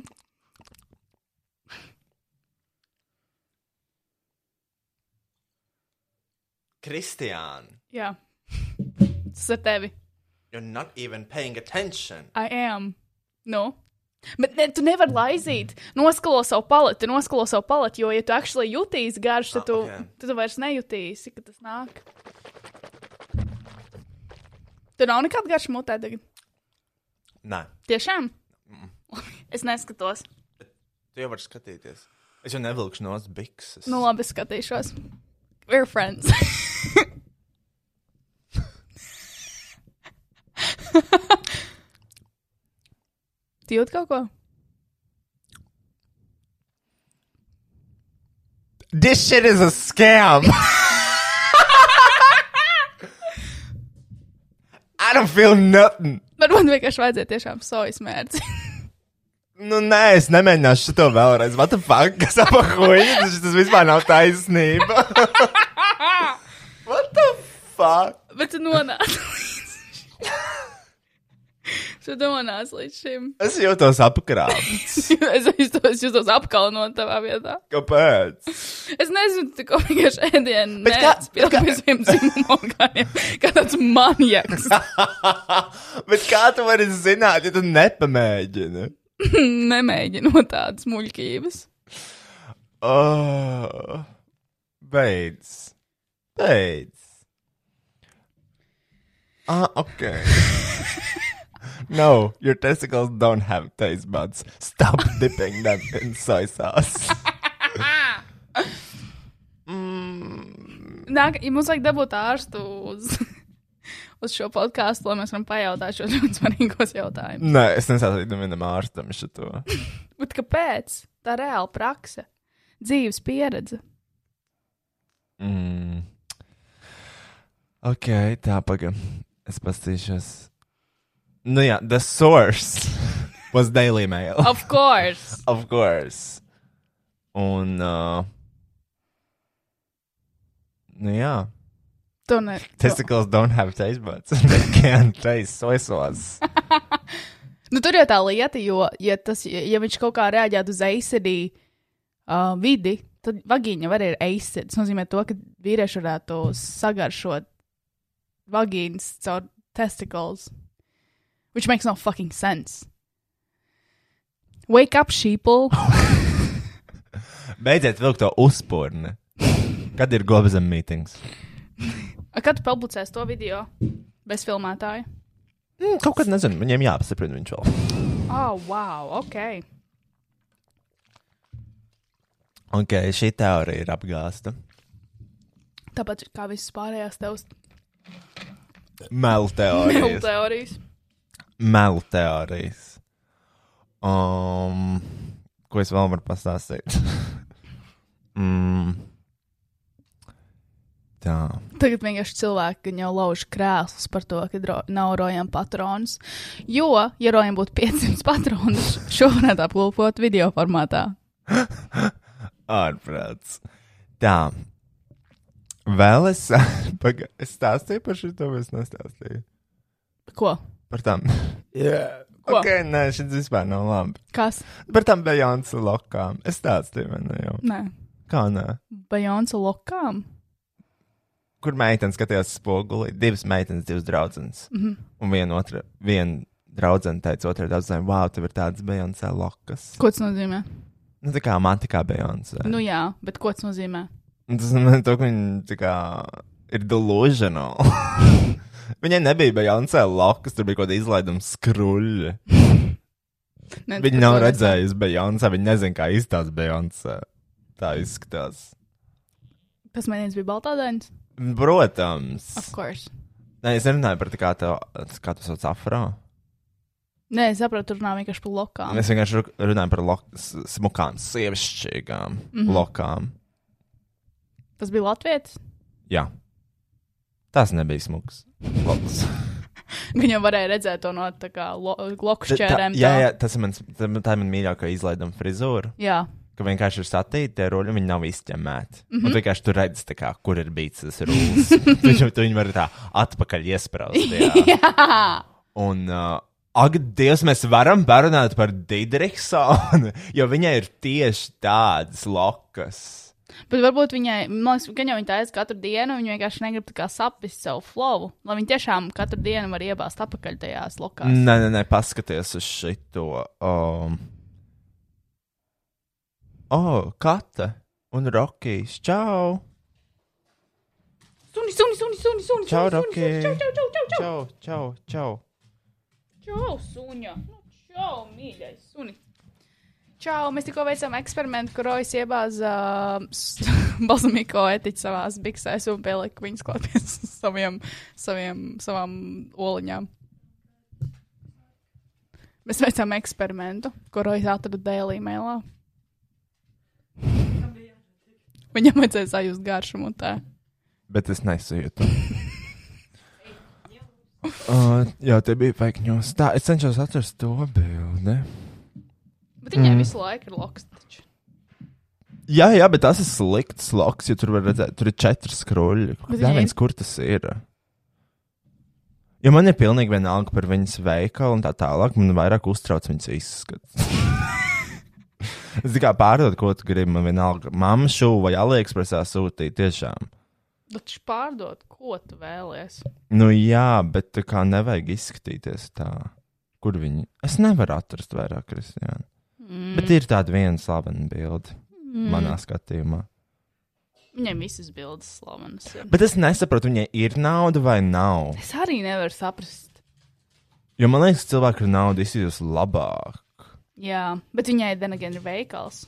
Speaker 5: Kristiāna,
Speaker 2: Jā. Tas ar tevi.
Speaker 5: you're not even paying attention.
Speaker 2: I am. Nu. Bet ne, tu nevari laizīt, noskalo savu paleti, noskalo savu paleti, jo, ja tu actually jutīsi garš, tad tu,
Speaker 5: Ah,
Speaker 2: okay.
Speaker 5: ok.
Speaker 2: tu, tu vairs nejutīsi, ka tas nāk. Tu nav nekāda garša mutē tagad.
Speaker 5: Nē,
Speaker 2: Tiešām?
Speaker 5: Mm.
Speaker 2: Es neskatos.
Speaker 5: tu jau vari skatīties. Es jau nevilkšu no bikses.
Speaker 2: Nu, labi, es skatīšos. We're friends. tu jūti kaut ko?
Speaker 5: This shit is a scam. I don't feel nothing.
Speaker 2: Bet man vienkārši vajadzēja tiešām sojas mērķi.
Speaker 5: Nu, nē, es nemēģināšu to vēlreiz. What the fuck? Kas apakoja? Tas, tas vispār nav taisnība. What the fuck?
Speaker 2: Bet tu nonāci līdz šim. Tu nonāci līdz šim.
Speaker 5: Es jūtos apkrāpts.
Speaker 2: Es jūtos, jūtos apkalnot tavā vietā.
Speaker 5: Kāpēc?
Speaker 2: Es nezinu, tu kaut vienkārši ēdienu.
Speaker 5: Bet
Speaker 2: Bet
Speaker 5: kā-
Speaker 2: kāds bija pirms pirms dzimuma orgāniem? Kā tāds maniaks.
Speaker 5: Bet kā tu vari zināt, ja tu nepamēģini?
Speaker 2: Nemēģinu tādas muļķības.
Speaker 5: Oh, beidz. Beidz. Ah, okay. no, your testicles don't have taste buds. Stop dipping them in soy sauce.
Speaker 2: Nāk, ja mums vajag dabūt ārstu uz, uz šo podkāstu, lai mēs varam pajautāt šos ļoti svarīgos jautājumus.
Speaker 5: Nē, es nesācu vienam ārstam šo.
Speaker 2: Bet kāpēc? Tā reāla prakse, dzīves pieredze.
Speaker 5: Mm. Ok, tā pagaidi. Es pastīšos. Nu jā, the source was Daily Mail.
Speaker 2: Of course!
Speaker 5: Of course. Un. Uh, nu jā.
Speaker 2: Tu ne. tu-
Speaker 5: Testicles don't have taste buds. They can't taste soy sauce.
Speaker 2: Nu, tur jau tā lieta, jo, ja, tas, ja ja viņš kaut kā reaģētu uz acidī uh, vidi, tad vagīņa var ir acid. Tas nozīmē to, ka vīrieši varētu sagaršot vagīnas caur testicles. Which makes no fucking sense. Wake up, sheeple.
Speaker 5: Beidziet vilkt to uzpūrni. Kad ir gobzem meetings?
Speaker 2: A, Kad tu publicēs to video bez filmētāja?
Speaker 5: Mm, kaut kad nezinu, viņiem jāpastiprina viņš vēl.
Speaker 2: Oh, wow, ok.
Speaker 5: Ok, šī teorija ir apgāsta.
Speaker 2: Tāpat kā visas pārējās tevs
Speaker 5: Melu teorijas.
Speaker 2: teorijas.
Speaker 5: Melu teorijas. Um, ko es vēl varu pastāstīt? mm. Tā.
Speaker 2: Tagad vienkārši cilvēki gan jau lauž krēslus par to, ka dro, nav rojām patronas. Jo, ja rojām būtu 500 patronus, šo varētu aplūkot video formātā.
Speaker 5: Ārprāts. Tā. Vēl es. Paga, es stāstīju par šo, vai es nestāstīju?
Speaker 2: Ko?
Speaker 5: Par tām. Jā.
Speaker 2: Ko?
Speaker 5: Ok, nē, šis vispār nav labi.
Speaker 2: Kas?
Speaker 5: Par tām Beyoncé lokām. Es stāstīju, vai ne jau?
Speaker 2: Nē,
Speaker 5: Kā nē?
Speaker 2: Bajonsa lokām.
Speaker 5: Kur meitene skatījās spoguli? Divas meitenes, divas draudzenes. Mm -hmm. Un viena otra, viena draudzene teica otrai draudzenei, wow, tev ir tādas Beyoncé lokas.
Speaker 2: Ko tas nozīmē?
Speaker 5: Nu, tā kā man tikā Beyoncé.
Speaker 2: Nu jā, bet ko tas nozīmē?
Speaker 5: Un Tas man to, ka viņi tā kā ir delusional. Viņai nebija Beyoncé lokas, tur bija kaut kāda izlaiduma skruļļa.
Speaker 2: Ne, tu par
Speaker 5: Viņa nav
Speaker 2: to nezini.
Speaker 5: redzējusi Beyoncé, viņa nezina, kā izskatās Beyoncé. Tā izskatās.
Speaker 2: Tas mēnesis bija baltādainis.
Speaker 5: Protams,
Speaker 2: Of course.
Speaker 5: Nē, es runāju par tādu, kā tev- kā tu sauc afro.
Speaker 3: Nē, es saprotu, tur nav vienkārši par lokām.
Speaker 5: Mēs vienkārši ru- runājam par lok- s- smukām, sievišķīgām mm
Speaker 3: Mhm.
Speaker 5: -hmm. lokām.
Speaker 3: Tas bija Latvijas.
Speaker 5: Jā, tas nebija smuks. Loks.
Speaker 3: Viņa varēja redzēt to no tā kā lo, loku
Speaker 5: Tā- tā-
Speaker 3: šķērēm.
Speaker 5: jā,
Speaker 3: tā.
Speaker 5: jā, tas ir mans, tā, tā ir man mīļākā izlaiduma frizūra.
Speaker 3: jā.
Speaker 5: Ka vienkārši ir satīta, tie roļi viņi nav izķemmēti. Mm -hmm. Un tu vienkārši tur redz, tā kā, kur ir bijis tas rūlis. Viņš to var tā atpakaļ iesprāst. Jā.
Speaker 3: jā.
Speaker 5: Un, uh, ak, Dievs, mēs varam parunāt par Digriksonu, jo viņai ir tieši tādas lokas.
Speaker 3: Bet varbūt viņai, man liekas, ka jau viņa tā aiz katru dienu, viņa vienkārši negrib tā kā saprast savu flowu. Lai viņa tiešām katru dienu var iebāzt apakaļ tajās lokās.
Speaker 5: Nē, nē, nē, paskaties uz šito. Um... Oh, Kata un Rokijs. Čau!
Speaker 3: Suni, suni, suni, suni, suni.
Speaker 5: Čau,
Speaker 3: suni, suni,
Speaker 5: Roki!
Speaker 3: suni, Čau, čau, čau, čau, čau.
Speaker 5: Čau, čau, čau!
Speaker 3: Čau, suņa! Nu, Čau, mīļais, suni! Čau, mēs tikko veicām eksperimentu, kur Rojas iebāza uh, balzamīko etiķu savā biksēs un pielika viņas klāt pie saviem, saviem, savām oliņām. Mēs veicām eksperimentu, kur Rojas atrada dēlī mailā. Viņam vajadzēja sajust garšumu un tā.
Speaker 5: Bet es nesajūtu. Uh, jā, tie bija fake news. Tā, es cenšos atrast to bildi.
Speaker 3: Bet viņai mm. visu laiku ir loks. Taču.
Speaker 5: Jā, jā, bet tas ir slikts loks, jo tur var redzēt, tur ir četri skruļi.
Speaker 3: Bet
Speaker 5: Jā,
Speaker 3: viņai-
Speaker 5: viens, kur tas ir. Jo man ir pilnīgi vienalga par viņas veikalu un tā tālāk. Man vairāk uztrauc viņas izskats. es tikai pārdodu, ko tu gribi. Man vienalga, mamma šūna vai aliekspresā sūtīja tiešām.
Speaker 3: Taču pārdot, ko tu vēlies?
Speaker 5: Nu jā, bet tā kā nevajag izskatīties tā, kur viņi. Es nevaru atrast vairāk, Kristiāna. Mm. Bet ir tāda viena slavena bilde mm. manā skatījumā.
Speaker 3: Viņam visas bildes slavenas. ir.
Speaker 5: Bet es nesaprotu, viņai ir nauda vai nav.
Speaker 3: Es arī nevaru saprast.
Speaker 5: Jo man liekas, cilvēki ar naudu izjūtas labāk.
Speaker 3: Jā, bet viņai denagēna ir veikals.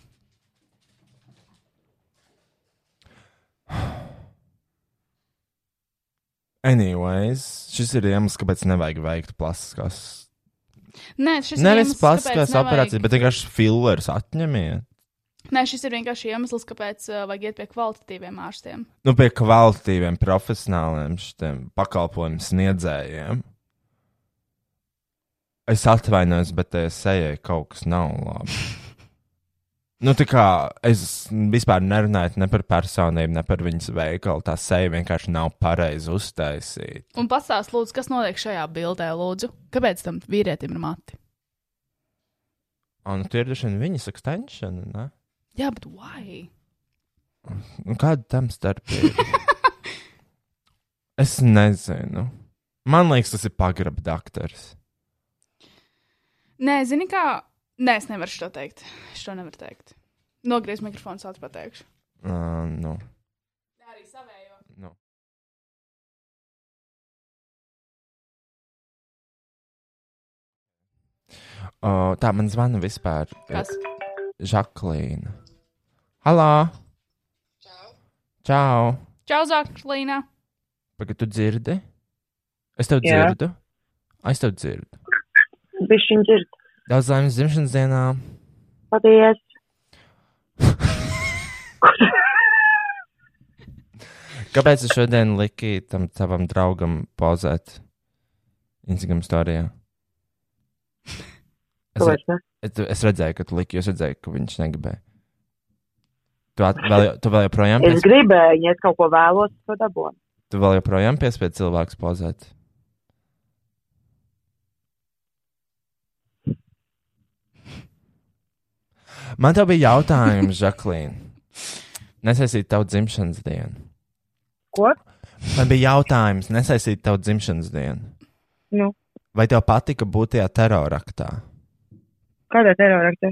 Speaker 5: Anyways, šis ir iemesls, kāpēc nevajag veikt plastiskās.
Speaker 3: Nē, šis ir
Speaker 5: Nevis
Speaker 3: iemesls, kāpēc
Speaker 5: plastiskās
Speaker 3: nevajag-
Speaker 5: operācijas, bet vienkārši fillers atņemiet.
Speaker 3: Nē, šis ir vienkārši iemesls, kāpēc uh, vajag iet pie kvalitatīviem ārstiem.
Speaker 5: Nu, pie kvalitīviem, profesionāliem šiem pakalpojumu sniedzējiem. Es atvainojos, bet tajā sejai kaut kas nav labi. Nu, tā kā es vispār nerunāju ne par personību, ne par viņas veikalu. Tā seja vienkārši nav pareizi uztaisīta.
Speaker 3: Un pastāst, lūdzu, kas notiek šajā bildē, lūdzu. Kāpēc tam vīrietim ir mati?
Speaker 5: Ah, nu, tie ir dažādi viņas ekstenšana. ne?
Speaker 3: Jā, bet why?
Speaker 5: Nu, Kāda tam starpība? es nezinu. Man liekas, tas ir pagrabs doktors.
Speaker 3: Nē, zini kā. Nē, es nevaru šo teikt. Es to nevaru teikt. Nogriez mikrofonu, sauc pateikšu.
Speaker 5: Uh, nu.
Speaker 3: Arī savējo.
Speaker 5: Nu. O, tā man zvana vispār. e,
Speaker 3: Kas?
Speaker 5: Žaklīna. Halo! Čau!
Speaker 3: Čau, Zaklīna.
Speaker 5: Pagaidu, tu dzirdi? Es tev
Speaker 7: Jā.
Speaker 5: dzirdu. Ai, Es tev dzirdu.
Speaker 7: Bišķiņ dzird.
Speaker 5: Daudz laimes dzimšanas dienā.
Speaker 7: Paldies.
Speaker 5: Kāpēc tu šodien liki tam tavam draugam pozēt Instagram storijā? Es,
Speaker 7: Tāpēc, ne?
Speaker 5: es, es redzēju, ka tu liki, jo es redzēju, ka viņš negribēja. Tu, at, vēl, jo- tu vēl joprojām
Speaker 7: Es
Speaker 5: pies,
Speaker 7: gribēju, ja es kaut ko vēlos, to dabūnu.
Speaker 5: tu vēl joprojām piespiedzi cilvēku pozēt. Man tev bija jautājums, Žaklīna. Nesaistīt tavu dzimšanas dienu.
Speaker 7: Ko?
Speaker 5: Man bija jautājums, nesaistīt tavu dzimšanas dienu.
Speaker 7: Nu,
Speaker 5: Vai tev patika būt tajā teroraktā?
Speaker 7: kādā teroraktē?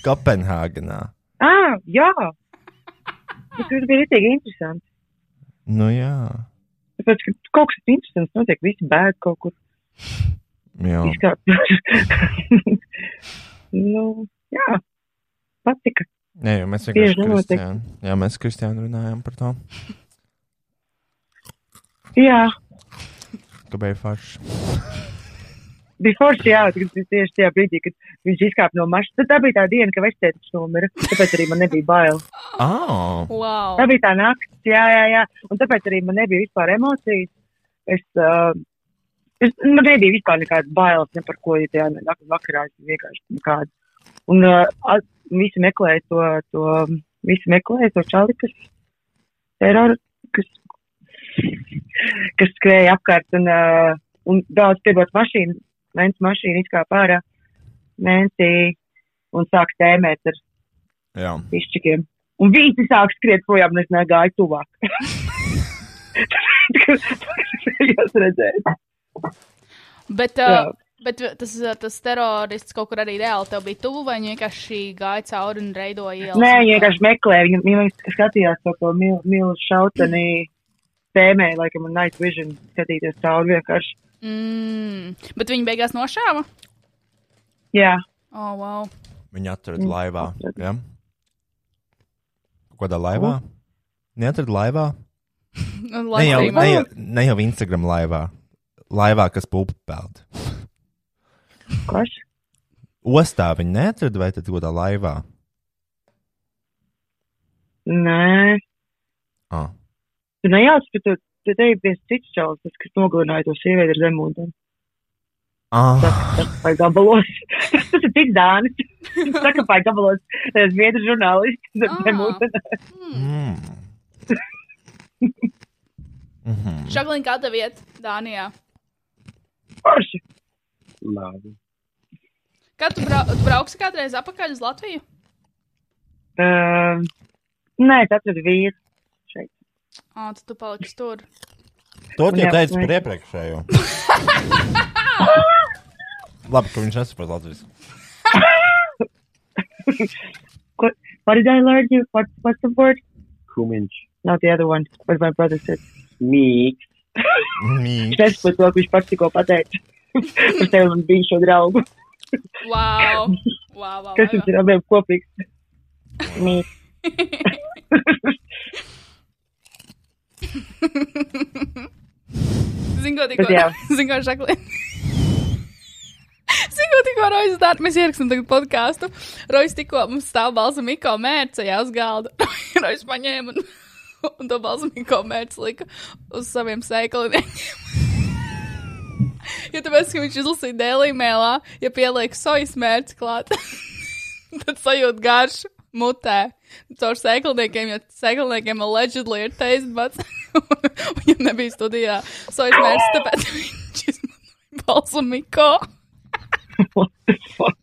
Speaker 5: Kopenhāgenā.
Speaker 7: Ah, jā. Tas viss bija rītīgi interesanti.
Speaker 5: Nu jā.
Speaker 7: Tāpēc, ka kaut kas interesants notiek, visi bēg kaut kur
Speaker 5: jā.
Speaker 7: izkāpt. nu, jā. Patika.
Speaker 5: Nē, jo mēs
Speaker 7: Bieži
Speaker 5: vienkārši
Speaker 7: notiek.
Speaker 5: Kristiānu. Jā, mēs Kristiānu runājām par to.
Speaker 7: Jā.
Speaker 5: ka bija forši.
Speaker 7: Bija forši jāatgādās tas tieši tajā brīdī, kad viņš izkāpa no mašīnas. Tad tā bija tā diena, ka vecēta numura, tāpēc arī man nebija bail.
Speaker 5: Oh.
Speaker 2: Wow.
Speaker 7: Tā bija tā naktis, jā, jā, jā. Un tāpēc arī man nebija vispār emocijas. Es, uh, es, man nebija vispār nekādas bailes ne par ko, ja tajā naktī vakarā es biju vienkārši nekāda. Un uh, at- visi meklēja to, to, visi meklēja to čali, kas teroru, kas, kas skrēja apkārt un, uh, un daudz piebot mašīnu. Mēnesis mašīna izkāpa ārā mēnesī un sāk tēmēt ar
Speaker 5: Jā.
Speaker 7: pišķikiem. Un visi sāk skriet projām, un es negāju tuvāk. Jūs redzējāt,
Speaker 2: Bet,
Speaker 7: Jā.
Speaker 2: uh, bet tas, uh, tas terorists kaut kur arī reāli tev bija tuvu, vai viņš vienkārši gāja cauri un reidoja ielu?
Speaker 7: Nē, viņi vienkārši meklēja. Viņi, viņi skatījās to, to mil- milzu šautenī tēmē, laikam, un night vision skatīties cauri vienkārši.
Speaker 2: Mm, bet viņi beigās nošāva?
Speaker 7: Jā,
Speaker 2: Oh, wow.
Speaker 5: Viņa atrada laivā. Ja? Kādā laivā? Neatrada laivā. Ne jau, ne, jau, ne jau Instagram laivā. Laivā, kas pupa peld.
Speaker 7: kas?
Speaker 5: Ostā viņa neatrada vai tad kādā laivā?
Speaker 7: Nē,
Speaker 5: Ah.
Speaker 7: tu nejauc, bet tu, tu te biji viens cits čalis, tas, kas nogalināja to sievieti ar zemūdeni.
Speaker 5: Ah.
Speaker 7: Vai gabalos? tas ir tik dānis. Saka, vai gabalos? eh, Zviedru žurnālists ar
Speaker 2: Ah.
Speaker 7: zemūdeni.
Speaker 5: Mm.
Speaker 2: Šaglīna kāda vieta Dānijā?
Speaker 7: Forši!
Speaker 9: Labi.
Speaker 2: Kad tu, brau, tu brauksi kādreiz atpakaļ uz Latviju?
Speaker 7: Uh, nē, es atradu vīru. šeit.
Speaker 2: Ā, tad tu paliksi tur.
Speaker 5: To tu jau
Speaker 7: Jā,
Speaker 5: teici
Speaker 7: vai-
Speaker 5: par iepriekšējo. Labi, ka viņš nesaprot latviešu.
Speaker 7: Ko- What did I learn you? What, what's the word?
Speaker 9: Kumiņš.
Speaker 7: Not the other one, what my brother said.
Speaker 9: Mīgs.
Speaker 5: Mīk.
Speaker 7: Es par to, ka viņš pats tikko pateica. Par tevi un bija šo draugu.
Speaker 2: Wow! wow, wow,
Speaker 7: Kas
Speaker 2: wow.
Speaker 7: jums ir abiem kopīgs? Mīk.
Speaker 2: Zinu, ko
Speaker 7: Bet jā.
Speaker 2: tikko. Zinu, ko Šaglīna. Zinu, ko tikko Rojas dara. Mēs ierakstam tagad podkāstu. Rojas tikko mums stāv balsa Miko mērcējā uz galda. Rojas paņēma un, un to balsa Miko mērci lika uz saviem sēkliniem. Jo tāpēc, ka viņš izlasīja dēlī mēlā, ja pieliek sojas mērci klāt, tad sajūt garšu mutē. Caur sēklniekiem, jo sēklniekiem allegedly ir taisnbats. Viņam nebija studijā sojas mērci, tāpēc viņš izmantoja balsu Miko.
Speaker 7: What the fuck?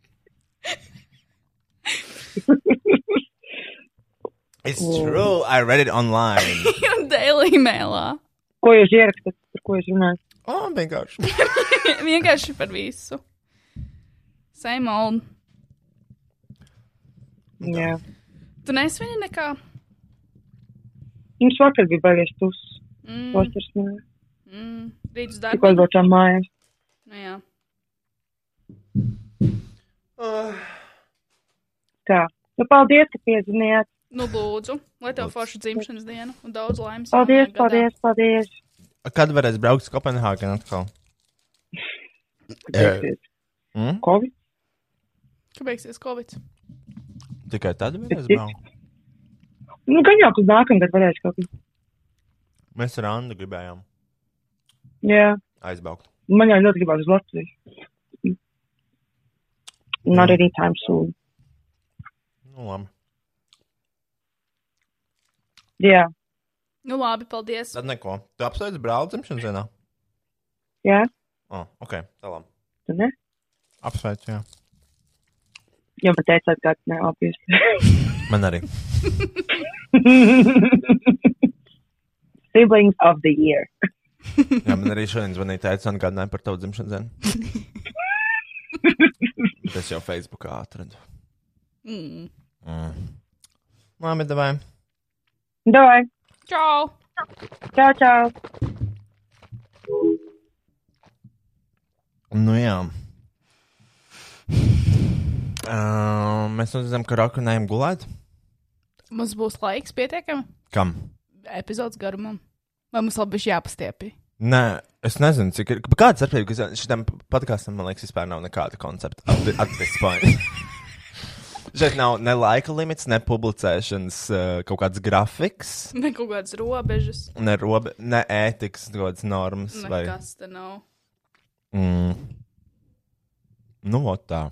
Speaker 5: It's
Speaker 2: Oh.
Speaker 5: true, I read it online.
Speaker 2: Daily mailā.
Speaker 7: Ko jūs ierakstat? Par ko jūs runājat?
Speaker 5: Oh, vienkārši.
Speaker 2: Vienkārši par visu. Saimol,
Speaker 7: Jā.
Speaker 2: tu nesvini nekā.
Speaker 7: Mums vakar bija baigies tus.
Speaker 2: Mm,
Speaker 7: Vostars, nē.
Speaker 2: mm, Rīt uz
Speaker 3: Ah,
Speaker 7: Tikko
Speaker 2: darbu.
Speaker 7: atbraucām mājās.
Speaker 2: Nu, jā.
Speaker 7: Tā. Nu, paldies, ka piezvanījāt.
Speaker 2: nu, lūdzu, lai tev forša dzimšanas diena un daudz laimes.
Speaker 7: Paldies,
Speaker 3: Ah,
Speaker 2: jaunajā gadā.
Speaker 3: é
Speaker 7: paldies, paldies.
Speaker 5: Kad varēs braukt uz Kopenhāgenu atkal?
Speaker 7: Beigsies.
Speaker 5: Mm?
Speaker 7: Covid?
Speaker 2: Kad beigsies Covid?
Speaker 5: Tikai tad varēs braukt.
Speaker 7: Nu, gan jau, ka nākamgad varēs kaut kas.
Speaker 5: Mēs ar Andu gribējām
Speaker 7: Jā.
Speaker 5: aizbraukt.
Speaker 7: Man jau ļoti gribās uz Latviju. Not anytime soon.
Speaker 5: Nu, labi.
Speaker 7: Jā.
Speaker 2: Nu, labi, paldies.
Speaker 5: Tad neko. Tu apsveic brāli dzimšanas dienā?
Speaker 7: Jā.
Speaker 5: Oh, ok, tā labi.
Speaker 7: Tu ne?
Speaker 5: Apsveic, jā.
Speaker 7: Jo man teicāt, ka ne, obviously.
Speaker 5: Man arī.
Speaker 7: Siblings of the year.
Speaker 5: Jā, man arī šodien zvanīja teica, un gādināja par tavu dzimšanas dienu. Es jau Facebookā atradu.
Speaker 2: Mm.
Speaker 5: Mm. Labi, davai.
Speaker 7: Dai.
Speaker 2: Čau!
Speaker 7: Čau, čau.
Speaker 5: Nu jā. Uh, mēs uzzinām, ka rakunājam gulēt.
Speaker 2: Mums būs laiks pietiekami
Speaker 5: Kam?
Speaker 2: epizodes garumam. Vai mums labi bija jāpastiepjas?
Speaker 5: Nē, Es nezinu, cik ir. bet Kāda ir atbildība? Ka šitam podkāstam, man liekas, vispār nav nekāda koncepta. at thi- At this point. Šeit nav ne laika limits, ne publicēšanas uh, kaut kāds grafiks,
Speaker 2: Ne kaut kādas robežas.
Speaker 5: ne, robe, ne ētikas kaut kādas normas. Vai...
Speaker 2: Nekas te nav.
Speaker 5: Mm. Nu, vot tā.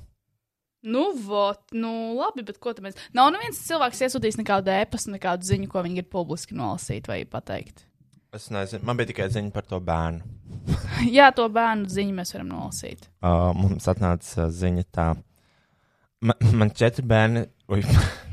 Speaker 2: Nu, vot, nu, labi, bet ko tad mēs. Nav neviens cilvēks iesūtījis nekādu e-pastu, nekādu ziņu, ko viņi grib publiski nolasīt vai pateikt.
Speaker 5: Es nezinu, man bija tikai ziņa par to bērnu.
Speaker 2: Jā, to bērnu ziņu mēs varam nolasīt.
Speaker 5: Uh, mums atnāca uh, ziņa tā, man, man četri bērni. Uj,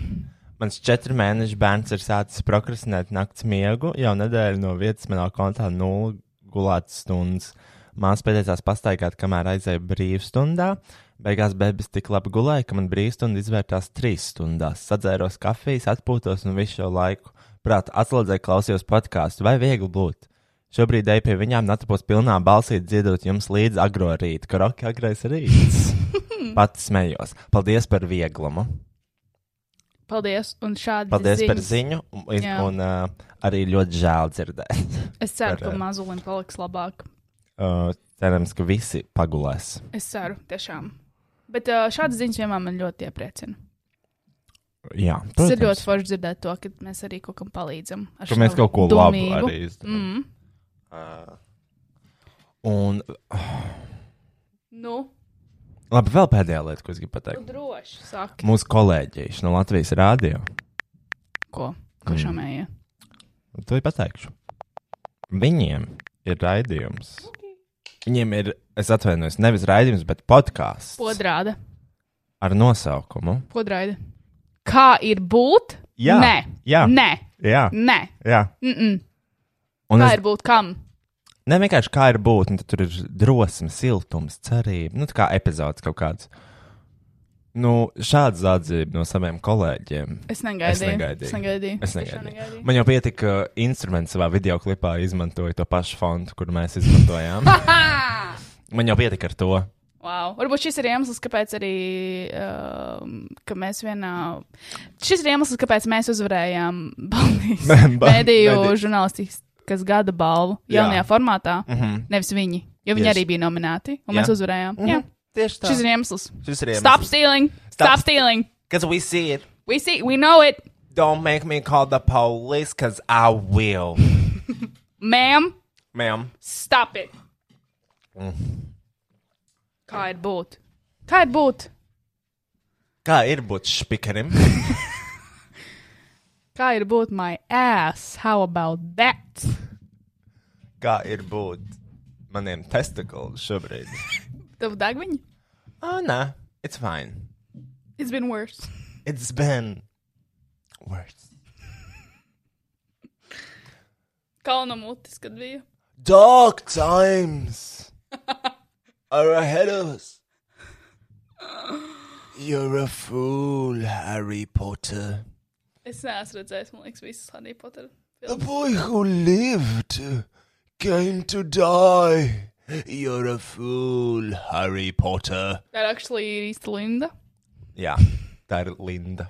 Speaker 5: Mans četru mēnešu bērns ir sācis prokrastinēt naktas miegu. Jau nedēļu no vietas manā kontā nulle gulētas stundas. Māsa pēdējās pastaigāt, kamēr aizēja brīvstundā. Beigās bebis tik labi gulēja, ka man brīvstunda izvērtās trīs stundās. Sadzēros kafijas, atpūtos un visu šo laiku prātā atslēdzēju, klausījos podkāstu. Vai viegli būt? Šobrīd eju pie viņām, natapos pilnā balsī dziedot jums līdzi agro rītu, ka roka agrais rīts. Pats smējos. Paldies par vieglumu!
Speaker 2: Paldies, un šādi.
Speaker 5: Paldies
Speaker 2: ziņas.
Speaker 5: par ziņu. Un, iz-
Speaker 2: Jā.
Speaker 5: un uh, arī ļoti žēl dzirdēt.
Speaker 2: Es ceru,
Speaker 5: par,
Speaker 2: ka
Speaker 5: eh,
Speaker 2: mazulim paliks labāk.
Speaker 5: Uh, cerams, ka visi pagulēs.
Speaker 2: Es ceru, tiešām. Bet uh, šādas ziņas vienmēr man ļoti iepriecina.
Speaker 5: Jā,
Speaker 2: Tas ir
Speaker 5: protams.
Speaker 2: ļoti forši dzirdēt to, ka mēs arī kaut kam palīdzam. ar
Speaker 5: Ka mēs
Speaker 2: šādu
Speaker 5: kaut ko labu
Speaker 2: dumību.
Speaker 5: arī izdarām.
Speaker 2: Mm.
Speaker 5: Un
Speaker 2: Nu,
Speaker 5: labi, vēl pēdējā lieta, ko es gribu
Speaker 2: tu
Speaker 5: pateikt.
Speaker 2: droši saki,
Speaker 5: Mūsu kolēģi no Latvijas rādio.
Speaker 2: Mm. ko,
Speaker 5: Mm.
Speaker 2: ko šamēja.
Speaker 5: To jau pateikšu. Viņiem ir raidījums. Viņiem ir, es atvainojos, nevis raidījums, bet podkāsts
Speaker 2: Podrāda.
Speaker 5: ar nosaukumu.
Speaker 2: Podrāda. Kā ir būt?
Speaker 5: Jā,
Speaker 2: Nē.
Speaker 5: jā,
Speaker 2: Nē,
Speaker 5: jā.
Speaker 2: nē.
Speaker 5: jā.
Speaker 2: Mm-mm.
Speaker 5: Un
Speaker 2: Kā
Speaker 5: es
Speaker 2: ir būt kam?
Speaker 5: Ne vienkārši kā ir būt, un tad tur ir drosme, siltums, cerība. Nu, tā kā epizodes kaut kāds. Nu, šāds atzīmes no saviem kolēģiem.
Speaker 2: Es negaidīju.
Speaker 5: Es negaidīju.
Speaker 2: Es negaidīju.
Speaker 5: Es
Speaker 2: tiešām
Speaker 5: negaidīju. Man jau pietika uh, instruments savā video klipā, izmantoja to pašu fontu, kur mēs izmantojām. Man jau pietika ar to.
Speaker 2: Wow. Varbūt šis ir iemesls, kāpēc arī um, ka mēs vienā. Šis ir iemesls, kāpēc mēs uzvarējām Baltijas
Speaker 5: Ba-
Speaker 2: Mēdīju
Speaker 5: mediju.
Speaker 2: žurnālistikas gada balvu
Speaker 5: Jā.
Speaker 2: jaunajā formātā.
Speaker 5: Mm -hmm.
Speaker 2: Nevis viņi, jo viņi
Speaker 5: Yes.
Speaker 2: arī bija nominēti, un
Speaker 5: Jā.
Speaker 2: mēs uzvarējām. Jā,
Speaker 5: Mhm. Tieši tā.
Speaker 2: šis ir iemesls.
Speaker 5: Šis ir
Speaker 2: Stop stealing! Stop,
Speaker 5: Stop-
Speaker 2: Stop stealing!
Speaker 5: Because we see it.
Speaker 2: We see, we know it!
Speaker 5: Don't make me call the police, because I will.
Speaker 2: Mēm,
Speaker 5: Ma'am.
Speaker 2: stop it!
Speaker 5: Mm.
Speaker 2: Kā ir būt? Kā ir būt?
Speaker 5: Kā ir būt špikerim?
Speaker 2: Kā ir būt my ass? How about that?
Speaker 5: Kā ir būt maniem testikliem šobrīd?
Speaker 2: Tev dagviņi?
Speaker 5: Oh, nē, it's fine.
Speaker 2: It's been worse.
Speaker 5: It's been worse.
Speaker 2: Kalna mutis, kad bija.
Speaker 5: Dark times are ahead of us. You're a fool, Harry Potter.
Speaker 2: Es neesmu redzējis, man liekas, visas Harry Potter.
Speaker 5: The boy who lived came to die. You're a fool, Harry Potter.
Speaker 2: Tā ir actually ir īsta Linda.
Speaker 5: Jā, tā ir Linda.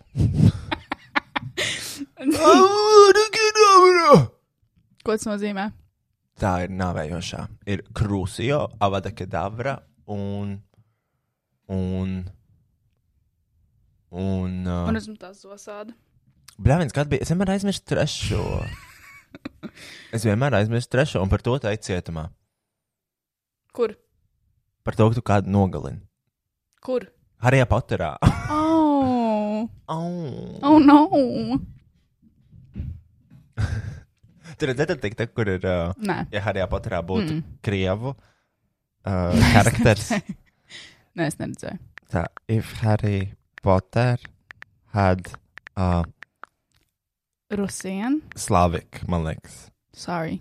Speaker 5: Avadakedavra!
Speaker 2: Ko tas nozīmē?
Speaker 5: Tā ir nāvējošā. Ir krūzija, avadakedavra un. un. un. Uh,
Speaker 2: Man esmu tās zosāda.
Speaker 5: Bļāviens, kad bija? Es vienmēr aizmirstu trešo. es vienmēr aizmirstu trešo, un par to te cietumā.
Speaker 2: Kur?
Speaker 5: Par to, ka tu kādu nogalini.
Speaker 2: Kur?
Speaker 5: Harijā Potterā.
Speaker 2: Oh,
Speaker 5: Au.
Speaker 2: oh no!
Speaker 5: Tur redzat, tik te, kur ir. Uh,
Speaker 2: Nē,
Speaker 5: ja Harijā Potterā būtu
Speaker 2: Mm.
Speaker 5: krievu uh, karakters.
Speaker 2: nē, es neredzēju.
Speaker 5: Tā, if Harry Potter had uh,
Speaker 2: Rusien?
Speaker 5: Slavic, man liekas.
Speaker 2: Sorry.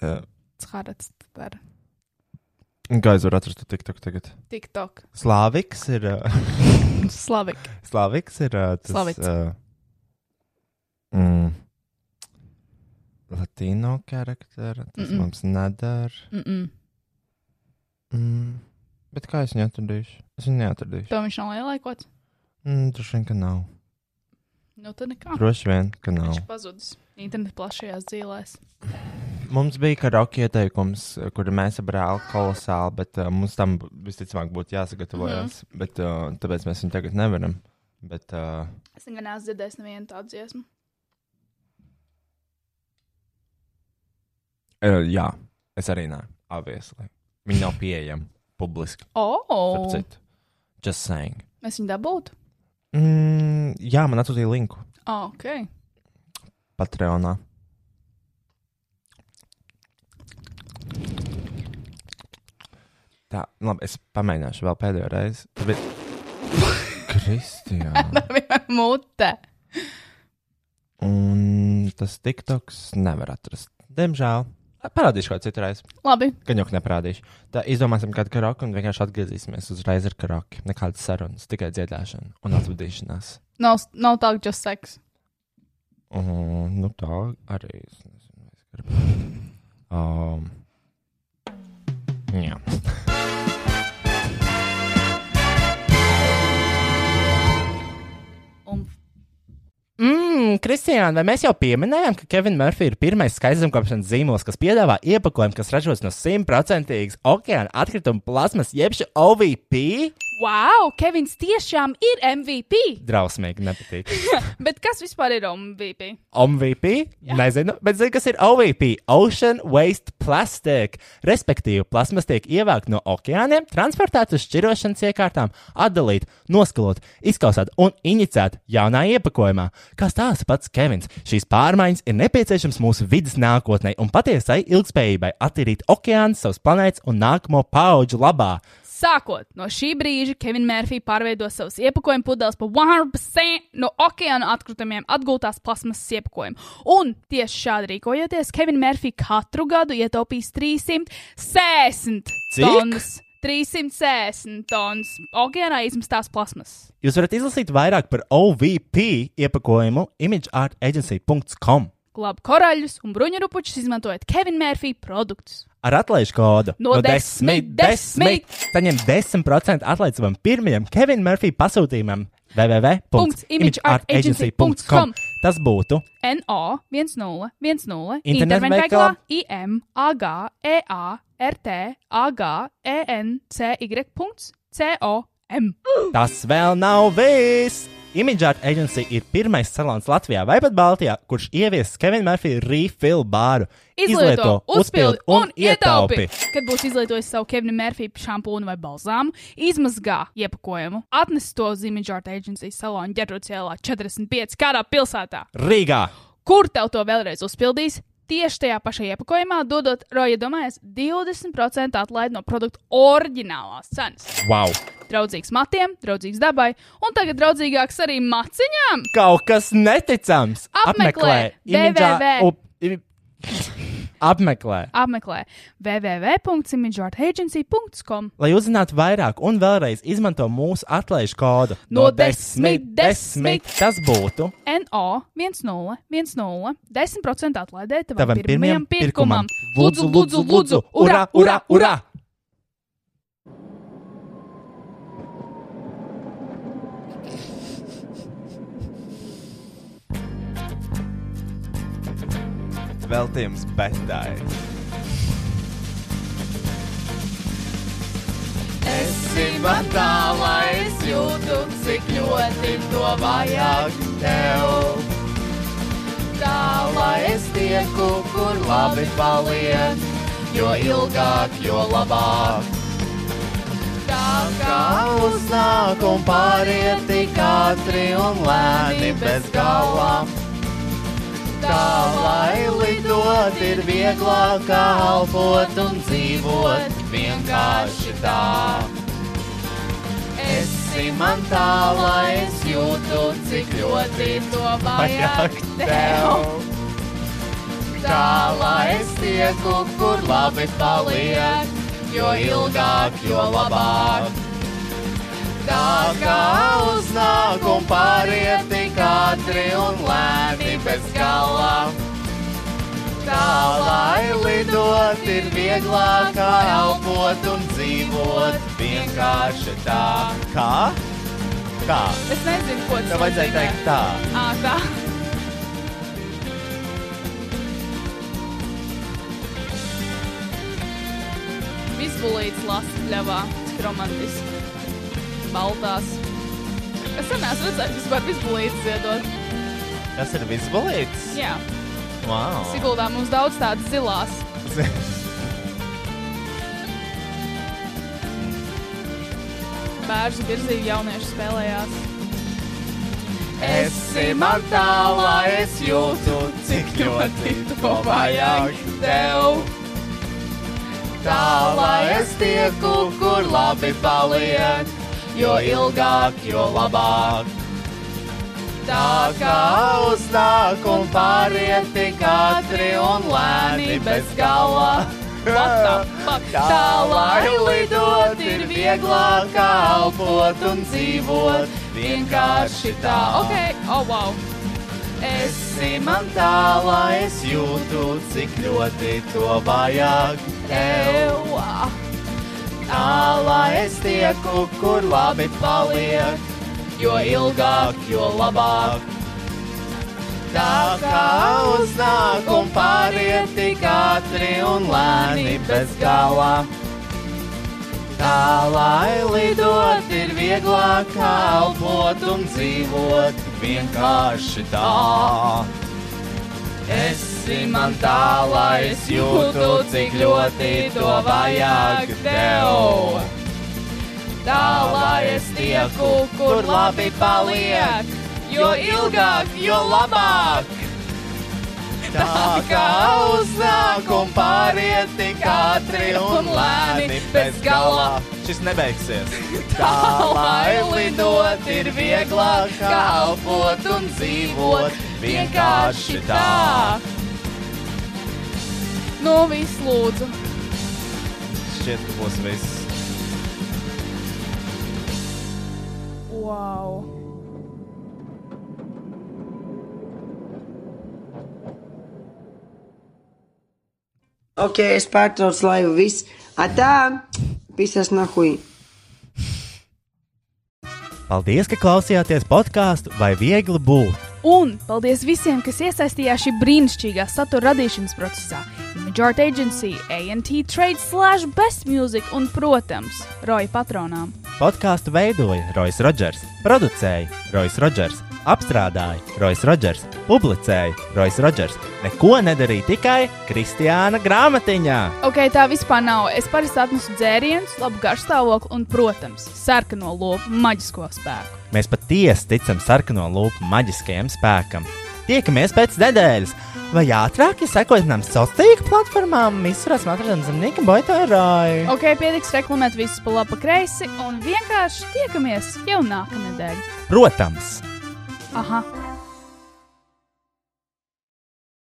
Speaker 5: Uh,
Speaker 2: Cārats par
Speaker 5: Gaiz var atrast to TikTok tagad.
Speaker 2: TikTok.
Speaker 5: Slaviks ir. Uh,
Speaker 2: Slavik.
Speaker 5: Slaviks ir. Uh, tas,
Speaker 2: Slavics.
Speaker 5: Uh, mm, Latino karaktera. Tas
Speaker 2: Mm-mm.
Speaker 5: Mm-mm. mums nedara.
Speaker 2: Mm-mm.
Speaker 5: Mm. Bet kā es viņu atradīšu? Es viņu neatradīšu.
Speaker 2: To viņš nav lielākots.
Speaker 5: Mm, Droši vien, ka nav.
Speaker 2: Nu, tad nekā.
Speaker 5: Droši vien, ka nav.
Speaker 2: Viņš pazudis internetu plašajās dzīvēs.
Speaker 5: Mums bija karaoke ieteikums, kur mēs ar brāli kolosāli, bet uh, mums tam b- visticamāk būtu jāsagatavojas. Mm -hmm. bet, uh, tāpēc mēs viņu tagad nevaram. Bet, uh,
Speaker 2: Mhm. Es nekad neesmu dzirdējis nevienu tādu dziesmu.
Speaker 5: uh, jā, es arī nē, obviously. Viņi nav pieejami publiski.
Speaker 2: Oh,
Speaker 5: starp citu. Just saying.
Speaker 2: es viņu dabūtu.
Speaker 5: Mm, jā, man atsūtīja linku
Speaker 2: Oh, ok.
Speaker 5: Patreonā. Tā, labi, es pamēģināšu vēl pēdējo reizi. Bet... Kristija.
Speaker 2: Mute.
Speaker 5: Un tas tiktoks nevar atrast. Diemžēl. Parādīšu kādu citu reizi.
Speaker 2: Labi.
Speaker 5: Gan jau ka neparādīšu. Tā izdomāsim kādu karaoke un vienkārši atgriezīsimies uzreiz ar karaoke. Nekādas sarunas, tikai dziedāšana un atvadīšanās.
Speaker 2: Nav, nav tā, just seks.
Speaker 5: Un, nu tā arī. Es nezinu, vai es gribu. Um, jā.
Speaker 2: Un
Speaker 1: Mmm, Kristija, vai mēs jau pieminējām, ka Kevins Mārfī ir pirmais skaistumkopšanas zīmols, kas piedāvā iepakojumu, kas ražots no simtprocentīgas okeāna atkrituma plasmas, jeb šī OVP?
Speaker 2: Wow, Kevins tiešām ir MVP!
Speaker 1: Drausmīgi nepatīk.
Speaker 2: Bet kas vispār ir MVP?
Speaker 1: OVP? Nezinu, bet zinu, kas ir OVP - Ocean Waste Plastic. Respektīvi, plasmas tiek ievākt no okeāniem, transportēta uz šķirošanas iekārtām, atdalīta, noskalot, izkausēta un inicēta jaunā iepakojumā. Kā stāsta pats Kevins, šīs pārmaiņas ir nepieciešamas mūsu vidas nākotnē un patiesai ilgspējībai attīrīt okeānu savas planētas un nākamo pauģu labā.
Speaker 2: Sākot no šī brīža, Kevins Mārfijs pārveido savus iepakojumu pudeles par 100% no okeāna atkritumiem atgūtās plasmasas iepakojumu. Un tieši šādi rīkojoties, Kevins Mārfijs katru gadu ietaupīs 360
Speaker 1: Cik?
Speaker 2: tonnas. 360 tonnas okeānā izmestās plasmasas.
Speaker 1: Jūs varat izlasīt vairāk par OVP iepakojumu imageartagency.com
Speaker 2: Glāb koraļus un bruņurupučus izmantojot Kevina Mārfija produktus.
Speaker 1: ar atlaižu kodu
Speaker 2: No desmit, desmit.
Speaker 1: Saņem 10% atlaidi savam pirmajam Kevina Murphy pasūtījumam www.imageartagency.com.
Speaker 2: imageartagency.com.
Speaker 1: Tas būtu
Speaker 2: NO 1010
Speaker 1: Internetveikalā
Speaker 2: internetveikalā IM AG EA RT AG ENCY.com.
Speaker 1: tas vēl nav viss! Imageart Agency ir pirmais salons Latvijā vai pat Baltijā, kurš ievies Kevina Murphy refill bāru.
Speaker 2: Izlieto, uzpildi un ietaupi! Kad būs izlietojis savu Kevina Mārfija šampūnu vai balzāmu, izmazgā iepakojumu, atnes to uz Image Art Agency salonu ģerbrucēlā 45 kādā pilsētā.
Speaker 1: Rīgā!
Speaker 2: Kur tev to vēlreiz uzpildīs? Tieši tajā pašā iepakojumā, dodot Roja domājas 20% atlaidi no produkta oriģinālās cenas.
Speaker 1: Wow!
Speaker 2: draudzīgs matiem, draudzīgs dabai, un tagad draudzīgāks arī maciņām.
Speaker 1: Kaut kas neticams!
Speaker 2: Apmeklē www.
Speaker 1: www. Apmeklē!
Speaker 2: Apmeklē www.imageartagency.com.
Speaker 1: Lai uzzinātu vairāk, un vēlreiz izmanto mūsu atlaižu kodu
Speaker 2: No desmit, desmit.
Speaker 1: Tas būtu
Speaker 2: NO 1010 10% atlaidē tavam
Speaker 1: tavam pirmajam
Speaker 2: pirmajam pirkumam. Lūdzu, lūdzu, lūdzu,
Speaker 1: ura, ura, ura!
Speaker 5: Veltījums betai.
Speaker 2: Esim vadā, lai es jūtu, cik ļoti to vajag tev. Tā lai es tieku, kur labi paliek, jo ilgāk, jo labāk. Tā kā uznāk un pāriet tik ātri un lēni bez galā. Tā lai lidot ir vieglāk, kā elpot un dzīvot vienkārši tā. Esi man tā, lai es jūtu, cik ļoti to vajag tev. Tā lai es tieku, kur labi paliek, jo ilgāk, jo labāk. Tā kā uznāk un pāriet tik ātri un lēni bez galā. Tā lai lidot ir vieglāk, kā elpot un dzīvot vienkārši tā.
Speaker 5: Kā? Kā?
Speaker 2: Es nezinu, ko
Speaker 5: Tev vajadzēja teikt tā.
Speaker 2: Ā, tā. Bulīts lasa pļavā, skromantis, baltās. Es sen esmu redzējis vispār visbulīts ziedot.
Speaker 5: Tas ir visbalīts.
Speaker 2: Jā,
Speaker 5: Wow.
Speaker 2: Siguldā mums daudz tādas zilās. Bērnu virzību jaunieši spēlējās. Esi man tālā, es jūtu,
Speaker 5: cik
Speaker 2: ļoti to vajag tev. Tālā es tieku, kur labi paliek, jo ilgāk, jo labāk. Tā kā uznāk un pāriet tik ātri un lēni bez gala. What the fuck? Tālāk lidot ir vieglāk kā elpot un dzīvot. Vienkārši tā, ok, oh wow! Esi man tālā, es jūtu, cik ļoti to vajag tev. Tālā es tieku, kur labi paliek, jo ilgāk, jo labāk. Tā kā uznāk un pāriet tik ātri un lēni bez galā. Tālāk lidot ir vieglāk kalpot un dzīvot vienkārši tā. Esi man tālāk, es jūtu, cik ļoti to vajag tev. Tālāk es tieku, kur labi paliek, jo ilgāk, jo labāk. Tā kā uznāk un pāriet tik ātri un lēni bez galā.
Speaker 5: Šis nebeigsies.
Speaker 2: Tālāk lidot ir vieglāk, kalpot un dzīvot vienkārši tā. Nu, viss lūdzu.
Speaker 5: Šķiet, ka būs viss.
Speaker 2: Wow.
Speaker 4: Ok, es pārtraucu laivu viss. Atā, visas nahuj.
Speaker 1: Paldies, ka klausījāties podkāstu vai viegli būt.
Speaker 2: Un paldies visiem, kas iesaistījās šī brīnišķīgā satura radīšanas procesā. Image Art Agency, ANT Trade, Slash, Best Music un, protams, Roja patronām.
Speaker 1: Podkāstu veidoja Rois Rodžers, producēja Rois Rodžers, apstrādāja Rois Rodžers, publicēja Rois Rodžers. Neko nedarīja tikai Kristiāna grāmatiņā.
Speaker 2: Ok, tā vispār nav. Es parasti atnesu dzērienus, labu garšstāvokli un, protams, sarkano lopu maģisko spēku.
Speaker 1: Mēs patiesi ticam sarkano lupu maģiskajam spēkam. Tiekamies pēc nedēļas, vai ātrāk, ja sekojat mums sociālajām tīkla platformām, visurās matradām zemnieka boitārāju.
Speaker 2: Ok, pietiks reklamēt visus pa labi, pa kreisi un vienkārši tiekamies jau nākamnedēļ.
Speaker 1: Protams,
Speaker 2: Aha,